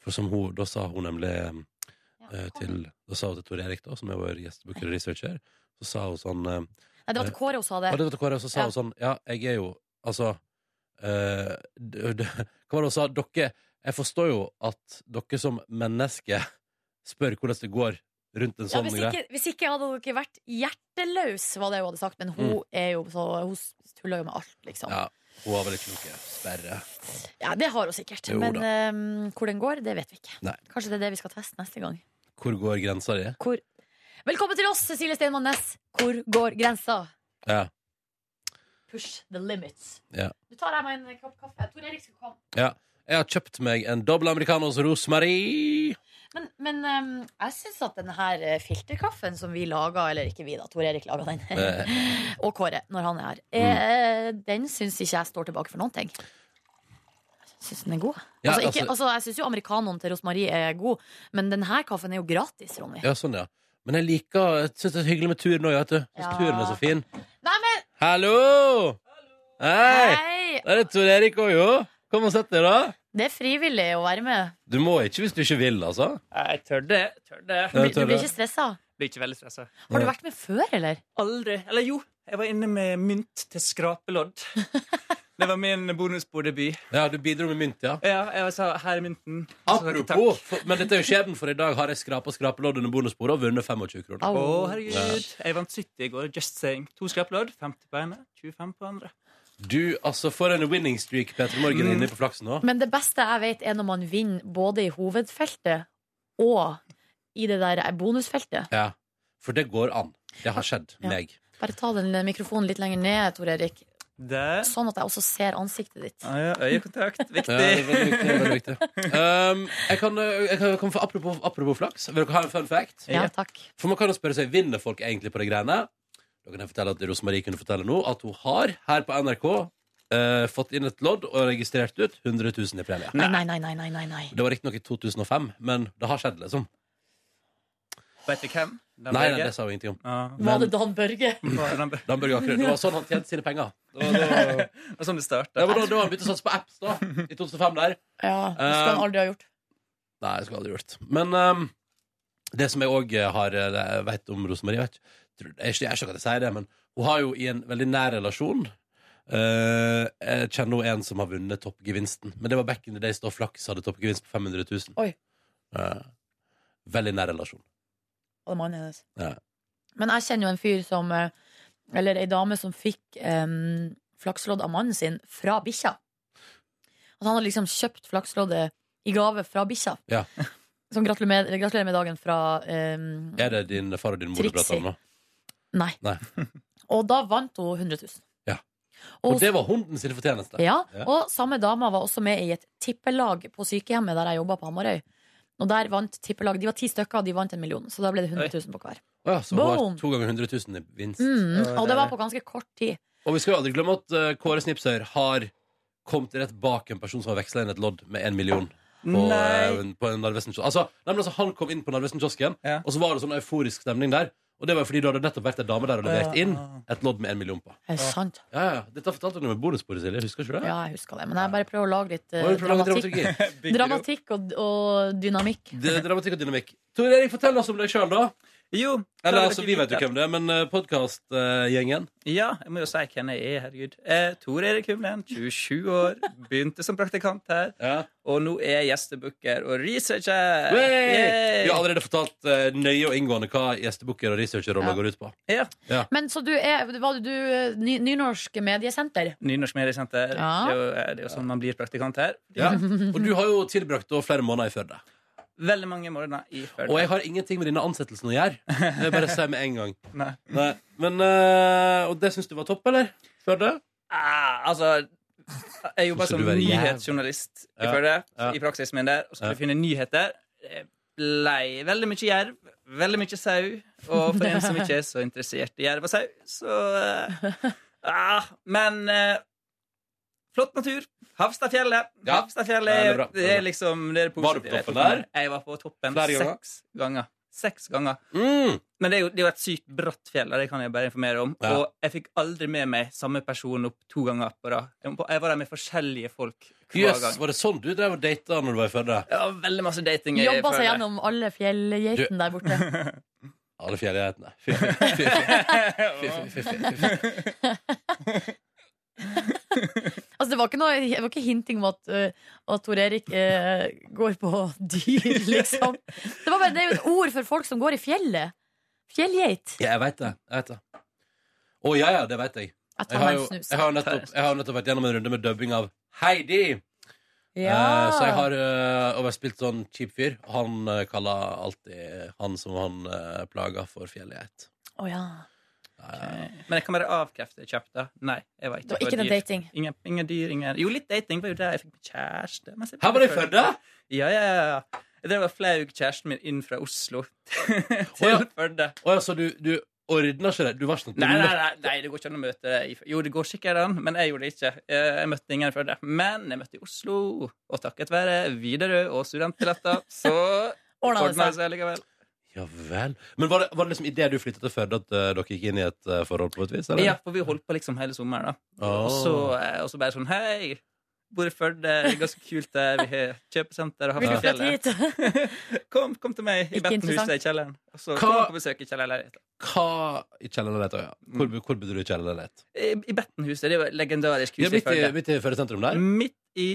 Speaker 2: for som hun, da sa hun nemlig eh, til, Da sa hun til Tor Erik, da, som er vår gjestebooker og researcher, så sa hun sånn eh,
Speaker 3: Nei, det var
Speaker 2: eh,
Speaker 3: til Kåre hun sa det.
Speaker 2: og det var til Kåre, og så sa hun sånn Ja, jeg er jo Altså eh, d- d- Hva var det hun sa? Dere Jeg forstår jo at dere som mennesker spør hvordan det går rundt en
Speaker 3: Ja,
Speaker 2: sånn
Speaker 3: hvis,
Speaker 2: greie.
Speaker 3: ikke, hvis ikke hadde dere vært hjerteløs, var det hun hadde sagt. Men hun
Speaker 2: Mm.
Speaker 3: er jo så Hun tuller jo med alt, liksom.
Speaker 2: Ja,
Speaker 3: Ja,
Speaker 2: hun har vel ikke noe sperre.
Speaker 3: det har hun sikkert.
Speaker 2: Jo
Speaker 3: men
Speaker 2: da.
Speaker 3: eh, hvor den går, det vet vi ikke.
Speaker 2: Nei.
Speaker 3: Kanskje det er det vi skal teste neste gang.
Speaker 2: Hvor går grensa di?
Speaker 3: Hvor Velkommen til oss, Cecilie Steinmann Næss. Hvor går grensa?
Speaker 2: Ja.
Speaker 3: Push the limits.
Speaker 2: Ja.
Speaker 3: Du tar deg med en kopp kaffe. Tor Erik skal komme.
Speaker 2: ja. Jeg har kjøpt meg en dobbel americanos rosmarie.
Speaker 3: Men, men ehm, jeg syns at den her eh, filterkaffen som vi laga, eller ikke vi, da, Tor Erik laga den,
Speaker 2: Eh. Mm.
Speaker 3: og Kåre, når han er her, eh, den syns ikke jeg står tilbake for noen ting. Syns den er god.
Speaker 2: Ja,
Speaker 3: altså, ikke,
Speaker 2: altså-
Speaker 3: altså, jeg syns jo americanoen til Rosmarie er god, men denne kaffen er jo gratis, Ronny.
Speaker 2: Ja, sånn, ja. Men jeg liker Jeg syns det er hyggelig med tur nå, vet du. Jeg
Speaker 3: Ja.
Speaker 2: synes Turen er så fin.
Speaker 3: Nei, men
Speaker 2: Hallo! Hei!
Speaker 3: Hei!
Speaker 2: Der er Tor Erik òg, jo. Kom og sett deg, da.
Speaker 3: det er frivillig å være med.
Speaker 2: Du må ikke hvis du ikke vil, altså.
Speaker 13: Jeg tør det. Tør det.
Speaker 3: Du, blir- du blir ikke stressa?
Speaker 13: Blir ikke veldig stressa.
Speaker 3: Har du vært med før, eller?
Speaker 13: Aldri. Eller jo, jeg var inne med mynt til skrapelodd. Det var min bonusborddebut.
Speaker 2: Ja, du bidro med mynt, ja?
Speaker 13: Ja, jeg sa 'her er mynten'.
Speaker 2: Apropos, for, men dette er jo skjebnen, for i dag har jeg skrapa skrapelodd under bonusbordet og vunnet 25 kroner.
Speaker 13: Å, herregud. Jeg vant 70 i går. Just saying. To skrapelodd, 50 på ene, 25 på andre.
Speaker 2: Du, altså, for en winning streak Peter Morgen er inne på flaksen nå.
Speaker 3: Mm. Men det beste jeg vet, er når man vinner både i hovedfeltet og i det der bonusfeltet.
Speaker 2: Ja, for det går an. Det har skjedd meg.
Speaker 3: Bare ta den mikrofonen litt lenger ned, Tor Erik.
Speaker 13: Der.
Speaker 3: Sånn at jeg også ser ansiktet ditt.
Speaker 13: Ah, ja, øyekontakt. Viktig.
Speaker 2: Ja, det er veldig viktig. Veldig viktig. Um, jeg kan, jeg kan, jeg kan få apropos, apropos flaks. Vil dere ha en fun fact?
Speaker 3: Ja, takk.
Speaker 2: For man kan jo spørre seg, Vinner folk egentlig på de greiene? Da kan jeg fortelle at Rosemarie kunne fortelle nå at hun har her på NRK eh, fått inn et lodd og registrert ut 100 000 i premie.
Speaker 3: Nei, nei, nei, nei, nei, nei, nei.
Speaker 2: Det var riktignok i 2005, men det har skjedd, liksom.
Speaker 13: Vet du hvem? Den
Speaker 2: Nei, nei,
Speaker 13: Børge? Ah.
Speaker 2: det sa hun ingenting om.
Speaker 3: Var det Dan Børge?
Speaker 2: Dan Børge Akerø. Det var sånn han tjente sine penger. Det var, da-
Speaker 13: Det var sånn det starta.
Speaker 2: det var da, da han begynte å satse på apps, da. I 2005 der.
Speaker 3: Ja, det skal han aldri ha gjort.
Speaker 2: Nei, det skulle jeg aldri gjort. Men ehm, det som jeg òg har eh, vet om Rosemarie vet, tror- Jeg er ikke- jeg er ikke at jeg sier det, men hun har jo i en veldig nær relasjon eh, Jeg kjenner hun en som har vunnet toppgevinsten. Men det var back in the days da Flaks hadde toppgevinst på 500 000.
Speaker 3: Oi.
Speaker 2: Eh, veldig nær relasjon.
Speaker 3: Og det er mannen hennes.
Speaker 2: Ja.
Speaker 3: Men jeg kjenner jo en fyr som eh, Eller ei dame som fikk em, flakslodd av mannen sin fra bikkja. Altså han hadde liksom kjøpt flaksloddet i gave fra bikkja.
Speaker 2: Ja.
Speaker 3: Som gratulerer med, gratulerer med dagen fra em,
Speaker 2: Er det din far og din mor du prater om nå?
Speaker 3: Nei.
Speaker 2: Nei.
Speaker 3: Og da vant hun 100 000.
Speaker 2: Ja.
Speaker 3: Og
Speaker 2: Og det var hunden sin fortjeneste.
Speaker 3: Ja, og samme dama var også med i et tippelag på sykehjemmet der jeg jobba på Hamarøy. Og der vant tippelag De var ti stykker, og de vant en million. Så da ble det 100 000 på hver.
Speaker 2: Å ja, så hun har
Speaker 3: Boom!
Speaker 2: to ganger 100 000 i vinst.
Speaker 3: Mm, og det var på ganske kort tid.
Speaker 2: Og vi skal jo aldri glemme at eh, Kåre Snipsøyer har kommet rett bak en person som har veksla inn et lodd med en million. På,
Speaker 13: Nei.
Speaker 2: eh, på en Narvesen-kiosk. altså, nei, men altså, han kom inn på Narvesen-kiosken, og så var det sånn euforisk stemning der. Og det var fordi du hadde nettopp vært ei dame der og levert
Speaker 3: Ja.
Speaker 2: inn et lodd med en million på.
Speaker 3: Er det sant?
Speaker 2: Ja, ja, ja. Dette fortalte du med bonusbordet, Silje. Husker ikke du det?
Speaker 3: Ja, jeg husker det. Men jeg bare prøver å lage litt eh,
Speaker 2: Oi, prøver å lage
Speaker 3: dramatikk.
Speaker 2: dramaturgi.
Speaker 3: dramatikk og, og dynamikk.
Speaker 2: Det er dramatikk og dynamikk. Tor Erik, fortell oss om deg sjøl, da.
Speaker 13: Jo.
Speaker 2: Eller altså, vi vet jo hvem det er, men podkastgjengen
Speaker 13: Ja, jeg må jo si hvem jeg er, herregud. Eh, Tor Erik Humlen, 27 år. Begynte som praktikant her. Og nå er jeg gjestebooker og researcher.
Speaker 2: Eh, Vi
Speaker 13: Eh, Yay!
Speaker 2: har allerede fortalt eh, nøye og inngående hva gjestebooker og researcherroller
Speaker 3: Ja.
Speaker 2: går ut på.
Speaker 13: Ja.
Speaker 3: Men så du er Var du eh, ny, nynorsk mediesenter?
Speaker 13: Nynorsk mediesenter.
Speaker 3: Ja.
Speaker 13: Det, er jo, det er jo sånn man blir praktikant her.
Speaker 2: Ja. Og du har jo tilbrakt da flere måneder i Førde.
Speaker 13: Veldig mange morgener i Førde.
Speaker 2: Og jeg har ingenting med denne ansettelsen å gjøre. Det er bare å si med en gang.
Speaker 13: Nei.
Speaker 2: Men, eh, og det syns du var topp, eller? Førde?
Speaker 13: Ah, altså Jeg jobba
Speaker 2: Synes
Speaker 13: som
Speaker 2: du er jævlig.
Speaker 13: nyhetsjournalist i
Speaker 2: Ja,
Speaker 13: Førde.
Speaker 2: ja.
Speaker 13: I praksisen min der. Og skulle
Speaker 2: Ja.
Speaker 13: finne nyheter. Det Blei veldig mye jerv. Veldig mye sau. Og for en som ikke er så interessert i jerv og sau, så eh, ah, Men eh, flott natur. Havstadfjellet. Havstadfjellet
Speaker 2: Ja, det
Speaker 13: det,
Speaker 2: er bra.
Speaker 13: er liksom det er det
Speaker 2: Var du på
Speaker 13: positive.
Speaker 2: toppen der?
Speaker 13: Jeg var på toppen
Speaker 2: Flere ganger?
Speaker 13: seks ganger. Seks ganger.
Speaker 2: Mm.
Speaker 13: Men det er, jo, det er jo et sykt bratt fjell, og det kan jeg bare informere om.
Speaker 2: Ja.
Speaker 13: Og jeg fikk aldri med meg samme person opp to ganger på rad. Jeg var- Jeg var der med forskjellige folk hver
Speaker 2: Jøss,
Speaker 13: gang.
Speaker 2: var det sånn du drev og data når du var i Førde?
Speaker 13: Ja, veldig masse dating. i
Speaker 3: Jobba seg
Speaker 13: Førde.
Speaker 3: gjennom alle fjellgeitene der borte.
Speaker 2: Alle fjellgeitene. Fy, fy, fy, fy, fy, fy, fy, fy, fy.
Speaker 3: Altså, det var ikke, noe, det var ikke hinting om at, eh, at Tor Erik eh, går på dyr, liksom. Det, var bare, det er jo et ord for folk som går i fjellet. Fjellgeit.
Speaker 2: Ja, jeg veit det. Jeg vet det. Å ja, ja, det veit jeg.
Speaker 3: Jeg tar
Speaker 2: jeg, har
Speaker 3: meg en
Speaker 2: jo,
Speaker 3: snus.
Speaker 2: jeg, har jo nettopp, jeg har jo nettopp vært gjennom en runde med dubbing av Heidi.
Speaker 3: Ja.
Speaker 2: Eh, så jeg har uh, overspilt sånn kjip fyr. Han eh, kaller alltid han som han eh, plager, for fjellgeit.
Speaker 3: Å ja.
Speaker 13: Men jeg kan bare avkrefte kjapt, da. Nei, jeg var ikke
Speaker 3: Det var
Speaker 13: på
Speaker 3: ikke noe
Speaker 13: dyr.
Speaker 3: dating.
Speaker 13: Ingen, ingen dyr, ingen Jo, litt dating var jo der jeg fikk meg kjæreste. mens jeg
Speaker 2: Her var det i Førde?
Speaker 13: Ja, ja, ja. Jeg drev og flaug kjæresten min inn fra Oslo til Førde.
Speaker 2: Å ja, så du, du ordna ikke det? Du var ikke noe
Speaker 13: Nei, nei, nei, nei, det går ikke an å møte deg i Førde. Jo, det går sikkert an, men jeg gjorde det ikke. Eh, Jeg møtte ingen i Førde. Men jeg møtte i Oslo, og takket være Widerøe og studentbilletter, så
Speaker 3: Ordna det
Speaker 13: ordna det
Speaker 3: seg.
Speaker 13: seg likevel.
Speaker 2: Ja vel. Men var det, var det liksom idet du flytta til Førde, at eh, dere gikk inn i et eh, forhold på et vis? Eller? Ah.
Speaker 13: Ja, for vi holdt på liksom hele sommeren, da.
Speaker 2: Åh.
Speaker 13: Og så, eh, og så bare sånn Hei, bor i Førde, det er ganske kult der, vi har kjøpesenter og
Speaker 2: Vil du
Speaker 13: Hafslafjellet. kom, kom til meg i
Speaker 2: Ikke
Speaker 13: Bettenhuset
Speaker 2: interessant.
Speaker 13: i kjelleren. Og så
Speaker 2: Hva-
Speaker 13: kom jeg på besøk i kjellerleiligheten.
Speaker 2: Hva i kjellerleiligheta?
Speaker 13: Mm.
Speaker 2: Ja. Hvor, hvor bodde du i kjellerleilighet?
Speaker 13: I, I Bettenhuset. Det er jo et legendarisk
Speaker 2: Ja,
Speaker 13: hus
Speaker 2: midt i, midt i Førde sentrum der?
Speaker 13: Midt i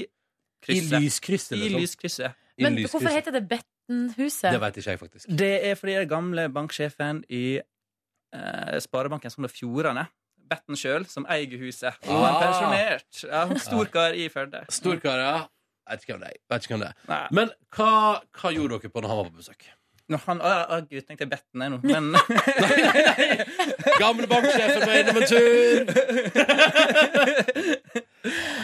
Speaker 13: krysset.
Speaker 2: I lyskrysset,
Speaker 13: I
Speaker 2: liksom.
Speaker 13: lyskrysset.
Speaker 2: I
Speaker 3: Men
Speaker 2: lyskrysset.
Speaker 3: hvorfor heter det Bettenhuset?
Speaker 2: Det veit ikke jeg, faktisk.
Speaker 13: Det er fordi den gamle banksjefen i eh, Sparebanken Sogn og Fjordane, Betten sjøl, som eier huset. Og han er
Speaker 2: Ah.
Speaker 13: pensjonert. Ja, han er storkar i Førde.
Speaker 2: Storkar, ja. Vet ikke hvem det er. Vet ikke hvem det er. Men hva, hva gjorde dere på når han var på besøk?
Speaker 13: Når han Å, å, gud, tenkte jeg Betten er nå, men
Speaker 2: Gamle banksjefen var innom en tur!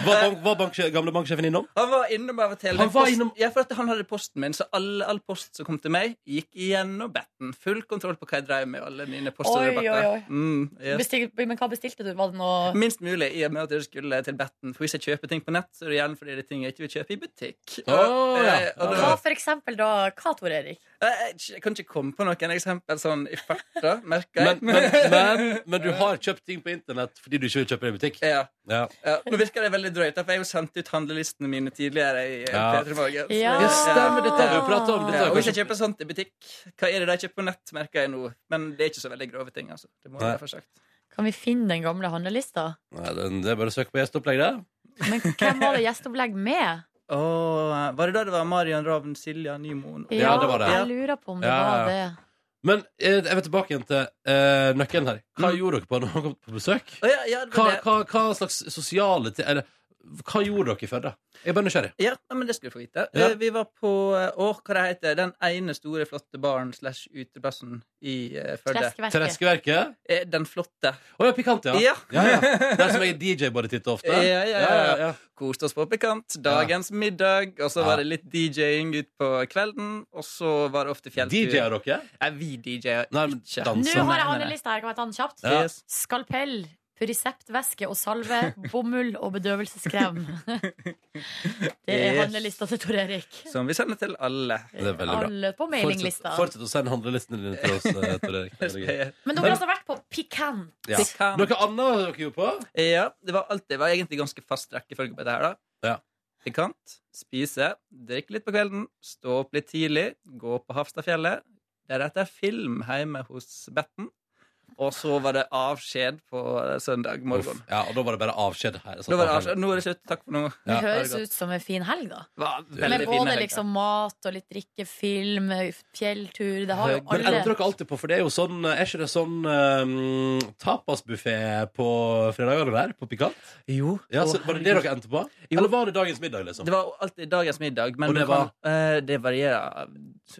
Speaker 2: Var, bank, var banksje, gamle banksjefen innom?
Speaker 13: Han var innom av og til.
Speaker 2: Han
Speaker 13: Den
Speaker 2: var
Speaker 13: post-
Speaker 2: innom-
Speaker 13: Ja, for at han hadde posten min, så all, all post som kom til meg, gikk igjennom Betten. Full kontroll på hva jeg drev med, alle
Speaker 3: Oi,
Speaker 13: mine
Speaker 3: oi, oi.
Speaker 13: postordrebakker. Mm, yes.
Speaker 3: Bestil, men hva bestilte du? Var det noe
Speaker 13: Minst mulig i og med at jeg skulle til Betten. For hvis jeg kjøper ting på nett, så er det gjerne fordi det er ting jeg ikke vil kjøpe i butikk.
Speaker 2: Å, ja.
Speaker 13: eh, og
Speaker 3: Hva
Speaker 13: da,
Speaker 3: for eksempel da? Hva, Tor Erik?
Speaker 13: Eh, jeg, jeg kan ikke komme på noen eksempel sånn i farta, merker jeg.
Speaker 2: Men, men, men, men du har kjøpt ting på internett fordi du ikke vil kjøpe det i butikk?
Speaker 13: Ja.
Speaker 2: ja.
Speaker 13: Ja, nå virker det veldig drøyt, da, for jeg har jo sendt ut handlelistene mine tidligere. i eh,
Speaker 2: Ja.
Speaker 13: P3 Morgen. Så-
Speaker 2: Ja. Ja, stemmer, dette har vi pratet om. Dette
Speaker 13: Ja,
Speaker 2: er
Speaker 13: og hvis jeg
Speaker 2: kanskje-
Speaker 13: kjøper sånt i butikk, hva er det de kjøper på nett, merker jeg nå. Men det er ikke så veldig grove ting, altså. Det må
Speaker 2: Nei.
Speaker 13: jeg få sagt.
Speaker 3: Kan vi finne den gamle handlelista?
Speaker 2: Nei, den- det er bare å søke på gjesteopplegg, det.
Speaker 3: Hvem var det gjesteopplegg med?
Speaker 13: Åh, var det da det var Marion Ravn, Silja Nymoen?
Speaker 3: Ja,
Speaker 2: Ja, det var det.
Speaker 3: Jeg lurer på om det
Speaker 2: Ja, ja,
Speaker 3: var
Speaker 2: ja.
Speaker 3: det.
Speaker 2: Men eh, jeg vil tilbake igjen til eh, nøkkelen her. Hva gjorde dere på når dere kom på besøk?
Speaker 13: Å, ja, ja, det
Speaker 2: Hva,
Speaker 13: var Mm. det.
Speaker 2: hva, hva slags sosiale til, Eller hva gjorde dere i Førde? Jeg er bare nysgjerrig.
Speaker 13: Ja, nei, men det skal du få vite.
Speaker 2: Ja.
Speaker 13: Eh, Vi var på eh, åh, hva det heter, den ene store, flotte baren slash uteplassen i eh, Førde.
Speaker 2: Treskeverket. Treskeverket?
Speaker 13: Eh, Den flotte.
Speaker 2: Å ja, pikant, ja.
Speaker 13: Ja.
Speaker 2: ja, ja. Der som jeg er DJ både titt og ofte.
Speaker 13: Ja, ja, ja.
Speaker 2: Ja, ja, ja.
Speaker 13: Koste oss på pikant. Dagens middag, og så
Speaker 2: Ja.
Speaker 13: var det litt DJ-ing ut på kvelden. Og så var det ofte fjelltur.
Speaker 2: DJ-er dere?
Speaker 13: Nei, vi DJ-er ikke.
Speaker 3: Nå har jeg handlelista her, kan jeg ta den kjapt?
Speaker 13: Ja. Yes.
Speaker 3: Skalpell, Puriceptvæske og salve, bomull og bedøvelseskrem. Det er
Speaker 13: Yes.
Speaker 3: handlelista til Tor Erik.
Speaker 13: Som vi sender til alle.
Speaker 2: Det er veldig bra.
Speaker 3: Alle på mailinglista.
Speaker 2: Fortsett, fortsett å sende handlelistene dine til oss. eh, Tor Erik. Det er gøy.
Speaker 3: Men dere har altså vært på Pikant.
Speaker 2: ja. Noe annet dere gjorde på?
Speaker 13: Ja, det var, alt, det var egentlig ganske fast rekkefølge på det her, da. Pikant, spise, drikke litt på kvelden, stå opp litt tidlig, gå på Hafstadfjellet, Deretter film hjemme hos Betten. Og så var det avskjed på eh, søndag morgen.
Speaker 2: Uff, ja, og da var det bare avskjed her.
Speaker 13: Nå, var det avskjed. nå er det slutt. Takk for nå.
Speaker 3: Det høres ut som en fin helg, da.
Speaker 13: Var
Speaker 3: Med
Speaker 13: veldig fin
Speaker 3: både
Speaker 13: helg, da.
Speaker 3: liksom mat og litt drikke, film, fjelltur Det har jo
Speaker 2: Men
Speaker 3: alle
Speaker 2: endrer dere alltid på, for det er jo sånn Er ikke det sånn um, tapasbuffé på fredagene der? På Pikant?
Speaker 13: Jo.
Speaker 2: Ja, så
Speaker 13: Å,
Speaker 2: var det det
Speaker 13: herregud.
Speaker 2: dere endte på? Eller var det dagens middag, liksom?
Speaker 13: Det var alltid dagens middag, men
Speaker 2: Og det
Speaker 13: det,
Speaker 2: var-
Speaker 13: var, det varierer.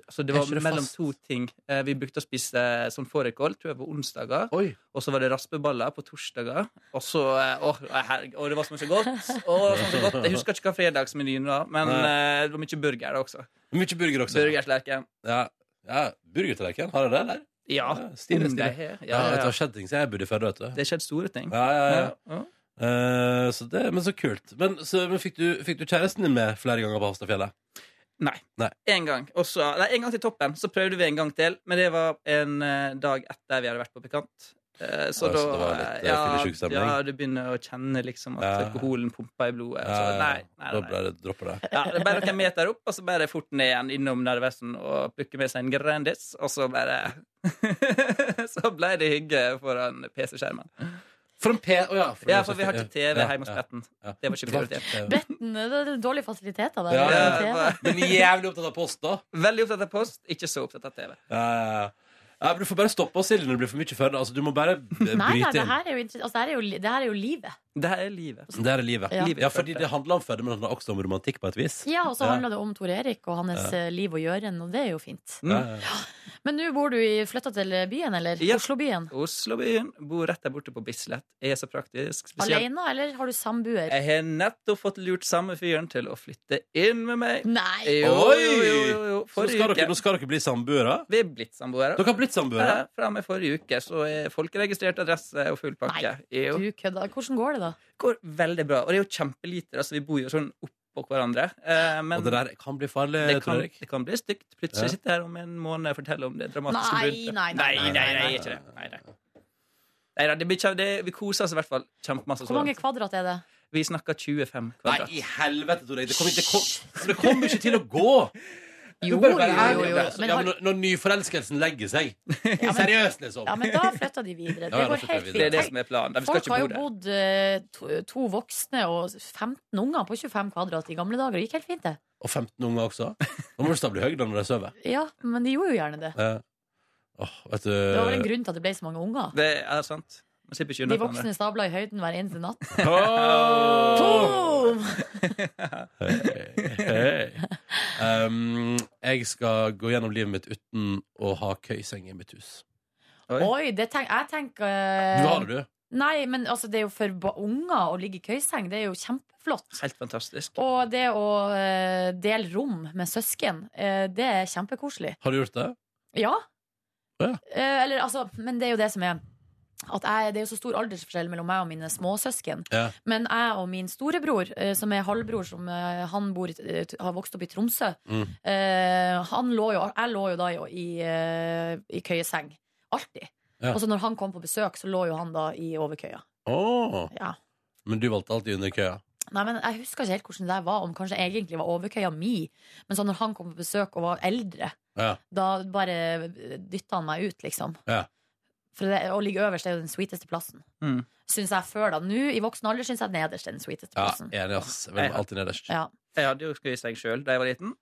Speaker 13: Så det
Speaker 2: Er
Speaker 13: var
Speaker 2: ikke det
Speaker 13: mellom
Speaker 2: fast?
Speaker 13: to ting. Eh, Vi brukte å spise eh, sånn fårikål tror jeg, på onsdager. Og så var det raspeballer på torsdager. Og så eh, Å, herregud. Og det var så mye godt. Og så mye godt. Jeg husker ikke hva fredagsmenyen var, men
Speaker 2: Nei.
Speaker 13: eh, det var mye burger også.
Speaker 2: Mye burger også.
Speaker 13: Burgerslerken.
Speaker 2: Ja, ja Burgertallerken, har dere det, eller?
Speaker 13: Ja.
Speaker 2: Stilig,
Speaker 13: Mm,
Speaker 2: stilig.
Speaker 13: det har jeg. Ja,
Speaker 2: Ja,
Speaker 13: ja,
Speaker 2: Det
Speaker 13: ja.
Speaker 2: har skjedd ting som jeg burde følge, vet du.
Speaker 13: Det skjedde store ting.
Speaker 2: Ja, ja, ja.
Speaker 13: Ja, ja.
Speaker 2: Eh, så det, men så kult. Men, så, men fikk, du, fikk du kjæresten din med flere ganger på Hafstadfjellet?
Speaker 13: Nei.
Speaker 2: Nei.
Speaker 13: En gang. Og så- nei, en gang til toppen. Så prøvde vi en gang til, men det var en eh, dag etter vi hadde vært på Pikant. Eh, Så
Speaker 2: Ja, så
Speaker 13: da
Speaker 2: det var litt, eh, fyllesyk
Speaker 13: ja,
Speaker 2: stemning.
Speaker 13: ja, du begynner å kjenne liksom at
Speaker 2: Ja.
Speaker 13: alkoholen pumper i blodet.
Speaker 2: Ja,
Speaker 13: Så
Speaker 2: ja,
Speaker 13: nei, nei,
Speaker 2: Eh, Da
Speaker 13: nei.
Speaker 2: ble det dropper det.
Speaker 13: Ja, det er bare noen meter opp, og så bare fort ned igjen innom Narvesen og plukke med seg en Grandis, og så bare Så ble det hygge foran PC-skjermen.
Speaker 2: For en P... Å ja.
Speaker 13: Ja, for vi har ikke TV hjemme hos Betten. Det var ikke prioritert.
Speaker 3: Betten, Mm, det er dårlige fasiliteter der.
Speaker 13: Ja,
Speaker 3: Det er
Speaker 13: ja,
Speaker 3: TV.
Speaker 13: ja.
Speaker 2: Men jævlig opptatt av post, da.
Speaker 13: Veldig opptatt av post, ikke så opptatt av TV.
Speaker 2: Ja, ja, ja. ja, men du får bare stoppe oss, Silje, når det blir for mye før. Altså, du må bare b- bryte
Speaker 3: Nei, nei, det
Speaker 2: inn.
Speaker 3: her er jo, inter- altså, det her er jo, li- det her er jo livet.
Speaker 13: Det her er livet.
Speaker 2: Det her er livet.
Speaker 3: Ja.
Speaker 2: Ja, fordi det handler om føde, men det handler også om romantikk på et vis.
Speaker 3: Ja, og så handler det om Tor Erik og hans
Speaker 2: Ja.
Speaker 3: eh, liv og gjøren, og det er jo fint.
Speaker 13: Mm.
Speaker 2: Ja, ja, ja.
Speaker 3: Men nå bor du i flytta til byen, eller? Oslobyen?
Speaker 13: Oslobyen. Bor rett der borte på Bislett. Er så praktisk. Spesielt-
Speaker 3: Alene, eller har du samboer?
Speaker 13: Jeg har nettopp fått lurt samme fyren til å flytte inn med meg.
Speaker 3: Nei!
Speaker 13: Jo,
Speaker 2: Oi!
Speaker 13: jo, jo, jo, jo.
Speaker 2: Så
Speaker 13: Forrige
Speaker 2: skal dere,
Speaker 13: uke.
Speaker 2: nå skal dere bli samboere?
Speaker 13: Vi er blitt samboere.
Speaker 2: Dere har blitt samboere?
Speaker 13: Ja, Fra og med forrige uke så er folkeregistrert adresse og full pakke. Jo.
Speaker 3: Du kødder. Hvordan går det, da?
Speaker 13: går veldig bra. Og det er jo kjempelite, altså vi bor jo sånn oppå hverandre. Eh, men
Speaker 2: Og det der kan bli farlig,
Speaker 13: det
Speaker 2: Tor
Speaker 13: kan,
Speaker 2: Erik.
Speaker 13: det kan bli stygt. Plutselig
Speaker 2: Ja.
Speaker 13: sitter jeg her om en måned og forteller om det dramatiske
Speaker 3: Nei,
Speaker 13: bruddet.
Speaker 3: nei, nei, nei,
Speaker 13: nei,
Speaker 3: nei,
Speaker 13: nei, ikke det. Nei, nei. Nei, nei, det blir kjem, det, vi koser oss i hvert fall kjempemasse. så
Speaker 3: Hvor mange
Speaker 13: langt.
Speaker 3: kvadrat er det?
Speaker 13: Vi snakker 25
Speaker 2: Nei,
Speaker 13: kvadrat.
Speaker 2: i helvete, Tor Erik. Det kommer ikke, det kom- det kommer ikke til å gå!
Speaker 3: Jo,
Speaker 2: Du bør være
Speaker 3: jo,
Speaker 2: ærlig
Speaker 3: jo,
Speaker 2: om
Speaker 3: jo.
Speaker 2: det. Så-
Speaker 3: Men
Speaker 2: ja,
Speaker 3: har-
Speaker 2: men når- når nyforelskelsen legger seg. Seriøst, liksom.
Speaker 3: Ja, men da flytta de videre.
Speaker 2: Ja,
Speaker 3: Det
Speaker 2: ja, da
Speaker 3: går
Speaker 2: flytter
Speaker 3: helt fint.
Speaker 2: vi videre.
Speaker 13: Det er det som er planen. Vi skal
Speaker 3: Folk
Speaker 13: ikke
Speaker 3: har jo
Speaker 13: bo der.
Speaker 3: bodd eh, to, to voksne og 15 unger på 25 kvadrat i gamle dager. Det gikk helt fint, det.
Speaker 2: Og 15 unger også. Nå må du stable høy da når de sover.
Speaker 3: Ja, men de gjorde jo gjerne det.
Speaker 2: Eh, åh, vet du
Speaker 3: Det var vel en grunn til at det ble så mange unger.
Speaker 13: Det er sant. Man slipper ikke unna
Speaker 3: De voksne stabla i høyden hver eneste natt.
Speaker 2: Åh!
Speaker 3: Boom!
Speaker 2: Hei, hei. Um, jeg skal gå gjennom livet mitt uten å ha køyseng i mitt hus.
Speaker 3: Oi, det tenk, jeg tenker
Speaker 2: Du har det, du?
Speaker 3: Nei, men altså, det er jo for ba- unger å ligge i køyseng. Det er jo kjempeflott.
Speaker 13: Helt fantastisk.
Speaker 3: Og det å eh, dele rom med søsken, eh, det er kjempekoselig.
Speaker 2: Har du gjort det?
Speaker 3: Ja.
Speaker 2: Ja.
Speaker 3: Eh, eller, altså, men det er jo det som er at jeg, Det er jo så stor aldersforskjell mellom meg og mine småsøsken.
Speaker 2: Ja.
Speaker 3: Men jeg og min storebror, eh, som er halvbror, som eh, han bor, i- eh, t- har vokst opp i Tromsø
Speaker 2: Mm.
Speaker 3: eh, han lå jo, Jeg lå jo da i, i, eh, i køyeseng. Alltid.
Speaker 2: Ja.
Speaker 3: Og så når han kom på besøk, så lå jo han da i overkøya.
Speaker 2: Åh.
Speaker 3: Ja.
Speaker 2: Men du valgte alltid under køya.
Speaker 3: Nei, men Jeg husker ikke helt hvordan det der var, om kanskje egentlig var overkøya mi. Men så når han kom på besøk og var eldre,
Speaker 2: Ja.
Speaker 3: da bare dytta han meg ut, liksom.
Speaker 2: Ja.
Speaker 3: For det, å ligge øverst er jo den sweeteste plassen.
Speaker 13: Mm.
Speaker 3: Syns jeg før, da. Nå i voksen alder syns jeg nederst er den sweeteste
Speaker 2: Ja,
Speaker 3: plassen.
Speaker 2: enig, ass. Vel, alltid nederst.
Speaker 3: Ja.
Speaker 13: Jeg hadde jo skøyeseng sjøl da jeg var liten.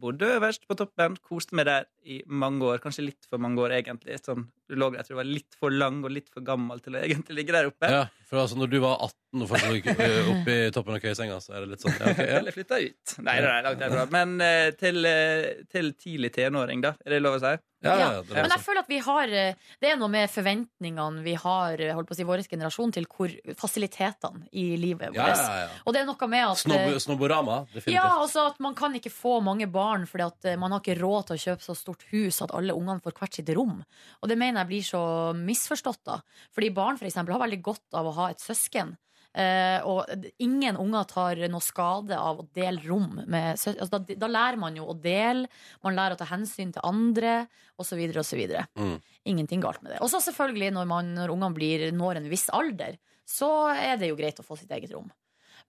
Speaker 13: Bodde øverst på toppen, koste meg der i mange år. Kanskje litt for mange år, egentlig. Sånn, du lå der, jeg tror jeg var litt for lang og litt for gammel til å egentlig ligge der oppe.
Speaker 2: Ja, for altså, når du var 18 og fortsatt gikk ø, opp i toppen av køyesenga, så er det litt sånn ja, ok, ja.
Speaker 13: Eller flytta ut. Nei, nei, nei, langt derfra. Men eh, til, eh, til tidlig tenåring, da. Er det lov å si?
Speaker 3: Ja. Men jeg føler at vi har eh, Det er noe med forventningene vi har eh, holdt på å si, vår generasjon til hvor fasilitetene i livet
Speaker 2: Ja,
Speaker 3: vårt.
Speaker 2: ja, ja.
Speaker 3: Og det er noe med at eh,
Speaker 2: Snob Snobborama, definitivt.
Speaker 3: Ja, altså at man kan ikke få mange barn fordi at eh, man har ikke råd til å kjøpe så stort hus at alle ungene får hvert sitt rom. Og det mener jeg blir så misforstått, da. Fordi barn for eksempel har veldig godt av å ha et søsken. Eh, og d- ingen unger tar noe skade av å dele rom med sø altså, da, da lærer man jo å dele, man lærer å ta hensyn til andre, osv., osv.
Speaker 2: Mm.
Speaker 3: Ingenting galt med det. Og så selvfølgelig, når, man, når ungene blir, når en viss alder, så er det jo greit å få sitt eget rom.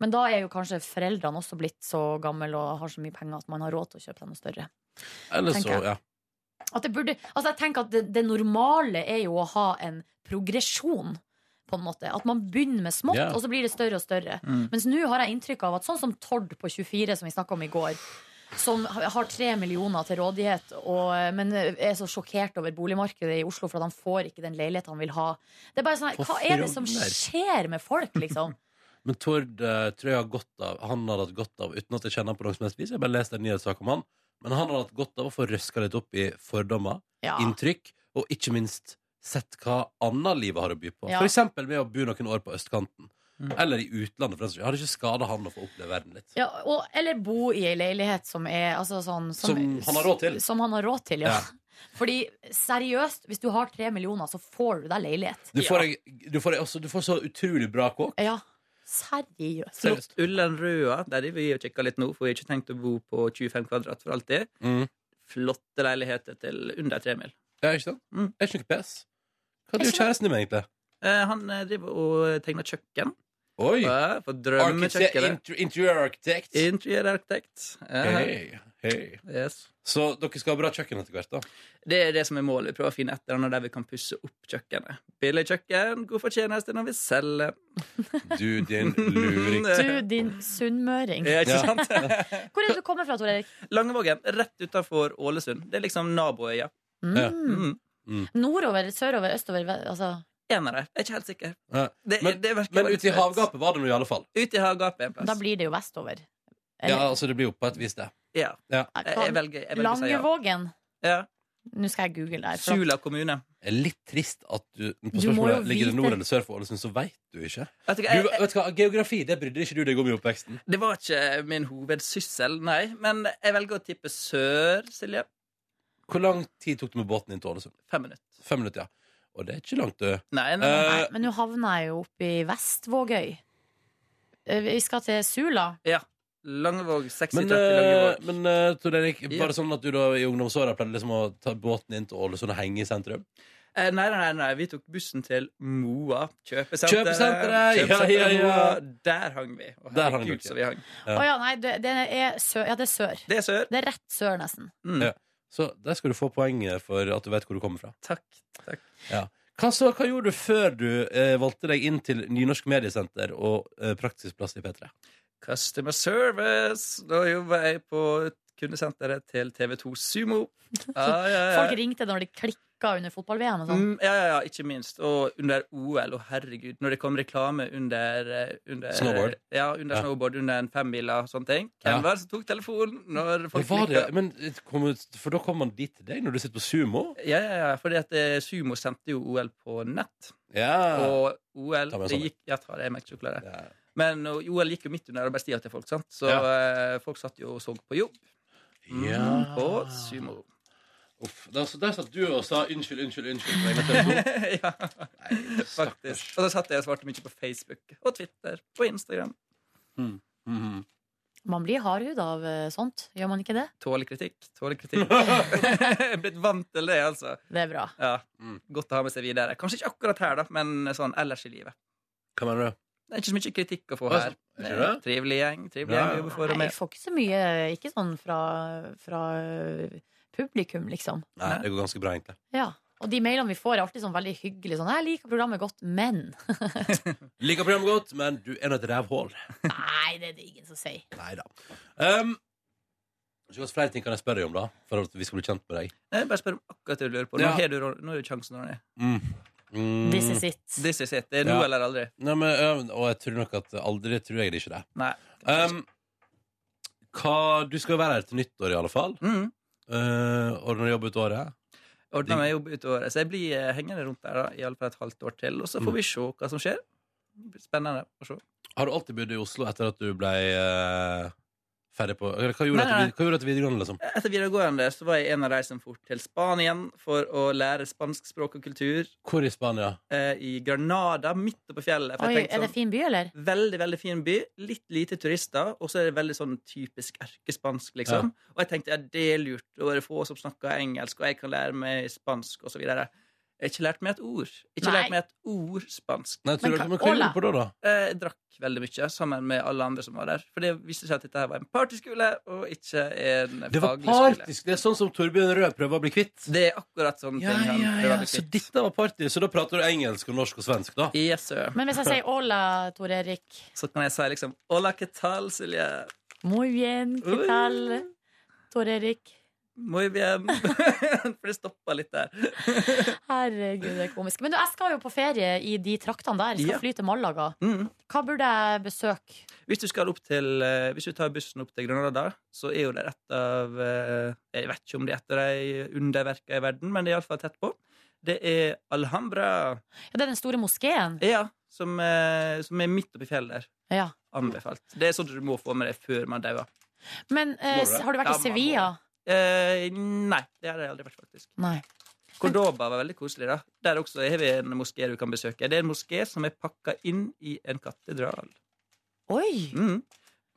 Speaker 3: Men da er jo kanskje foreldrene også blitt så gamle og har så mye penger at man har råd til å kjøpe dem noe større.
Speaker 2: Eller så,
Speaker 3: tenker jeg.
Speaker 2: ja.
Speaker 3: At det burde, altså jeg tenker at det, det normale er jo å ha en progresjon. På en måte. At man begynner med smått,
Speaker 14: Ja.
Speaker 3: og så blir det større og større.
Speaker 14: Mm.
Speaker 3: Mens nå har jeg inntrykk av at sånn som Tord på 24, som vi snakka om i går, som har tre millioner til rådighet, og, men er så sjokkert over boligmarkedet i Oslo for at han får ikke den leiligheten han vil ha. Det er bare sånn, her, Hva er det som
Speaker 2: Forfjordner.
Speaker 3: skjer med folk, liksom?
Speaker 2: Men Tord eh, tror jeg har godt av Han hadde hatt godt av, uten at jeg kjenner han på noe som helst vis Jeg har bare lest en nyhetssak om han Men han hadde hatt godt av å få røska litt opp i fordommer
Speaker 3: Ja.
Speaker 2: Inntrykk Og ikke minst sett hva annet livet har å by på
Speaker 3: Ja. Mm.
Speaker 2: For eksempel med å bo noen år på østkanten Eller i utlandet for den saks skyld. Har det ikke skadet han å få oppleve verden litt
Speaker 3: Ja, og, eller bo i ei leilighet som er altså sånn
Speaker 2: Som han har råd til.
Speaker 3: Som han har råd til, ja.
Speaker 2: Ja.
Speaker 3: Fordi seriøst, hvis du har tre millioner, så får du deg leilighet.
Speaker 2: Du får, en, du får, altså, du får så utrolig bra kåk
Speaker 3: Ja. Seriøst.
Speaker 13: Flott Ullen Røa, der er vi og kikker litt nå, for vi har ikke tenkt å bo på 25 kvadrat for alltid.
Speaker 2: Mm.
Speaker 13: Flotte leiligheter til under tre mil.
Speaker 2: Ja, ikke sant?
Speaker 3: Mm.
Speaker 2: Er ikke noe pes. Hva driver
Speaker 13: Ikke
Speaker 2: kjæresten din med egentlig?
Speaker 13: Eh, han eh, driver og tegner kjøkken.
Speaker 2: Oi!
Speaker 13: Ja, for
Speaker 2: Arkitekt-
Speaker 13: drømmekjøkkenet.
Speaker 2: inter- Interiørarkitekt
Speaker 13: Interiørarkitekt. Ja.
Speaker 2: Hei, hei. Så dere skal ha bra kjøkken etter hvert da
Speaker 13: Det er det som er målet. Vi prøver å finne et eller annet der vi kan pusse opp kjøkkenet. Billig kjøkken, god fortjeneste når vi selger.
Speaker 2: Du, din luring.
Speaker 3: Du, din sunnmøring.
Speaker 13: Ja, ikke sant?
Speaker 3: Hvor er det du kommer fra, Tor Erik?
Speaker 13: Langevågen, rett utenfor Ålesund. Det er liksom naboøya.
Speaker 3: Ja.
Speaker 13: Mm.
Speaker 3: Nordover, sørover, østover? ve- Altså.
Speaker 13: En av dem. Jeg er ikke helt sikker.
Speaker 2: Ja.
Speaker 13: Det,
Speaker 2: Men,
Speaker 13: det virker
Speaker 2: men
Speaker 13: veldig
Speaker 2: ute i
Speaker 13: søtt.
Speaker 2: havgapet var det nå i alle fall.
Speaker 13: Ute i havgapet er en
Speaker 3: Da
Speaker 13: plass.
Speaker 3: blir det jo vestover.
Speaker 2: Ja, altså det blir jo på et vis det.
Speaker 13: Ja.
Speaker 2: Ja.
Speaker 13: Jeg,
Speaker 3: sånn
Speaker 13: jeg velger, jeg velger å si ja.
Speaker 3: Langevågen.
Speaker 13: ja.
Speaker 3: Nå skal jeg google det. her, for at-
Speaker 13: Sula kommune.
Speaker 2: Det er Litt trist at du
Speaker 3: Du
Speaker 2: på
Speaker 3: må jo
Speaker 2: spørsmålet, Ligger det
Speaker 3: vite.
Speaker 2: nord eller sør for Ålesund, så veit du ikke.
Speaker 13: Vet
Speaker 2: du,
Speaker 13: du hva, jeg-
Speaker 2: vet du hva, Geografi det brydde ikke du deg om i oppveksten.
Speaker 13: Det var ikke min hovedsyssel, nei. Men jeg velger å tippe sør, Silje.
Speaker 2: Hvor lang tid tok det med båten inn til Ålesund?
Speaker 13: Fem minutter.
Speaker 2: Fem minutter, ja. Og det er ikke langt, du. Eh,
Speaker 13: Nei,
Speaker 3: Nei, men nå havna jeg jo oppe i Vestvågøy. Eh, Vi skal til Sula.
Speaker 13: Ja. Langevåg, 60-30
Speaker 2: men, eh,
Speaker 13: Langevåg.
Speaker 2: men eh, Tor Erik, var
Speaker 13: Ja.
Speaker 2: det sånn at du da i ungdomsåra pleide liksom å ta båten inn til Ålesund og henge i sentrum?
Speaker 13: Eh, nei, nei, nei, nei, vi tok bussen til Moa kjøpesenter.
Speaker 2: Kjøpesenteret, ja, ja, ja.
Speaker 13: Moa. Der hang vi. Og
Speaker 2: Der hang
Speaker 13: herregud,
Speaker 2: dere.
Speaker 13: så vi hang.
Speaker 3: Å ja, nei, det, det er sør. Ja, det er sør.
Speaker 13: Det er sør.
Speaker 3: Det er rett sør, nesten.
Speaker 2: Ja. Så der skal du få poeng for at du vet hvor du kommer fra.
Speaker 13: Takk, takk.
Speaker 2: Ja. Hva, så, hva gjorde du før du eh, valgte deg inn til Nynorsk Mediesenter og eh, praksisplass i P3?
Speaker 13: Customer service. Da jobber jeg på kundesenteret til TV2 Sumo. Ja, ja, ja.
Speaker 3: Folk ringte når de klikka under fotball-VM og sånn.
Speaker 13: Mm, ja, ja, ja, ikke minst. Og under OL, og herregud, når det kom reklame under, eh, under
Speaker 2: Snowboard.
Speaker 13: Ja, under
Speaker 2: Ja.
Speaker 13: snowboard, under en femmila og sånne ting. Hvem
Speaker 2: Ja.
Speaker 13: var det som tok telefonen når folk
Speaker 2: Hva var det?
Speaker 13: likte-
Speaker 2: Men, eh, kom, ut- for da kommer man dit til deg når du sitter på sumo?
Speaker 13: Ja, ja, ja, fordi at eh, Sumo sendte jo OL på nett.
Speaker 2: Ja.
Speaker 13: Og OL
Speaker 2: Ta med
Speaker 13: det
Speaker 2: en sånn.
Speaker 13: gikk, ja, ta det, jeg merker sjokolade. Men og OL gikk jo midt under arbeidstida til folk, sant? så eh, folk satt jo og så på jobb. Mm,
Speaker 2: Ja.
Speaker 13: På Sumo.
Speaker 2: Uff, der, så der satt du og sa unnskyld, unnskyld, unnskyld. på vegne av TV2.
Speaker 13: ja, faktisk. Og så satt jeg og svarte mye på Facebook og Twitter og Instagram.
Speaker 2: Mhm.
Speaker 13: Mm.
Speaker 3: Man blir hardhuda av eh, sånt, gjør man ikke det?
Speaker 13: Tåler kritikk. Tåler kritikk. jeg er blitt vant til det, altså.
Speaker 3: Det er bra.
Speaker 13: Ja.
Speaker 2: Mm.
Speaker 13: Godt å ha med seg videre. Kanskje ikke akkurat her, da, men sånn ellers i livet.
Speaker 2: Hva mener du?
Speaker 13: Det er ikke så mye kritikk å få
Speaker 2: Hva
Speaker 13: her.
Speaker 2: sa-
Speaker 13: Det
Speaker 2: er det
Speaker 13: er en
Speaker 2: det?
Speaker 13: Trivelig gjeng. Trivelig
Speaker 2: Ja.
Speaker 13: gjeng vi jobber for og
Speaker 3: Nei,
Speaker 13: med.
Speaker 3: jeg får ikke så mye Ikke sånn fra, fra eh, publikum, liksom.
Speaker 2: Nei, det går ganske bra, egentlig.
Speaker 3: Ja. Og de mailene vi får, er alltid sånn veldig hyggelige. Sånn 'Jeg liker programmet godt, men'
Speaker 2: Liker programmet godt, men du er nå et rævhål.
Speaker 3: Nei, det er det ingen som sier.
Speaker 2: Nei da. Um, hva slags flere ting kan jeg spørre deg om, da? For at vi skal bli kjent med deg.
Speaker 13: Nei, Bare spør om akkurat det du lurer på. Nå
Speaker 2: Ja.
Speaker 13: har du, Ron- nå har du sjansen, Ronny.
Speaker 2: Mm.
Speaker 13: This is it. This is it. Det er nå eller aldri.
Speaker 2: Nei, men, ø, og jeg tror nok at aldri tror jeg det ikke det.
Speaker 13: Nei.
Speaker 2: Um, hva, du skal jo være her til nyttår, i alle fall.
Speaker 13: Mm.
Speaker 2: Uh, ordner jobb ut året.
Speaker 13: Ordna meg jobb utover. Så jeg blir eh, hengende rundt der da, i alle fall et halvt år til, og så får
Speaker 2: Mm.
Speaker 13: vi se hva som skjer. Spennende å se.
Speaker 2: Har du alltid bodd i Oslo etter at du ble eh, ferdig på eller, hva, gjorde
Speaker 13: Nei, Eh,
Speaker 2: at du,
Speaker 13: nei.
Speaker 2: vid- hva gjorde at du videregående, liksom?
Speaker 13: Etter videregående så var jeg en av de som for til Spania for å lære spansk språk og kultur.
Speaker 2: Hvor i Spania?
Speaker 13: Eh, I Granada, midt oppe på fjellet. For
Speaker 3: Oi,
Speaker 13: jeg tenkte
Speaker 3: er det
Speaker 13: sånn,
Speaker 3: fin by, eller?
Speaker 13: Veldig veldig fin by. Litt lite turister, og så er det veldig sånn typisk erkespansk. liksom. Og jeg tenkte ja, det er lurt. Og det er få som snakker engelsk, og jeg kan lære meg spansk, og så videre. Jeg har ikke lært meg et ord. Ikke
Speaker 2: Nei.
Speaker 13: lært meg et ord spansk.
Speaker 2: Nei, tror Men du- hva- men hva gjorde du på da,
Speaker 13: Eh, Jeg drakk veldig mye sammen med alle andre som var der. For det viste seg at dette her var en partyskole, og ikke en
Speaker 2: Det var
Speaker 13: faglig skole.
Speaker 2: partisk. Det er sånn som Torbjørn Røe prøver å bli kvitt.
Speaker 13: Det er akkurat sånn
Speaker 2: Ja,
Speaker 13: ting han
Speaker 2: ja,
Speaker 13: prøver å
Speaker 2: ja.
Speaker 13: bli
Speaker 2: Så dette var party, så da prater du engelsk og norsk og svensk, da?
Speaker 13: Yes, sir.
Speaker 3: Men hvis jeg sier hola, Tor Erik
Speaker 13: Så kan jeg si liksom Hola, qué tal, Silje?
Speaker 3: Muy bien, qué tal? Tor Erik.
Speaker 13: Muy bien. For det stoppa litt der.
Speaker 3: Herregud, det er komisk. Men du, jeg skal jo på ferie i de traktene der. Skal
Speaker 13: Ja.
Speaker 3: fly til Malaga.
Speaker 13: Mm.
Speaker 3: Hva burde jeg besøke?
Speaker 13: Hvis du skal opp til eh, Hvis du tar bussen opp til Granada, så er jo det et av eh, Jeg vet ikke om det er et av de underverkene i verden, men det er iallfall tett på. Det er Alhambra.
Speaker 3: Ja, det er den store moskeen?
Speaker 13: Ja, som, eh, som er midt oppi fjellet der.
Speaker 3: Ja.
Speaker 13: Anbefalt. Det er sånt du må få med deg før man dauer.
Speaker 3: Men eh,
Speaker 13: Må du det?
Speaker 3: har du vært
Speaker 13: Ja,
Speaker 3: i
Speaker 13: man
Speaker 3: Sevilla?
Speaker 13: Eh, nei, det har jeg aldri vært, faktisk.
Speaker 3: Nei.
Speaker 13: Cordoba var veldig koselig. da Der også har vi en moské du kan besøke. Det er en moské som er pakka inn i en katedral.
Speaker 3: Oi!
Speaker 13: Mm.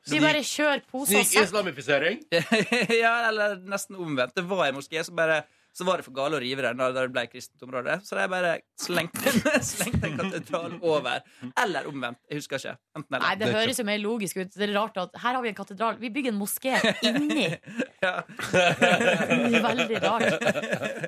Speaker 3: Vi bare kjører poser og sekk.
Speaker 2: islamifisering?
Speaker 13: ja, eller nesten omvendt. Det var en moské som bare så var det for gale å rive den da det ble kristent område. Så de bare slengte en, slengte en katedral over. Eller omvendt. Jeg husker ikke. Enten eller.
Speaker 3: Nei, det høres jo mer logisk ut. Det er rart at Her har vi en katedral. Vi bygger en moské inni. Veldig rart.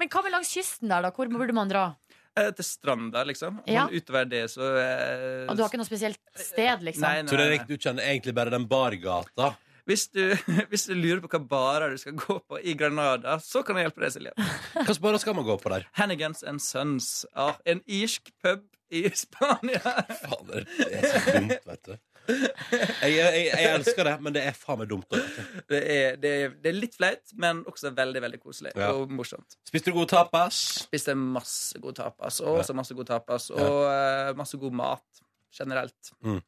Speaker 3: Men hva med langs kysten der, da? Hvor burde man dra?
Speaker 13: Eh, Til stranda, liksom.
Speaker 3: Ja.
Speaker 13: Men utover det, så eh,
Speaker 3: Og du har ikke noe spesielt sted, liksom?
Speaker 2: Tor Erik, du kjenner egentlig bare den bargata.
Speaker 13: Hvis du, hvis du lurer på hva barer du skal gå på i Granada, så kan jeg hjelpe deg, Silje.
Speaker 2: Hvilke barer skal man gå på der?
Speaker 13: Hannigans and Sons. Ja, ah, en irsk pub i Spania.
Speaker 2: Fader, det er så dumt, vet du. Jeg, jeg, jeg elsker det, men det er faen meg dumt. Også.
Speaker 13: Det er, det, er, det er litt flaut, men også veldig veldig koselig
Speaker 2: Ja.
Speaker 13: og morsomt.
Speaker 2: Spiste du god tapas?
Speaker 13: Spiste masse god tapas, og
Speaker 2: Ja.
Speaker 13: også masse god tapas, og eh, masse god mat generelt.
Speaker 2: Mm.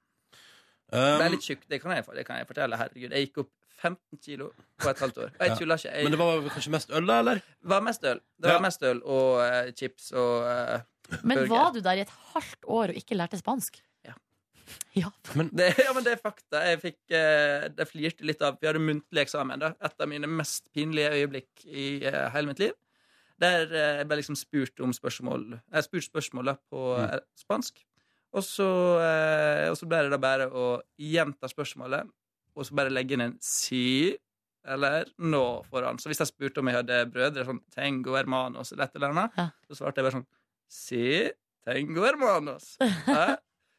Speaker 13: det er
Speaker 2: Um,
Speaker 13: litt tjukt, det kan jeg, det kan jeg fortelle. Herregud, jeg gikk opp 15 kilo på et halvt år. Og
Speaker 2: Ja.
Speaker 13: jeg tuller ikke. Jeg,
Speaker 2: Men det var kanskje mest øl, da? eller?
Speaker 13: Det var mest øl. Det var mest øl og eh, chips og eh,
Speaker 3: Men
Speaker 13: burger.
Speaker 3: var du der i et halvt år og ikke lærte spansk?
Speaker 13: det, ja, men det er fakta. Jeg fikk, eh, det flirte litt av. Vi hadde muntlig eksamen. da Et av mine mest pinlige øyeblikk i eh, hele mitt liv. Der eh, jeg ble liksom spurt om spørsmål Jeg spurte spørsmål da på eh, spansk. Og så, eh, og så ble det da bare å gjenta spørsmålet, og så bare legge inn en si eller nå foran. Så hvis jeg spurte om jeg hadde brødre, sånn tengo hermanos eller et eller annet, så svarte jeg bare sånn si tengo hermanos. Ja.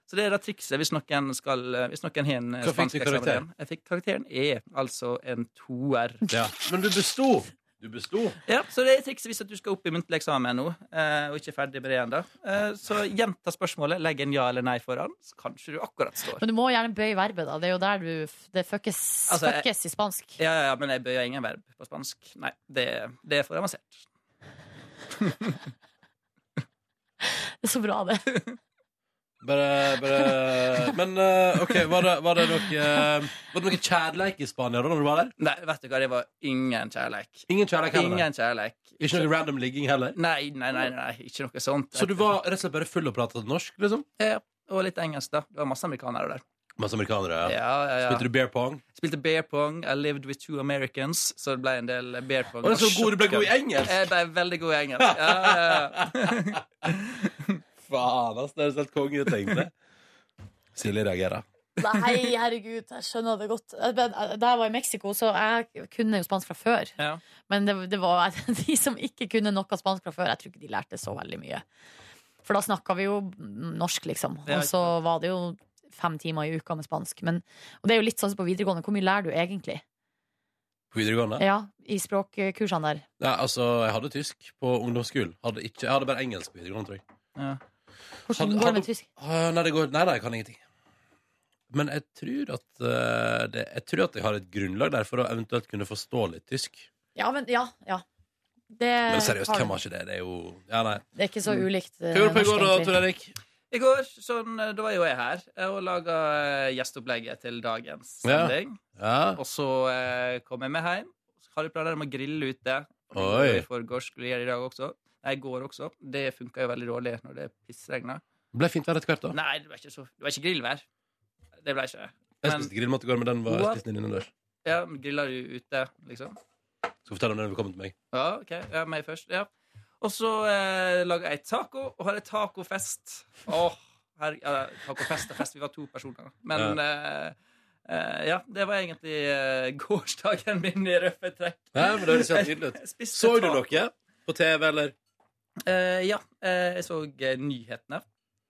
Speaker 13: Så det er da trikset hvis noen, skal, hvis noen har en eh,
Speaker 2: Hva fikk
Speaker 13: spansk
Speaker 2: du
Speaker 13: eksamen.
Speaker 2: karakter?
Speaker 13: igjen. Jeg fikk karakteren E, altså en toer.
Speaker 2: Ja. Men du besto. Du besto.
Speaker 13: Ja, så det er trikset hvis at du skal opp i muntlig eksamen nå, eh, og ikke er ferdig med det ennå. Eh, Så gjenta spørsmålet, legg en ja eller nei foran, så kanskje du akkurat står.
Speaker 3: Men du må gjerne bøye verbet, da. Det er jo der du f- Det fuckes,
Speaker 13: Altså, jeg-
Speaker 3: fuckes i spansk.
Speaker 13: Ja, ja, ja, men jeg bøyer ingen verb på spansk. Nei, det, det er for avansert.
Speaker 3: Det er så bra, det.
Speaker 2: Bare, bare Men eh, OK, var det, var det noe eh, Var det noe kjærleik i Spania da når du var der?
Speaker 13: Nei, vet du hva, det var ingen kjærleik.
Speaker 2: Ingen kjærleik heller?
Speaker 13: Ingen kjærleik.
Speaker 2: Ikke noe random ligging heller?
Speaker 13: Nei, nei, nei, nei, ikke noe sånt.
Speaker 2: Så du var rett og slett bare full og pratet norsk, liksom?
Speaker 13: Ja, og litt engelsk, da. Det var masse amerikanere der.
Speaker 2: Masse amerikanere?
Speaker 13: Ja, ja, ja.
Speaker 2: Spilte du beer pong?
Speaker 13: Spilte beer pong. I lived with two Americans, så det ble en del beer pong.
Speaker 2: Å, så god du ble god i
Speaker 13: Shotgun.
Speaker 2: engelsk.
Speaker 13: Jeg ble veldig god i engelsk. Ja, ja, ja.
Speaker 2: Faen, ass, det høres helt konge ut, egentlig. Silje reagerer.
Speaker 3: Nei, herregud, jeg skjønner det godt. Jeg- jeg- Da jeg var i Mexico, så jeg kunne jo spansk fra før. Men det, det var de som ikke kunne noe spansk fra før, jeg tror ikke de lærte så veldig mye. For da snakka vi jo norsk, liksom.
Speaker 10: Ja,
Speaker 3: Og så var det jo fem timer i uka med spansk. Men, og det er jo litt sånn som på videregående. Hvor mye lærer du egentlig?
Speaker 2: På videregående?
Speaker 3: Ja, I språkkursene der.
Speaker 2: Nei, altså, jeg hadde tysk på ungdomsskolen. Hadde ikke, jeg hadde bare engelsk på videregående, tror jeg.
Speaker 3: Hvordan går det med tysk?
Speaker 2: Ah, nei, det går, nei, nei, jeg kan ingenting. Men jeg tror, at, eh, det, jeg tror at jeg har et grunnlag der for å eventuelt kunne forstå litt tysk.
Speaker 3: Ja, men ja. ja. Det,
Speaker 2: Men seriøst,
Speaker 3: Eh, har du.
Speaker 2: hvem har ikke det? Det er jo Ja, nei. Mm.
Speaker 3: det er ikke så ulikt. eh,
Speaker 2: Hva gjorde du på
Speaker 3: norsk,
Speaker 2: i går da,
Speaker 3: egentlig.
Speaker 2: Tor Erik?
Speaker 13: I går, sånn, da var jo jeg her eh, og laga eh, gjesteopplegget til dagens
Speaker 2: Ja.
Speaker 13: sending.
Speaker 2: Ja.
Speaker 13: Og så eh, kom jeg med hjem. Så Hadde planer om å grille ute.
Speaker 2: Oi.
Speaker 13: I forgårs skulle jeg gjøre det i dag også. Nei, i går også. Det funka jo veldig dårlig når det pissregna.
Speaker 2: Ble fint vær etter hvert, da.
Speaker 13: Nei, det var ikke, så, det var ikke grillvær. Det ble ikke det.
Speaker 2: Jeg spiste grillmat i går, men den var jeg
Speaker 13: What?
Speaker 2: spiste den innendørs.
Speaker 13: Ja, men griller du ute, liksom?
Speaker 2: Skal fortelle om den når du kommer til meg.
Speaker 13: Ja, ok. Ja, meg først. Ja. Og så eh, laga jeg taco og hadde tacofest. Åh, her, ja, tacofest og fest. Vi var to personer. Men eh, eh, ja, det var egentlig eh, gårsdagen min i røffe trekk.
Speaker 2: Ja, men det høres helt nydelig ut.
Speaker 13: Jeg spiste
Speaker 2: Så du
Speaker 13: taco.
Speaker 2: noe på TV, eller?
Speaker 13: Eh, ja, eh, jeg så eh, nyhetene.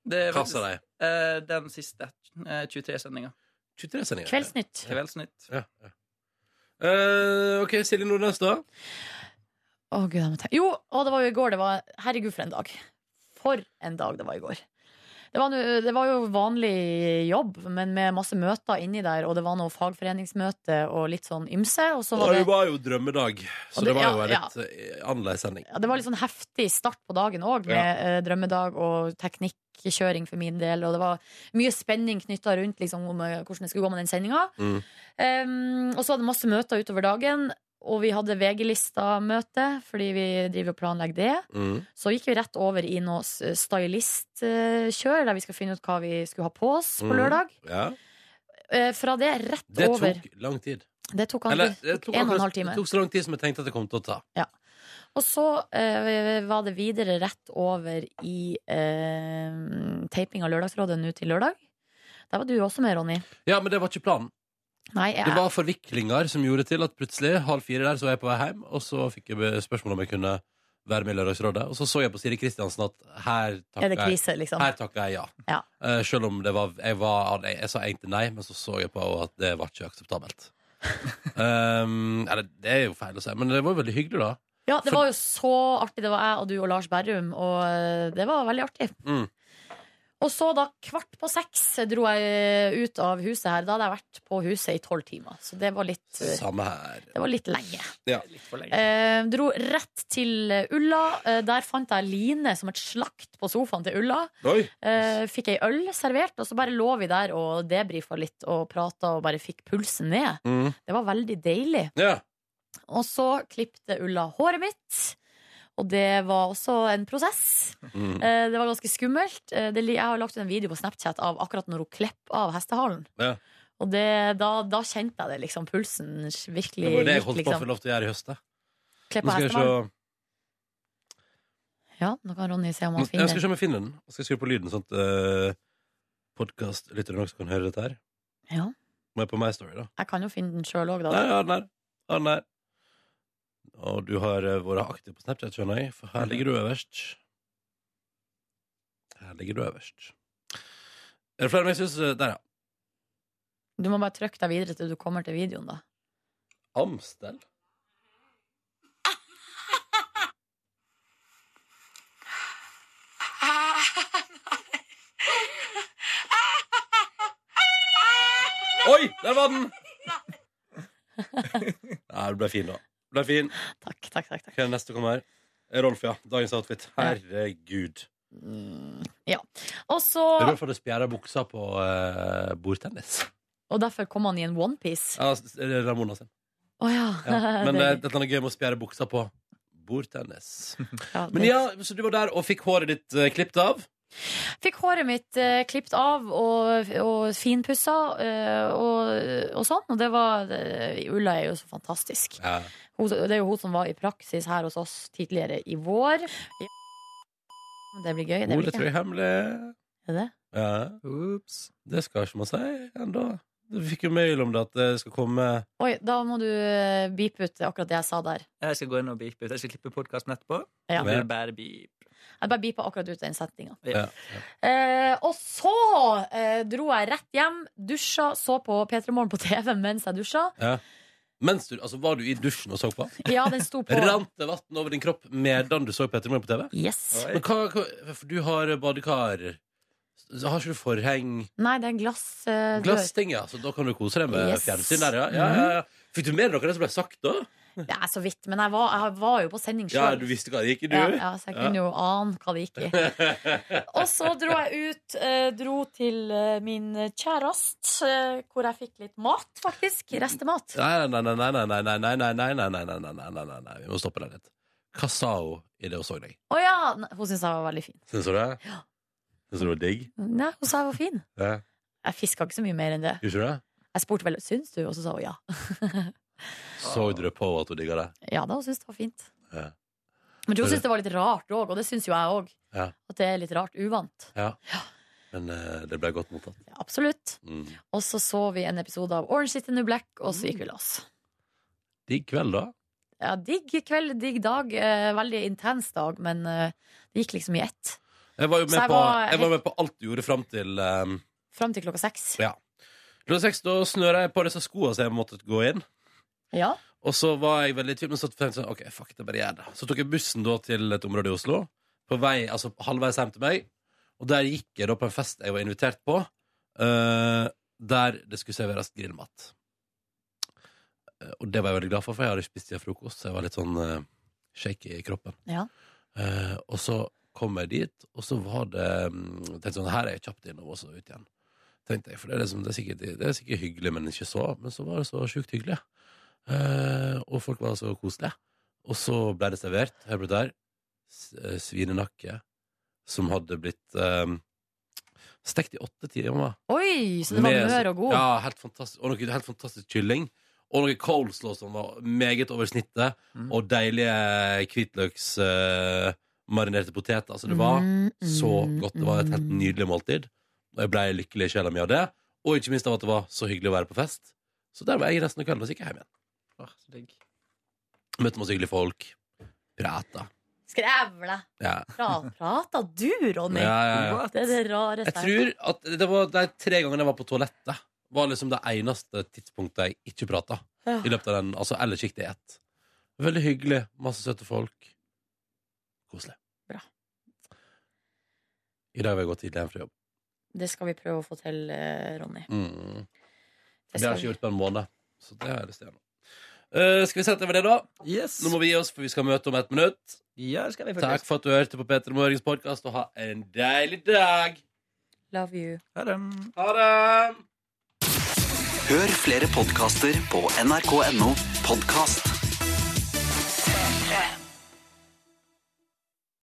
Speaker 13: Det
Speaker 2: Hva sa de?
Speaker 13: eh, den siste. eh, 23-sendinga.
Speaker 2: 23-sendinga?
Speaker 3: Kveldsnytt.
Speaker 13: Kveldsnytt.
Speaker 2: Ja, ja. Eh, OK, Silje Nordnes, da.
Speaker 3: Å, Gud, jeg må tenke. Jo, og det var jo i går. Det var, herregud, for en dag. For en dag det var i går. Det var, nå- det var jo vanlig jobb, men med masse møter inni der, og det var noe fagforeningsmøte og litt sånn ymse. Og så
Speaker 2: Det
Speaker 3: var det,
Speaker 2: var jo drømmedag, så
Speaker 3: Og
Speaker 2: det
Speaker 3: det-
Speaker 2: var
Speaker 3: ja,
Speaker 2: jo en litt eh, annerledes sending.
Speaker 3: ja, det var litt sånn heftig start på dagen òg, med
Speaker 2: Ja.
Speaker 3: eh, drømmedag og teknikkjøring for min del, og det var mye spenning knytta rundt liksom, om eh, hvordan det skulle gå med den sendinga.
Speaker 2: Mm.
Speaker 3: Um, og så hadde vi masse møter utover dagen, og vi hadde VG-lista-møte, fordi vi driver og planlegger det.
Speaker 2: Mm.
Speaker 3: Så gikk vi rett over i noe eh, stylistkjør, der vi skal finne ut hva vi skulle ha på oss på
Speaker 2: Mm.
Speaker 3: lørdag.
Speaker 2: Ja.
Speaker 3: Eh, Fra det rett
Speaker 2: Det
Speaker 3: over
Speaker 2: tok lang tid.
Speaker 3: Det tok, aldri,
Speaker 2: Eller,
Speaker 3: det tok en og en
Speaker 2: akkurat-
Speaker 3: halv time.
Speaker 2: Det tok så lang tid som jeg tenkte at det kom til å ta.
Speaker 3: Og så eh, var det videre rett over i eh, taping av Lørdagsrådet nå til lørdag. Der var du også med, Ronny.
Speaker 2: Ja, men det var ikke planen.
Speaker 3: Nei, jeg,
Speaker 2: Det var forviklinger som gjorde til at plutselig halv fire der så var jeg på vei hjem, og så fikk jeg be- spørsmål om jeg kunne være med i Lørdagsrådet. Og så så jeg på Siri Kristiansen at her takka
Speaker 3: Er det krise, liksom?
Speaker 2: jeg, her takka jeg ja.
Speaker 3: Ja.
Speaker 2: Eh, selv om det var, jeg, var jeg, jeg sa egentlig nei, men så så jeg på henne at det var ikke akseptabelt. um, eller, det er jo feil å si, men det var jo veldig hyggelig, da.
Speaker 3: ja, det var jo så artig. Det var jeg og du og Lars Berrum, og eh, det var veldig artig.
Speaker 2: Mm.
Speaker 3: Og så da kvart på seks dro jeg ut av huset her. Da hadde jeg vært på huset i tolv timer. Så det var litt, eh,
Speaker 2: Samme her.
Speaker 3: det var litt lenge.
Speaker 2: Ja.
Speaker 3: Eh, dro rett til Ulla. Eh, der fant jeg Line som et slakt på sofaen til Ulla.
Speaker 2: Oi.
Speaker 3: Eh, fikk ei øl servert, og så bare lå vi der og debrifa litt og prata og bare fikk pulsen ned.
Speaker 2: Mm.
Speaker 3: Det var veldig deilig.
Speaker 2: Ja.
Speaker 3: Og så klipte Ulla håret mitt. Og det var også en prosess.
Speaker 2: Mm.
Speaker 3: Eh, Det var ganske skummelt. Eh, Det, li- jeg har lagt ut en video på Snapchat av akkurat når hun klipper av hestehalen.
Speaker 2: Ja.
Speaker 3: Og det, da, da kjente jeg det, liksom. Pulsen virkelig
Speaker 2: Det var det jeg
Speaker 3: gikk,
Speaker 2: holdt på å
Speaker 3: liksom.
Speaker 2: få lov til å gjøre i høst. da.
Speaker 3: Klipp
Speaker 2: Nå
Speaker 3: av
Speaker 2: skal jeg se
Speaker 3: hestehalen. Ja, nå kan Ronny se om
Speaker 2: Nå-
Speaker 3: han finner
Speaker 2: Jeg skal se om jeg finner den. Jeg skal skru på lyden, sånn at uh, podkastlytterne også kan høre dette her.
Speaker 3: Ja.
Speaker 2: Må jeg på My Story, da?
Speaker 3: Jeg kan jo finne den sjøl òg, da.
Speaker 2: Nei, ja, den her. Ja, den her. Og du har eh, vært aktiv på Snapchat, skjønner jeg, for her ligger du øverst. Her ligger du øverst. Er det flere enn jeg syns Der, ja.
Speaker 3: Du må bare trykke deg videre til du kommer til videoen, da.
Speaker 2: Amstel? Oi, der var den! Nei, du ble fin, da. Du ble fin.
Speaker 3: Takk, takk, takk,
Speaker 2: Hva er det neste som kommer her? Eh, Rolf, ja. Dagens outfit. Herregud.
Speaker 3: Ja. Og så
Speaker 2: Det er derfor det spjærer buksa på eh, bordtennis.
Speaker 3: Og derfor kom han i en onepiece.
Speaker 2: Ja, s- det er Ramona sin.
Speaker 3: Å ja.
Speaker 2: Ja. Men eh, det
Speaker 3: Deilig.
Speaker 2: er et eller annet gøy med å spjære buksa på bordtennis. Men
Speaker 3: det-
Speaker 2: ja, så du var der og fikk håret ditt uh, klippet av?
Speaker 3: Fikk håret mitt uh, klippet av og, og finpussa eh, og, og sånn. Og det var eh, Ulla er jo så fantastisk.
Speaker 2: Ja.
Speaker 3: Hun, det er jo hun som var i praksis her hos oss tidligere i vår. Det blir gøy. Det
Speaker 2: Det, oh,
Speaker 3: blir
Speaker 2: det tror jeg
Speaker 3: gøy.
Speaker 2: er hemmelig.
Speaker 3: Er det?
Speaker 2: Ja. Det skal ikke man si ennå. Du fikk jo mail om det at det skal komme
Speaker 3: Oi, da må du eh, beepe ut akkurat det jeg sa der.
Speaker 13: Jeg skal gå inn og beepe ut. Jeg skal klippe podkasten etterpå.
Speaker 3: Ja.
Speaker 13: Det blir bare beep.
Speaker 3: Jeg bare beepa akkurat ut den setninga.
Speaker 13: Ja.
Speaker 3: Eh, og så eh, dro jeg rett hjem, dusja, så på P3 Morgen på TV mens jeg dusja.
Speaker 2: ja. Mens du, altså, Var du i dusjen og så på?
Speaker 3: Ja, den sto på.
Speaker 2: Rant det vann over din kropp medan du så Petter Moen på TV?
Speaker 3: Yes.
Speaker 2: Men hva, hva, for du har badekar. Så Har ikke du forheng?
Speaker 3: Nei, det er en eh, glassdør.
Speaker 2: Glassting, ja. Så da kan du kose deg med
Speaker 3: Yes.
Speaker 2: fjernsyn der, ja. Ja, ja, ja. Fikk du med deg noe av det som ble sagt da?
Speaker 3: Det er så vidt, men jeg var, jeg var jo på sending
Speaker 2: Ja,
Speaker 3: sjøl.
Speaker 2: du visste hva det gikk i, du?
Speaker 3: Ja, ja, så jeg kunne jo ane hva det gikk i. Og så dro jeg ut, eh, dro til eh, min kjæreste, eh, hvor jeg fikk litt mat, faktisk. Restemat.
Speaker 2: Nei, nei, nei, nei, nei, nei, nei, nei, nei, nei, nei, nei, nei, nei, nei, nei, nei, vi må stoppe deg litt. Hva sa hun i det hun så deg?
Speaker 3: Å ja! Nei, Hun syntes jeg var veldig fin.
Speaker 2: Syns du det? Syns du det var digg?
Speaker 3: Nei, hun sa jeg var fin.
Speaker 2: Ja.
Speaker 3: Jeg fiska ikke så mye mer enn det.
Speaker 2: Gjorde du det?
Speaker 3: Jeg spurte vel syns du, og så sa hun ja.
Speaker 2: Så du det på at hun digga det?
Speaker 3: Ja da, hun syntes det var fint.
Speaker 2: Ja.
Speaker 3: Men hun syntes det var litt rart òg, og det syns jo jeg òg.
Speaker 2: Ja.
Speaker 3: At det er litt rart. Uvant.
Speaker 2: ja. Men eh, det ble godt mottatt.
Speaker 3: Absolutt.
Speaker 2: Mm.
Speaker 3: Og så så vi en episode av Orange is the New Black, og så gikk vi la oss.
Speaker 2: Digg kveld, da.
Speaker 3: Ja, digg kveld, digg dag. Eh, veldig intens dag, men eh, det gikk liksom i ett.
Speaker 2: Jeg var
Speaker 3: Så
Speaker 2: jo med,
Speaker 3: jeg
Speaker 2: på,
Speaker 3: var
Speaker 2: jeg var
Speaker 3: helt-
Speaker 2: med på alt du gjorde fram til um,
Speaker 3: Fram til klokka seks.
Speaker 2: Ja. Klokka seks da snøra jeg på disse skoene så jeg måtte gå inn.
Speaker 3: Ja.
Speaker 2: Og så var jeg veldig i tvil, men så tenkte jeg sånn, ok, fuck, det bare gjør det. Så tok jeg bussen da til et område i Oslo, på vei, altså halvveis hjem til meg, og der gikk jeg da på en fest jeg var invitert på, eh, der det skulle serveres grillmat. Eh, Og det var jeg veldig glad for, for jeg hadde ikke spist siden frokost, så jeg var litt sånn eh, shaky i kroppen.
Speaker 3: Ja.
Speaker 2: Eh, og så kom jeg dit, og så var det mm, tenkte sånn, Her er jeg kjapt innom og så ut igjen. Tenkte jeg, for det er, liksom, det, er sikkert, det er sikkert hyggelig, men ikke så. Men så var det så sjukt hyggelig. Eh, og folk var så koselige. Og så ble det servert. Her ble det der. s- eh, Svinenakke som hadde blitt eh, stekt i åtte timer.
Speaker 3: Oi, så den var
Speaker 2: Med-
Speaker 3: mør og god.
Speaker 2: Ja, ah, helt fantastisk. Og noe helt fantastisk kylling. Og noe coleslaw som var meget over snittet. Og deilige hvitløksmarinerte marinerte poteter. Altså, det var
Speaker 14: Mm,
Speaker 2: så godt. Det var et helt nydelig måltid. Og jeg blei lykkelig i sjela mi av det. Og ikke minst av at det var så hyggelig å være på fest. Så der var jeg resten av kvelden og så gikk jeg hjem igjen. Møtte masse hyggelige folk. Prata.
Speaker 3: Skrævla!
Speaker 2: Ja.
Speaker 3: Pra- Prata du, Ronny?
Speaker 2: Ja, ja, ja.
Speaker 3: Det er det rareste
Speaker 2: Jeg tror at det var de tre gangene jeg var på toalettet, var liksom det eneste tidspunktet jeg ikke prata.
Speaker 3: Ja.
Speaker 2: I løpet av den, altså Ellers gikk det i ett. Veldig hyggelig. Masse søte folk. Koselig.
Speaker 3: Bra.
Speaker 2: I dag vil jeg gå tidlig hjem fra jobb.
Speaker 3: Det skal vi prøve å få til, eh, Ronny. Det
Speaker 2: Mm. Det har
Speaker 3: skal
Speaker 2: jeg
Speaker 3: vi.
Speaker 2: ikke gjort på en måned. Så det har jeg lyst til å gjøre nå. Eh, skal vi sette over det, da? Nå må vi gi oss, for vi skal møte om ett minutt. Takk for at du hørte på Peter Morgens podkast, og ha en deilig dag.
Speaker 3: Love you.
Speaker 2: Ha det. Ha det.
Speaker 15: Hør flere podkaster på nrk.no podkast.